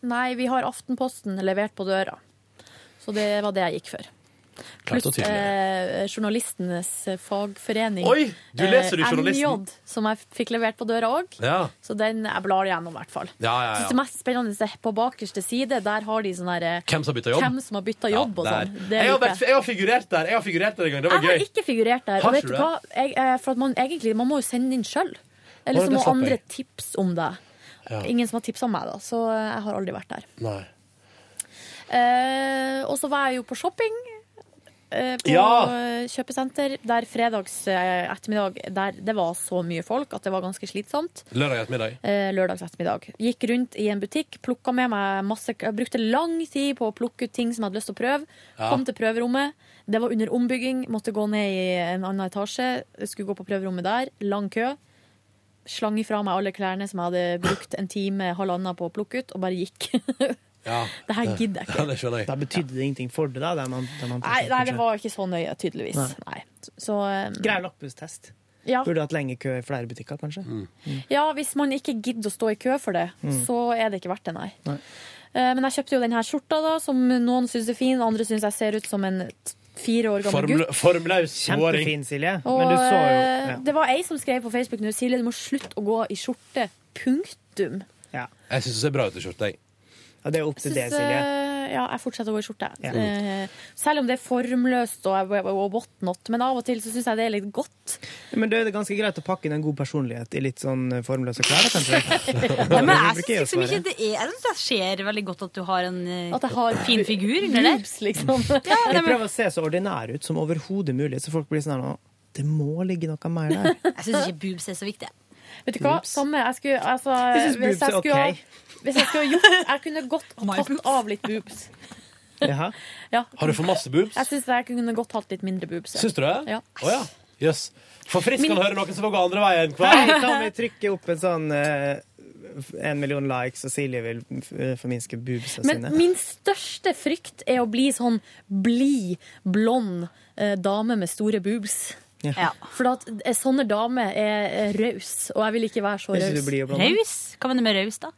S4: Nei, vi har Aftenposten levert på døra. Så det var det jeg gikk for.
S1: Klart og
S4: Pluss eh, Journalistenes fagforening.
S1: Oi, du leser jo
S4: Eh,
S1: Journalisten.
S4: NJ, som jeg fikk levert på døra òg.
S1: Ja.
S4: Så den jeg blar gjennom, i hvert fall.
S1: Ja, ja,
S4: Synes Det
S1: ja.
S4: mest spennende er på bakerste side. Der har de sånn herre
S1: Hvem som har byttet jobb?
S4: Hvem som har bytta jobb og
S1: Der.
S4: sånn. Det
S1: Jeg har,
S4: liker
S1: vært, jeg har figurert der Jeg har figurert der en gang. Det var
S4: jeg har
S1: gøy.
S4: ikke figurert der.
S1: Har
S4: Og vet
S1: ikke
S4: du
S1: du
S4: hva? Jeg, eh, for at man, egentlig, man må jo sende inn sjøl.
S1: Å,
S4: Eller så
S1: det
S4: må
S1: slapp
S4: andre
S1: jeg.
S4: tipse om deg.
S1: Ja.
S4: Ingen som har tipsa meg, da. Så eh, jeg har aldri vært der.
S1: Nei.
S4: Eh, og så var jeg jo på shopping eh, på
S1: Ja.
S4: eh, kjøpesenter. Der fredags eh, ettermiddag der det var så mye folk at det var ganske slitsomt.
S1: Lørdag ettermiddag.
S4: Eh, lørdags ettermiddag. Gikk rundt i en butikk, plukka med meg masse Jeg brukte lang tid på å plukke ut ting som jeg hadde lyst til å prøve.
S1: Ja.
S4: Kom til prøverommet. Det var under ombygging, måtte gå ned i en annen etasje. Skulle gå på prøverommet der. Lang kø. Slang ifra meg alle klærne som jeg hadde brukt en time, halvannen på å plukke ut, og bare gikk. *laughs*
S1: Ja. *laughs*
S4: Det her gidder jeg ikke.
S1: Ja, det skjønner jeg.
S2: Da betydde det ingenting for det, da? Der man, der man
S4: Nei, nei, det var ikke så nøye, tydeligvis. Nei. Så, eh,
S2: Grei loppehustest.
S4: Ja.
S2: Burde hatt lenge kø i flere butikker, kanskje. Mm.
S4: ja, hvis man ikke gidder å stå i kø for det,
S2: Mm.
S4: så er det ikke verdt det, nei.
S2: Nei.
S4: Eh, Men jeg kjøpte jo denne skjorta, da, som noen syns er fin, andre syns jeg ser ut som en t- fire år gammel
S1: Forml
S4: gutt.
S1: formlaus småring.
S2: Kjempefin, Silje.
S4: Og
S2: Men du så jo
S4: eh,
S2: ja.
S4: det var ei som skrev på Facebook nå, Silje, du må slutte å gå i skjorte. Punktum.
S1: Jeg syns det ser bra ut i skjorte. jeg.
S2: Ja, det er opp til
S4: Synes,
S2: det, Silje.
S4: eh, Ja, jeg fortsetter å gå i skjorte.
S2: Ja.
S4: Eh, Selv om det er formløst og, og whatnot, men av og til så syns jeg det er litt godt.
S2: Men det er ganske greit å pakke inn en god personlighet i litt sånn eh, formløse klær,
S4: *laughs*
S2: kanskje.
S5: Nei, men
S2: Det
S5: jeg
S2: bruker
S5: syns liksom
S2: å
S5: ikke
S2: svare.
S5: det er Jeg synes det skjer veldig godt at du har en eh,
S4: At jeg har
S5: fin figur under der.
S4: boobs, liksom.
S5: Ja, nei,
S2: Jeg
S5: men,
S2: prøver å se så ordinær ut som overhodet mulig, så folk blir sånn her nå Det må ligge noe mer der.
S4: *laughs*
S5: jeg syns ikke boobs er så viktig.
S4: Vet du hva? Samme. Jeg skulle, altså,
S2: Jeg synes
S4: hvis,
S2: boobs
S4: jeg
S2: er
S4: skulle,
S2: ok.
S4: ha- hvis jeg skulle ha gjort Jeg kunne
S2: *laughs*
S4: godt ha tatt av litt boobs.
S2: Jaha.
S4: Ja.
S1: Har du for masse boobs?
S4: Jeg syns jeg kunne godt hatt litt mindre boobs. jeg.
S1: Syns du det?
S4: Ja.
S1: Å ja. Jøss. For frisk
S4: Min-
S1: kan høre noen som går andre veien. Hva?
S2: Hei, kan vi trykke opp en sånn eh, en million likes, og Silje vil eh, forminske boobsa
S4: Men
S2: sine?
S4: min største frykt er å bli sånn blid, blond eh, dame med store boobs.
S2: Ja.
S4: For at eh, sånne damer er eh, raus, og jeg vil ikke være så
S2: Hvis du
S4: raus.
S2: blir blond.
S5: Raus? Hva mener du med raus, da?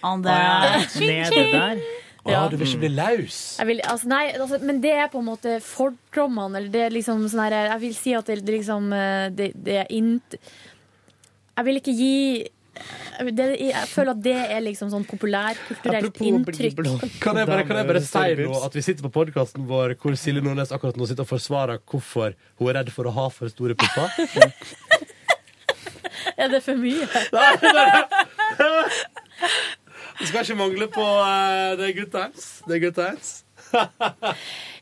S5: On the
S2: Å ja,
S5: Tjing,
S2: nede
S5: tjing.
S2: der.
S1: Å, du vil ikke bli laus?
S4: Jeg vil, altså, nei, altså, men det er på en måte fordommene, eller det er liksom sånn her Jeg vil si at det, det liksom eh, Det, det er int... Jeg vil ikke gi jeg vil- det, jeg føler at det er liksom sånn populærkulturelt inntrykk. *laughs*
S1: Kan jeg bare, kan jeg bare si nå at vi sitter på podkasten vår hvor Silje Nordnes akkurat nå sitter og forsvarer hvorfor hun er redd for å ha for store pupper?
S4: Er det for mye?
S1: Det skal ikke mangle på eh, det er good times. Det er good times.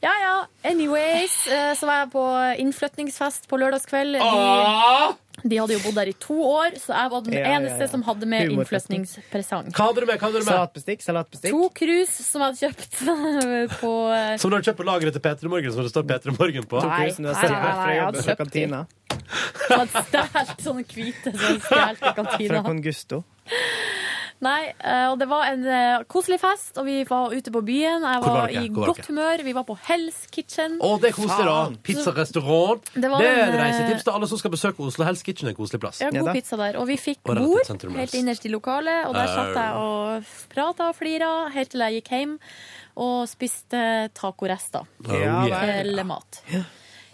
S4: Ja ja. Anyways, eh, så var jeg på innflytningsfest på lørdagskveld.
S1: Ah!
S4: De, de hadde jo bodd der i to år, så jeg var den
S2: Ja, ja, ja.
S4: eneste som hadde med
S2: Humorfesten.
S4: innflytningspresang.
S1: Hva hadde du med? Hva hadde du med?
S2: Salatbestikk, salatbestikk.
S4: To krus som jeg hadde kjøpt *laughs* på eh,
S1: Som du har kjøpt på lageret til Peter i Morgen, som det står Peter i Morgen på?
S4: Nei, nei, nei, jeg hadde kjøpt de. Jeg hadde Sånn stjålet sånne hvite som jeg stjal fra
S2: Fra
S4: kantina.
S2: Congusto.
S4: Nei, eh, og det var en eh, koselig fest, og vi var ute på byen. Jeg
S1: Hvor var
S4: var
S1: dere?
S4: i
S1: Hvor var
S4: godt
S1: dere?
S4: humør. Vi var på Hell's Kitchen.
S1: Å, det er koselig, da. Pizzarestaurant.
S4: Det
S1: Det,
S4: var
S1: er
S4: en,
S1: et
S4: eh,
S1: reisetips til alle som skal besøke Oslo. Hells Kitchen er en koselig plass.
S4: Ja, god pizza der. Og vi fikk
S1: Og rett
S4: bord
S1: ut sentrum,
S4: helt
S1: yes.
S4: innerst i lokalet, og der satt jeg og prata og flira helt til jeg gikk hjem og spiste tacorester
S1: Oh, yeah.
S4: til mat.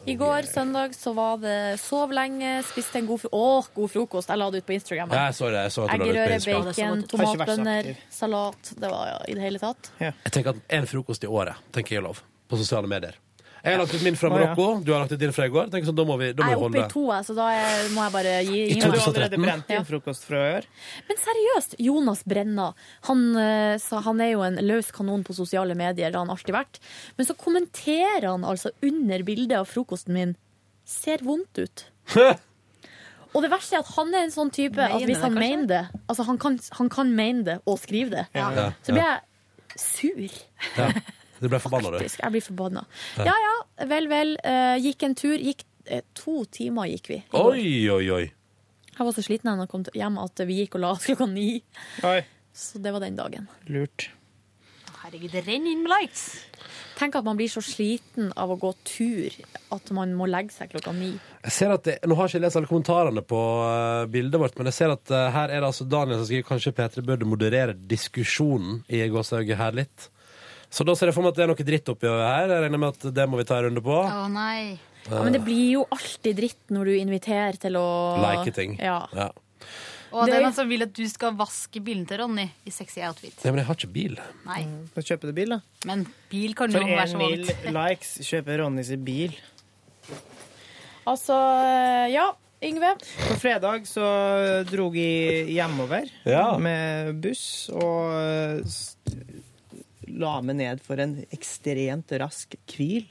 S4: I går søndag så var det sov lenge, spiste en god, fro Åh, god frokost. Jeg la det ut på Instagram.
S1: Ja, jeg så det. Jeg så at du la det ut på
S4: Eggerøre,
S1: Instagram.
S4: bacon,
S1: Det så godt ut. Har ikke vært så
S4: tomatbønner,
S1: aktiv.
S4: salat. Det var ja, i det hele tatt.
S1: Jeg tenker at En frokost i året tenker jeg er lov på sosiale medier. Jeg har lagt ut min fra
S2: Å, ja.
S1: Marokko, du har lagt ut din fra i går. Tenker sånn, da må vi, da må
S4: Jeg
S1: vi
S4: er oppe i
S1: holde.
S4: to, jeg, så da er- må jeg bare gi gi
S2: Du har
S4: meg.
S2: allerede brent
S4: Ja.
S2: din frokost fra i år.
S4: Men seriøst, Jonas Brenna han, eh, sa- han er jo en løs kanon på sosiale medier, det har han alltid vært. Men så kommenterer han altså under bildet av frokosten min 'ser
S1: *laughs*
S4: vondt ut'. Og det verste er at han er en sånn type at
S5: Mener
S4: hvis han
S5: det, kanskje?
S4: mener det Altså han kan, han kan mene det og skrive det.
S1: Ja. Ja,
S4: Så blir
S1: ja.
S4: jeg sur.
S1: Ja. Du ble forbanna, du.
S4: faktisk. Jeg blir forbanna.
S1: Ja.
S4: Ja ja, vel vel. eh, Gikk en tur. Gikk eh, To timer gikk vi. i går.
S1: Oi, oi, oi.
S4: Jeg var så sliten da jeg kom til- hjem at vi gikk og la oss klokka ni. Så det var den dagen.
S2: Lurt.
S5: Herregud, det renner inn med likes.
S4: Tenk at man blir så sliten av å gå tur at man må legge seg klokka ni.
S1: Jeg ser at det, Nå har ikke jeg lest alle kommentarene på eh, bildet vårt, men jeg ser at eh, her er det altså Daniel som skriver kanskje P3 burde moderere diskusjonen i gåseøyet her litt. Så da ser jeg for meg at det er noe dritt oppi her. Jeg regner med at det må vi ta en runde på.
S5: Å nei.
S4: Ja, men det
S1: Eh.
S4: blir jo alltid dritt når du inviterer til å
S1: Like ting.
S4: Ja.
S1: Ja.
S5: Og det
S4: Det-
S5: er noen som vil at du skal vaske bilen til Ronny i sexy outfit.
S1: Nei, men jeg har ikke bil.
S5: Nei,
S2: Da kjøper du bil, da.
S5: men bil kan jo
S2: For
S5: være
S2: én
S5: så
S2: mil
S5: mangt.
S2: likes kjøper Ronny sin bil.
S4: Altså, ja. Yngve.
S2: På fredag så dro jeg hjemover med buss og eh, s- la meg ned for en ekstremt rask hvil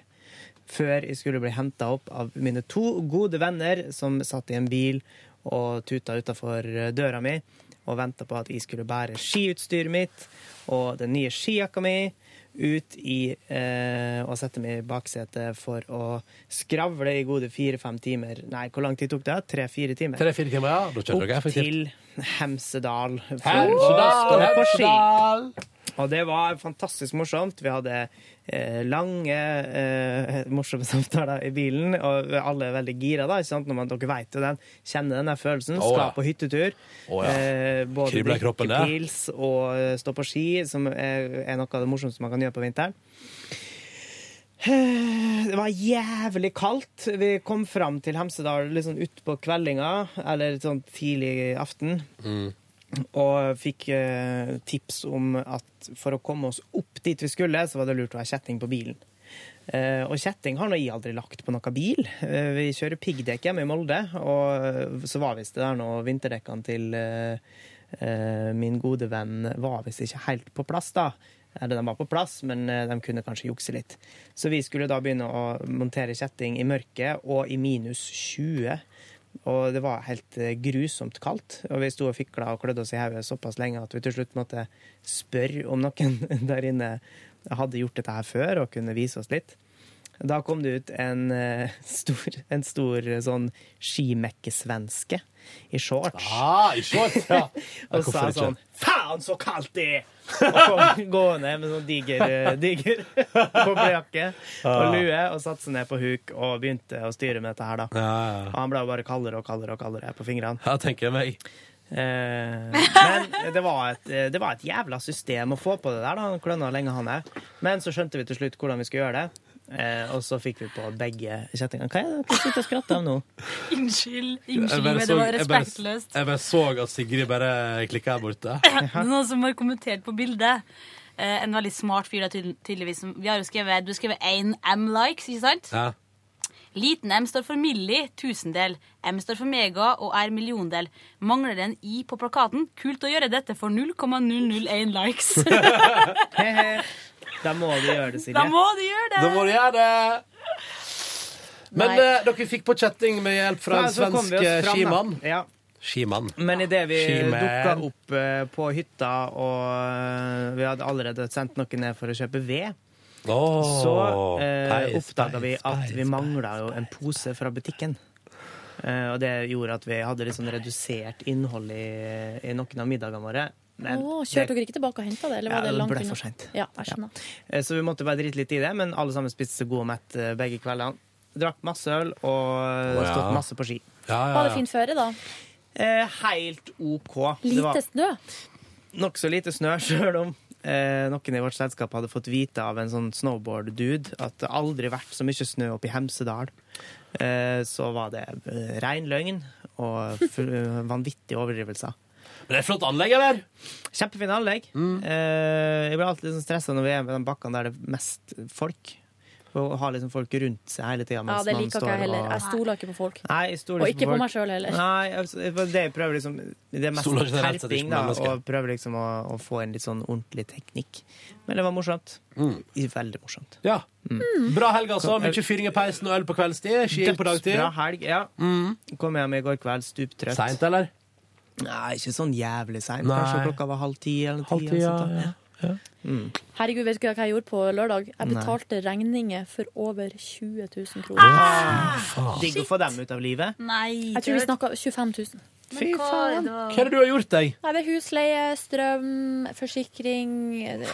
S2: før jeg skulle bli henta opp av mine to gode venner som satt i en bil og tuta utafor døra mi og venta på at jeg skulle bære skiutstyret mitt og den nye skijakka mi ut i eh, og sette meg i baksetet for å skravle i gode fire-fem timer. Nei, hvor lang tid tok det? Tre-fire timer?
S1: Tre-fire timer, ja. Da kjører dere
S2: Opp til
S1: effektivt.
S2: Hemsedal. for
S1: Hemsedal,
S2: å stå på ski.
S1: Hemsedal.
S2: Og det var fantastisk morsomt. Vi hadde eh, lange, eh, morsomme *laughs* samtaler i bilen, og alle er veldig gira, da, ikke sant? Når man, dere vet jo den, kjenner den der følelsen.
S1: Å,
S2: Skal
S1: ja.
S2: på hyttetur.
S1: Å, ja.
S2: eh, både
S1: Kribler i kroppen,
S2: drikke
S1: det.
S2: pils og eh, stå på ski, som er, er noe av det morsomste man kan gjøre på vinteren. *sighs* Det var jævlig kaldt. Vi kom fram til Hemsedal litt sånn utpå kveldinga, eller sånn tidlig aften.
S1: Mm.
S2: Og fikk eh, tips om at for å komme oss opp dit vi skulle, så var det lurt å ha kjetting på bilen. Eh, og kjetting har nå jeg aldri lagt på noen bil. Eh, vi kjører piggdekk hjemme i Molde, og eh, så var visst det der nå vinterdekkene til eh, eh, min gode venn var visst ikke helt på plass da. Eller de var på plass, men eh, de kunne kanskje jukse litt. Så vi skulle da begynne å montere kjetting i mørket og i minus 20. Og det var helt eh, grusomt kaldt. Og vi sto og fikla og klødde oss i hodet såpass lenge at vi til slutt måtte spørre om noen *laughs* der inne hadde gjort dette her før og kunne vise oss litt. Da kom det ut en eh, *laughs* stor, en stor eh, sånn skimekkesvenske i shorts.
S1: Ah, i
S4: *laughs*
S1: shorts, ja. Ja,
S2: og sa
S1: hvorfor ikke?
S2: sånn Faen, så kaldt det er! Og kom *laughs* gående med sånn diger, eh, diger *laughs* boblejakke og
S1: Ah.
S2: lue og satte seg ned på huk og begynte å styre med dette her, da.
S1: Ja,
S2: Og han ble jo bare kaldere og kaldere og kaldere på fingrene.
S1: Ja, tenker jeg meg.
S2: Eh, men det var, et, eh, det var et jævla system å få på det der, da, hvordan og lenge han er. Men så skjønte vi til slutt hvordan vi skulle gjøre det. Eh, og så fikk vi på begge kjettingene. Hva er det dere sitter og skratter av nå?
S5: *laughs* Unnskyld,
S1: Jeg
S5: unnskyld,
S1: bare
S5: men
S1: så-
S5: det var
S1: jeg bare-
S5: respektløst.
S1: Jeg bare så at Sigrid bare klikka her
S5: *laughs*
S1: borte.
S5: Det er Noen som har kommentert på bildet. Eh, en veldig smart fyr, da, tydel- tydeligvis. som- Vi har jo skrevet, du har skrevet én M-likes, ikke sant?
S1: Ja.
S5: Liten M står for milli, tusendel. M står for mega og R milliondel. Mangler det en I på plakaten? Kult å gjøre dette for 0,001 likes. *laughs*
S2: Da må du gjøre det, Silje.
S5: da må du gjøre det!
S1: Da må du gjøre det! Men
S2: Nei.
S1: eh, dere fikk på kjetting med hjelp fra en
S2: Nei, så kom
S1: svensk
S2: vi oss
S1: eh,
S2: fram, da.
S1: skimann.
S2: Ja.
S1: Skimann.
S2: Men idet vi
S1: Skimen.
S2: dukka opp eh, på hytta, og eh, vi hadde allerede sendt noen ned for å kjøpe ved,
S1: Åh,
S2: så eh,
S1: peis,
S2: oppdaga vi
S1: peis,
S2: at
S1: peis,
S2: vi mangla jo en pose fra butikken. Eh, og det gjorde at vi hadde litt sånn redusert innhold i, i noen av middagene våre. Men
S4: Å,
S2: det-
S4: kjørte dere ikke tilbake og henta det? Eller
S2: Ja,
S4: var det
S2: det
S4: langt
S2: ble
S4: unna?
S2: for sent.
S4: Ja, jeg skjønner.
S2: Eh, Så vi måtte bare drite litt i det, men alle sammen spiste seg god og mett eh, begge kveldene. Drakk masse øl og eh,
S1: Å, ja.
S2: stått masse på ski.
S4: Var det fint føre, da?
S2: Eh, helt OK. Det var-
S4: Lite snø?
S2: nokså lite snø, *laughs* sjøl om eh, noen i vårt selskap hadde fått vite av en sånn snowboard-dude at det aldri vært så mye snø oppe i Hemsedal. Eh, så var det eh, rein løgn og f vanvittige overdrivelser.
S1: Men det er flott anlegg, eller?
S2: Kjempefine anlegg. Eh, jeg blir alltid liksom stressa når vi er ved de bakkene der det er mest folk. Og har liksom folk rundt seg hele tida.
S4: Ja, det liker ikke jeg heller. Jeg stoler ikke på folk.
S2: Nei, jeg stoler
S4: Og ikke på
S2: folk.
S4: meg sjøl heller.
S2: Nei, altså, det var det jeg prøver liksom Det er mest
S1: Stoler ikke rett og slett ikke
S2: terping,
S1: på
S2: da,
S1: mennesker.
S2: og prøver liksom å, å få en litt sånn ordentlig teknikk. Men det var morsomt.
S1: Mm.
S2: Veldig morsomt.
S1: Ja.
S2: Mm.
S1: Bra helg, altså. Mye fyring i peisen og øl på kveldstid. Skiing på dagtid.
S2: eh, Dødsbra helg, ja. Kom hjem i går kveld stuptrøtt.
S1: Seint, eller?
S2: Nei, ikke sånn jævlig seint.
S1: Nei.
S2: Kanskje klokka var halv ti eller ti.
S1: Halv ti,
S2: eller
S1: ja,
S2: sånt da. Mm.
S4: Herregud, vet du hva jeg gjorde på lørdag? Jeg
S2: Nei.
S4: betalte regninger for over 20 000 kroner.
S2: Digg å få dem ut av livet.
S5: Nei,
S4: Jeg tror vi snakka 25 000.
S2: Fy
S4: Men hva er
S2: faen.
S4: det da?
S1: Hva er det du har gjort deg?
S4: Nei, det er husleie, strøm, forsikring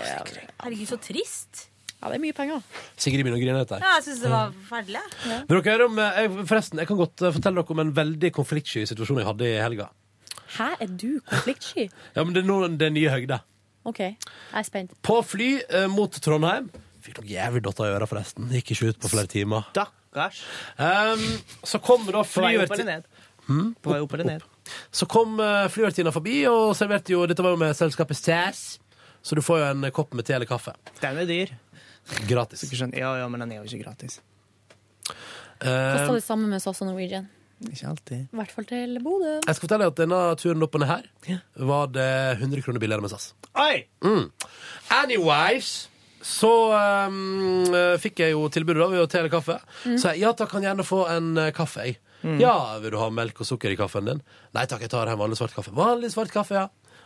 S4: Herregud,
S5: så trist.
S4: Ja, det er mye penger.
S1: Sigrid begynner å grine litt her.
S5: Ja, jeg syns det var forferdelig. Ja.
S1: Men dere hører om, eh, jeg, forresten, jeg kan godt eh, fortelle dere om en veldig konfliktsky situasjon jeg hadde i helga.
S4: Hæ, er du konfliktsky?
S1: Ja, men det er nå det er nye høyder.
S3: OK, jeg er spent.
S1: På fly eh, mot Trondheim. Fikk noe jævlig dotter i øra, forresten. Gikk ikke ut på flere timer.
S2: Stakkars.
S1: Ehm, så kommer da
S2: På vei opp eller
S1: flyvertinna
S2: ned?
S1: hmm?
S2: På vei opp eller ned?
S1: Så kom eh, flyvertinna forbi og serverte jo Dette var jo med selskapet SAS, så du får jo en kopp med te eller kaffe.
S2: Den er dyr.
S1: Gratis.
S2: Ikke skjønner- Ja, ja, men den er jo ikke gratis.
S3: Kosta
S1: Ehm,
S3: det samme med SAS og Norwegian.
S2: Ikke alltid.
S3: I hvert fall til Bodø.
S1: jeg skal fortelle deg at denne turen opp og ned her var det 100 kroner billigere med SAS.
S2: Oi!
S1: Mm. Anyways så ehm, eh, fikk jeg jo tilbudet da ved å te eller kaffe. Så jeg ja takk, kan gjerne få en eh, kaffe. jeg. Ja, vil du ha melk og sukker i kaffen din? Nei takk, jeg tar en vanlig svart kaffe. Vanlig svart kaffe, ja.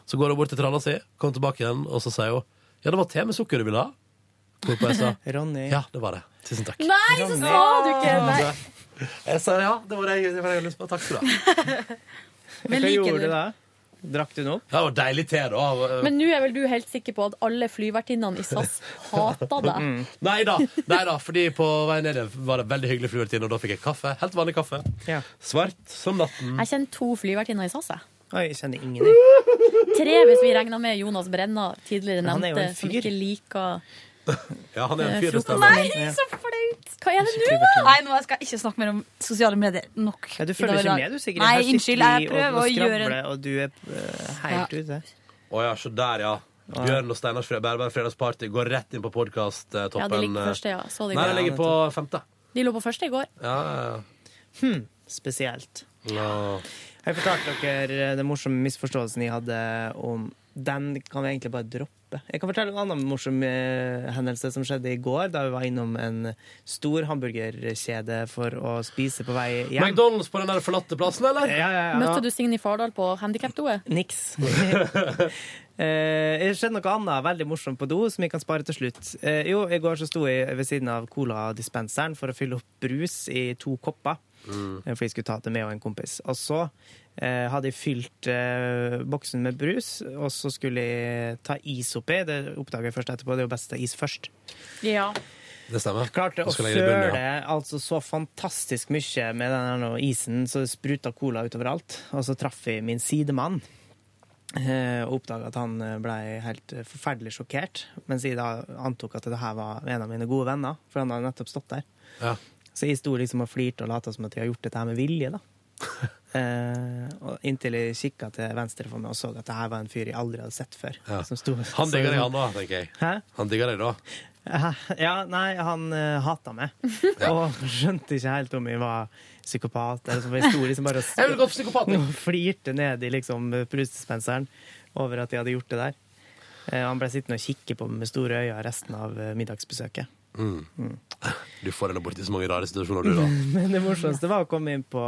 S1: Så går hun bort til tralla si, kommer tilbake igjen, og så sier hun ja, det var te med sukker du ville ha. Hvorpå jeg sa
S2: Ronny.
S1: ja, det var det. Tusen
S4: Mm.
S1: takk.
S3: Nei, så sa du ikke! Nei.
S1: Jeg sa ja, det var det jeg, det var det jeg hadde lyst på. Takk skal du ha.
S3: Men
S2: Hva
S3: liker
S2: gjorde
S3: du?
S2: du da? Drakk du den opp?
S1: Ja, det var deilig te, da.
S3: *laughs* Men nå er vel du helt sikker på at alle flyvertinnene i SAS hater deg?
S1: Mm. Nei da, nei da, fordi på vei ned var det veldig hyggelig fluertid, og da fikk jeg kaffe. Helt vanlig kaffe. Svart som natten.
S3: Jeg kjenner to flyvertinner i SAS. jeg.
S2: Oi, jeg kjenner ingen. jeg.
S3: Tre hvis vi regner med Jonas Brenna, tidligere
S2: Men han er jo
S3: nevnte,
S2: en
S3: som
S2: fyr.
S3: ikke liker
S1: Ja, han er
S3: eh,
S1: en fyr. det
S3: frokost.
S1: stemmer.
S3: så flaut! Hva er det nå, da?
S27: Nei, nå skal jeg ikke snakke mer om sosiale medier nok.
S2: Ja, du
S27: i
S2: følger
S27: dag i
S2: ikke
S27: dag.
S2: med, du, Sigrid.
S27: Nei,
S2: Her sitter
S27: unnskyld,
S2: vi
S27: jeg
S2: og-
S27: prøver
S2: og
S27: å gjøre
S2: skravler, Og du er eh, helt ute.
S1: Å ja, så der, ja. Bjørn og Steinars fre- Bærbær Fredagsparty går rett inn på podkasttoppen.
S3: Ja, de ligger
S2: eh.
S3: på første, ja. Så de
S1: Nei,
S3: går.
S1: de ligger på femte.
S3: De lå på første i går.
S1: Ja, ja,
S2: Hmm, spesielt.
S1: ja.
S2: Jeg fortalte dere den morsomme misforståelsen jeg hadde om Den kan vi egentlig bare droppe. Jeg kan fortelle en annen morsom eh, hendelse som skjedde i går, da vi var innom en stor hamburgerkjede for å spise på vei hjem.
S1: McDonald's på den der forlatte plassen, eller?
S2: Ja, ja, ja.
S3: Møtte du Signe Fardal på handikapdoet?
S2: Niks. *laughs* Eh, Det skjedde noe annet veldig morsomt på do som jeg kan spare til slutt. Eh, jo, I går så sto jeg ved siden av coladispenseren for å fylle opp brus i to kopper. Eh, For jeg skulle ta det med og en kompis. Og så eh, hadde jeg fylt eh, boksen med brus, og så skulle jeg ta is oppi. Det oppdaga jeg først etterpå. Det er jo best å ta is først.
S3: Ja.
S1: Det stemmer.
S2: Klarte
S1: Du
S2: å
S1: skal legge det i bunnen,
S2: søle altså så fantastisk mye med den her nå isen, så det spruta cola utover alt. Og så traff vi min sidemann. eh, Og oppdaga at han eh, ble helt eh, forferdelig sjokkert. Mens jeg da antok at det her var en av mine gode venner, for han hadde nettopp stått der.
S1: Ja.
S2: Så jeg sto liksom og flirte og lata som at jeg har gjort dette her med vilje, da.
S1: *laughs*
S2: Eh, og inntil jeg kikka til venstre for meg og så at det her var en fyr jeg aldri hadde sett før.
S1: Ja.
S2: Som sto,
S1: Han digger deg, han da, tenker jeg.
S2: Hæ?
S1: Han digger deg da.
S2: Hæ? *laughs* Ja, nei, han uh, hata meg.
S1: *laughs*
S2: Og skjønte ikke helt om jeg var psykopat. Eller som jeg sto liksom bare
S1: *laughs* Jeg ville gått psykopat, jeg.
S2: og *laughs* flirte ned i liksom brusdispenseren over at jeg hadde gjort det der. Eh, han ble sittende og kikke på meg med store øyne resten av eh, middagsbesøket. *laughs*
S1: Mm. Du får henne borti så mange rare situasjoner, du, da.
S2: Men det morsomste var å komme inn på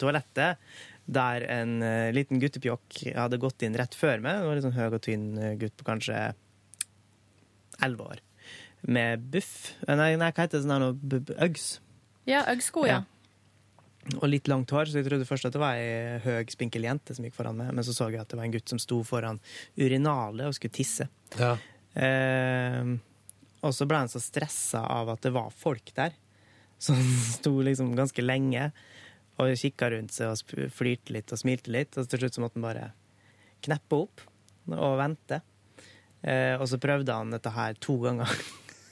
S2: toalettet, der en eh, liten guttepjokk hadde gått inn rett før meg. Det var en litt sånn høy og tynn eh, gutt på kanskje elleve år. Med buff Eh, Nei, nei hva heter det sånn her nå? Bu- bu- Uggs.
S3: Ja, Øggsko, ja.
S2: Og litt langt hår, så jeg trodde først at det var ei høy, spinkel jente som gikk foran meg. Men så så jeg at det var en gutt som sto foran urinalet og skulle tisse.
S1: Ja.
S2: Eh, og så ble han så stressa av at det var folk der. Så han *laughs* sto liksom ganske lenge og kikka rundt seg og sp- flirte litt og smilte litt. Og til slutt så måtte han bare kneppe opp og vente. Eh, og så prøvde han dette her to ganger,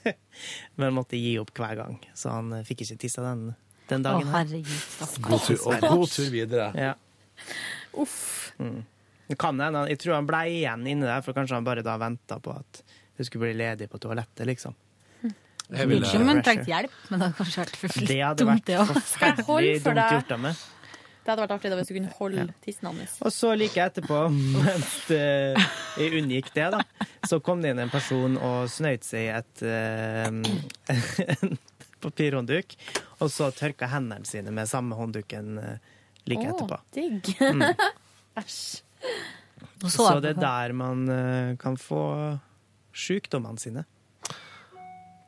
S2: *laughs* men måtte gi opp hver gang. Så han eh, fikk ikke tissa den, den dagen. her.
S1: God tur, og god tur videre.
S2: Ja. Mm. Det kan hende. han- Jeg tror han ble igjen inne der, for kanskje han bare da venta på at det skulle bli ledig på toalettet, liksom.
S1: Jeg ville-
S5: Ikke om hun trengte hjelp, men det hadde kanskje vært for
S2: Det hadde
S5: dumt,
S2: vært
S5: det *laughs* også.
S2: forferdelig
S3: Hold for
S2: dumt
S3: deg.
S2: gjort av meg.
S3: Det hadde vært artig da hvis du kunne holde tissen hans.
S2: Og så like etterpå, *laughs* mens eh, jeg unngikk det, da, så kom det inn en person og snøyt seg i et eh, *laughs* en papirhåndduk, og så tørka hendene sine med samme håndduken eh,
S3: Å,
S2: like etterpå.
S3: Digg.
S2: Mm.
S3: *laughs* Æsj.
S2: Så, det er der man eh, kan få sjukdommene sine.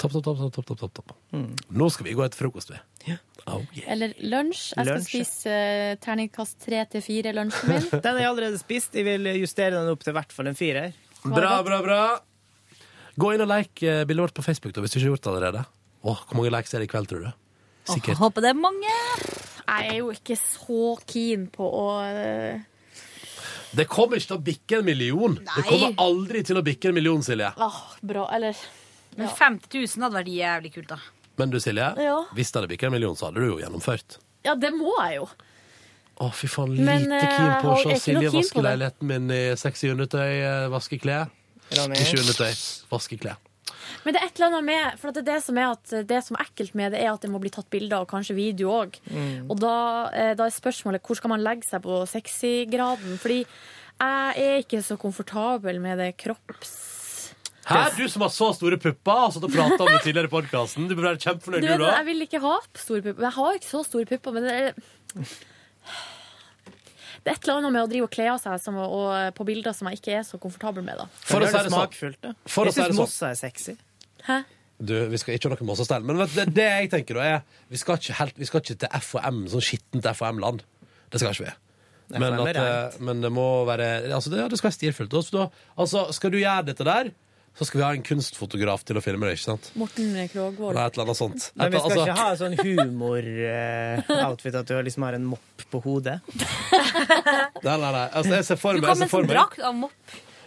S1: Topp, topp, topp, topp, topp, topp, topp, topp. Nå skal vi gå etter frokost, vi. Oh, yeah.
S3: Eller lunsj. Jeg skal
S2: Lunsj, ja.
S3: spise eh, terningkast tre til fire lunsjen min.
S2: *laughs* Den har jeg allerede spist. Jeg vil justere den opp til i hvert fall en firer.
S1: Bra, bra, bra. Gå inn og like eh, bildet vårt på Facebook da, hvis du ikke har gjort det allerede. Åh, hvor mange likes er det i kveld, tror du? Sikkert.
S5: Håper det er mange.
S3: Jeg er jo ikke så keen på å eh,
S1: Det kommer ikke til å bikke en million. Det kommer aldri til å bikke en million, Silje.
S4: bra, eller
S5: Men 50 000 hadde vært jævlig kult, da.
S1: Men du, Silje,
S4: Ja.
S1: hvis det hadde bikka en million, så hadde du jo gjennomført.
S4: Ja, det må jeg jo.
S1: Å, fy faen, lite
S4: Men, eh,
S1: keen på å
S4: jeg
S1: se
S4: er ikke
S1: Silje
S4: noe keen
S1: vaske
S4: på det.
S1: leiligheten min i sexy undertøy, eh, vaske klær.
S2: Ronny.
S1: Ikke undertøy, vaske klær.
S4: Men det er et eller annet med For at det, er det, som er at, det som er ekkelt med det, er at det må bli tatt bilder, og kanskje video òg.
S1: Mm.
S4: Og da, eh, da er spørsmålet hvor skal man legge seg på sexy-graden? Fordi jeg er ikke så komfortabel med det kropps...
S1: Hæ, du som har så store pupper og satt og prata om det tidligere i podkasten. Du burde være kjempefornøyd,
S4: Du
S1: du,
S4: vet,
S1: da.
S4: jeg vil ikke ha store pupper. Jeg har ikke så store pupper, men det er det er et eller annet med å drive og kle av seg som, og, på bilder som jeg ikke er så komfortabel med. da.
S1: For å si
S2: Gjør
S1: det
S2: det smakfullt, da.
S1: sånn. For å
S2: Jeg
S1: si det
S2: syns
S1: sånn.
S2: Mossa er sexy.
S1: Du, vi skal ikke ha noe mossestell. Men vet, du, det, det jeg tenker da er Vi skal ikke, helt, vi skal ikke til FHM, sånn skittent FHM-land. Det skal ikke vi. Men,
S2: FHM er
S1: at, eh, men det må være altså det, ja, det skal være stilfullt. Og så da- Altså, skal du gjøre dette der, så skal vi ha en kunstfotograf til å filme det, ikke sant?
S4: Morten
S1: Eller
S4: Krogvold.
S1: et eller annet sånt.
S2: Men vi skal
S1: Altså-
S2: ikke ha en sånn humor-outfit, at du liksom har en mopp på hodet.
S1: Nei, nei, nei. Altså, jeg ser for
S5: Du
S1: meg, jeg
S5: kom
S1: ser
S5: med en
S1: for
S5: sånn
S1: meg.
S5: drakt av mopp.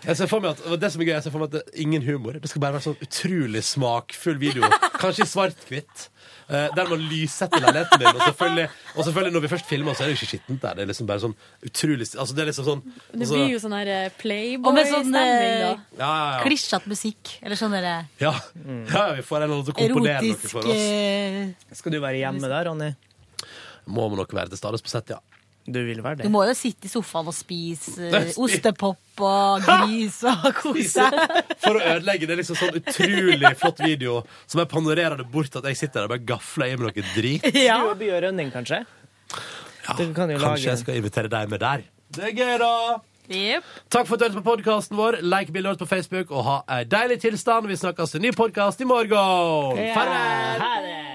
S1: Jeg ser for meg at, og det som er gøy, jeg ser for meg at det er ingen humor. Det skal bare være sånn utrolig smakfull video. Kanskje i svart-hvitt. eh, der man lyssetter leiligheten din. Og selvfølgelig, og selvfølgelig når vi først filmer, så er det jo ikke skittent der. Det er liksom bare sånn utrolig st- Altså, det er liksom sånn
S4: Det
S1: altså,
S4: blir jo sånn her eh,
S5: Og med sånn
S4: playboy-stemning, da.
S5: eh,
S1: ja, ja, ja.
S5: klissete musikk. Eller sånn eh, derre
S1: ja. ja, vi får en eller annen til å komponere noe for oss.
S4: eh.
S5: eh,
S2: Skal du være hjemme da, Ronny?
S1: Må man nok være til stades på sett,
S4: *laughs*
S1: ja.
S2: Du vil være
S5: Du må jo sitte i sofaen og
S1: *laughs*
S5: spise eh,
S1: Spi-
S5: ostepop og gris
S1: *laughs*
S5: og kose deg.
S1: For å ødelegge. Det er liksom sånn utrolig flott video som jeg panorerer det bort til at jeg sitter der og bare gafler i meg noe drit.
S2: Ja. Du og Bjørn Rønning, kanskje?
S1: Ja,
S2: Du kan jo
S1: Kanskje
S2: lage
S1: jeg skal invitere deg med der. Det er gøy, da!
S5: Yep.
S1: Takk for at du hørte på podkasten vår. Like bildet vårt på Facebook, og ha ei deilig tilstand. Vi snakkes i ny podkast i morgen. Farvel!
S2: Ha det!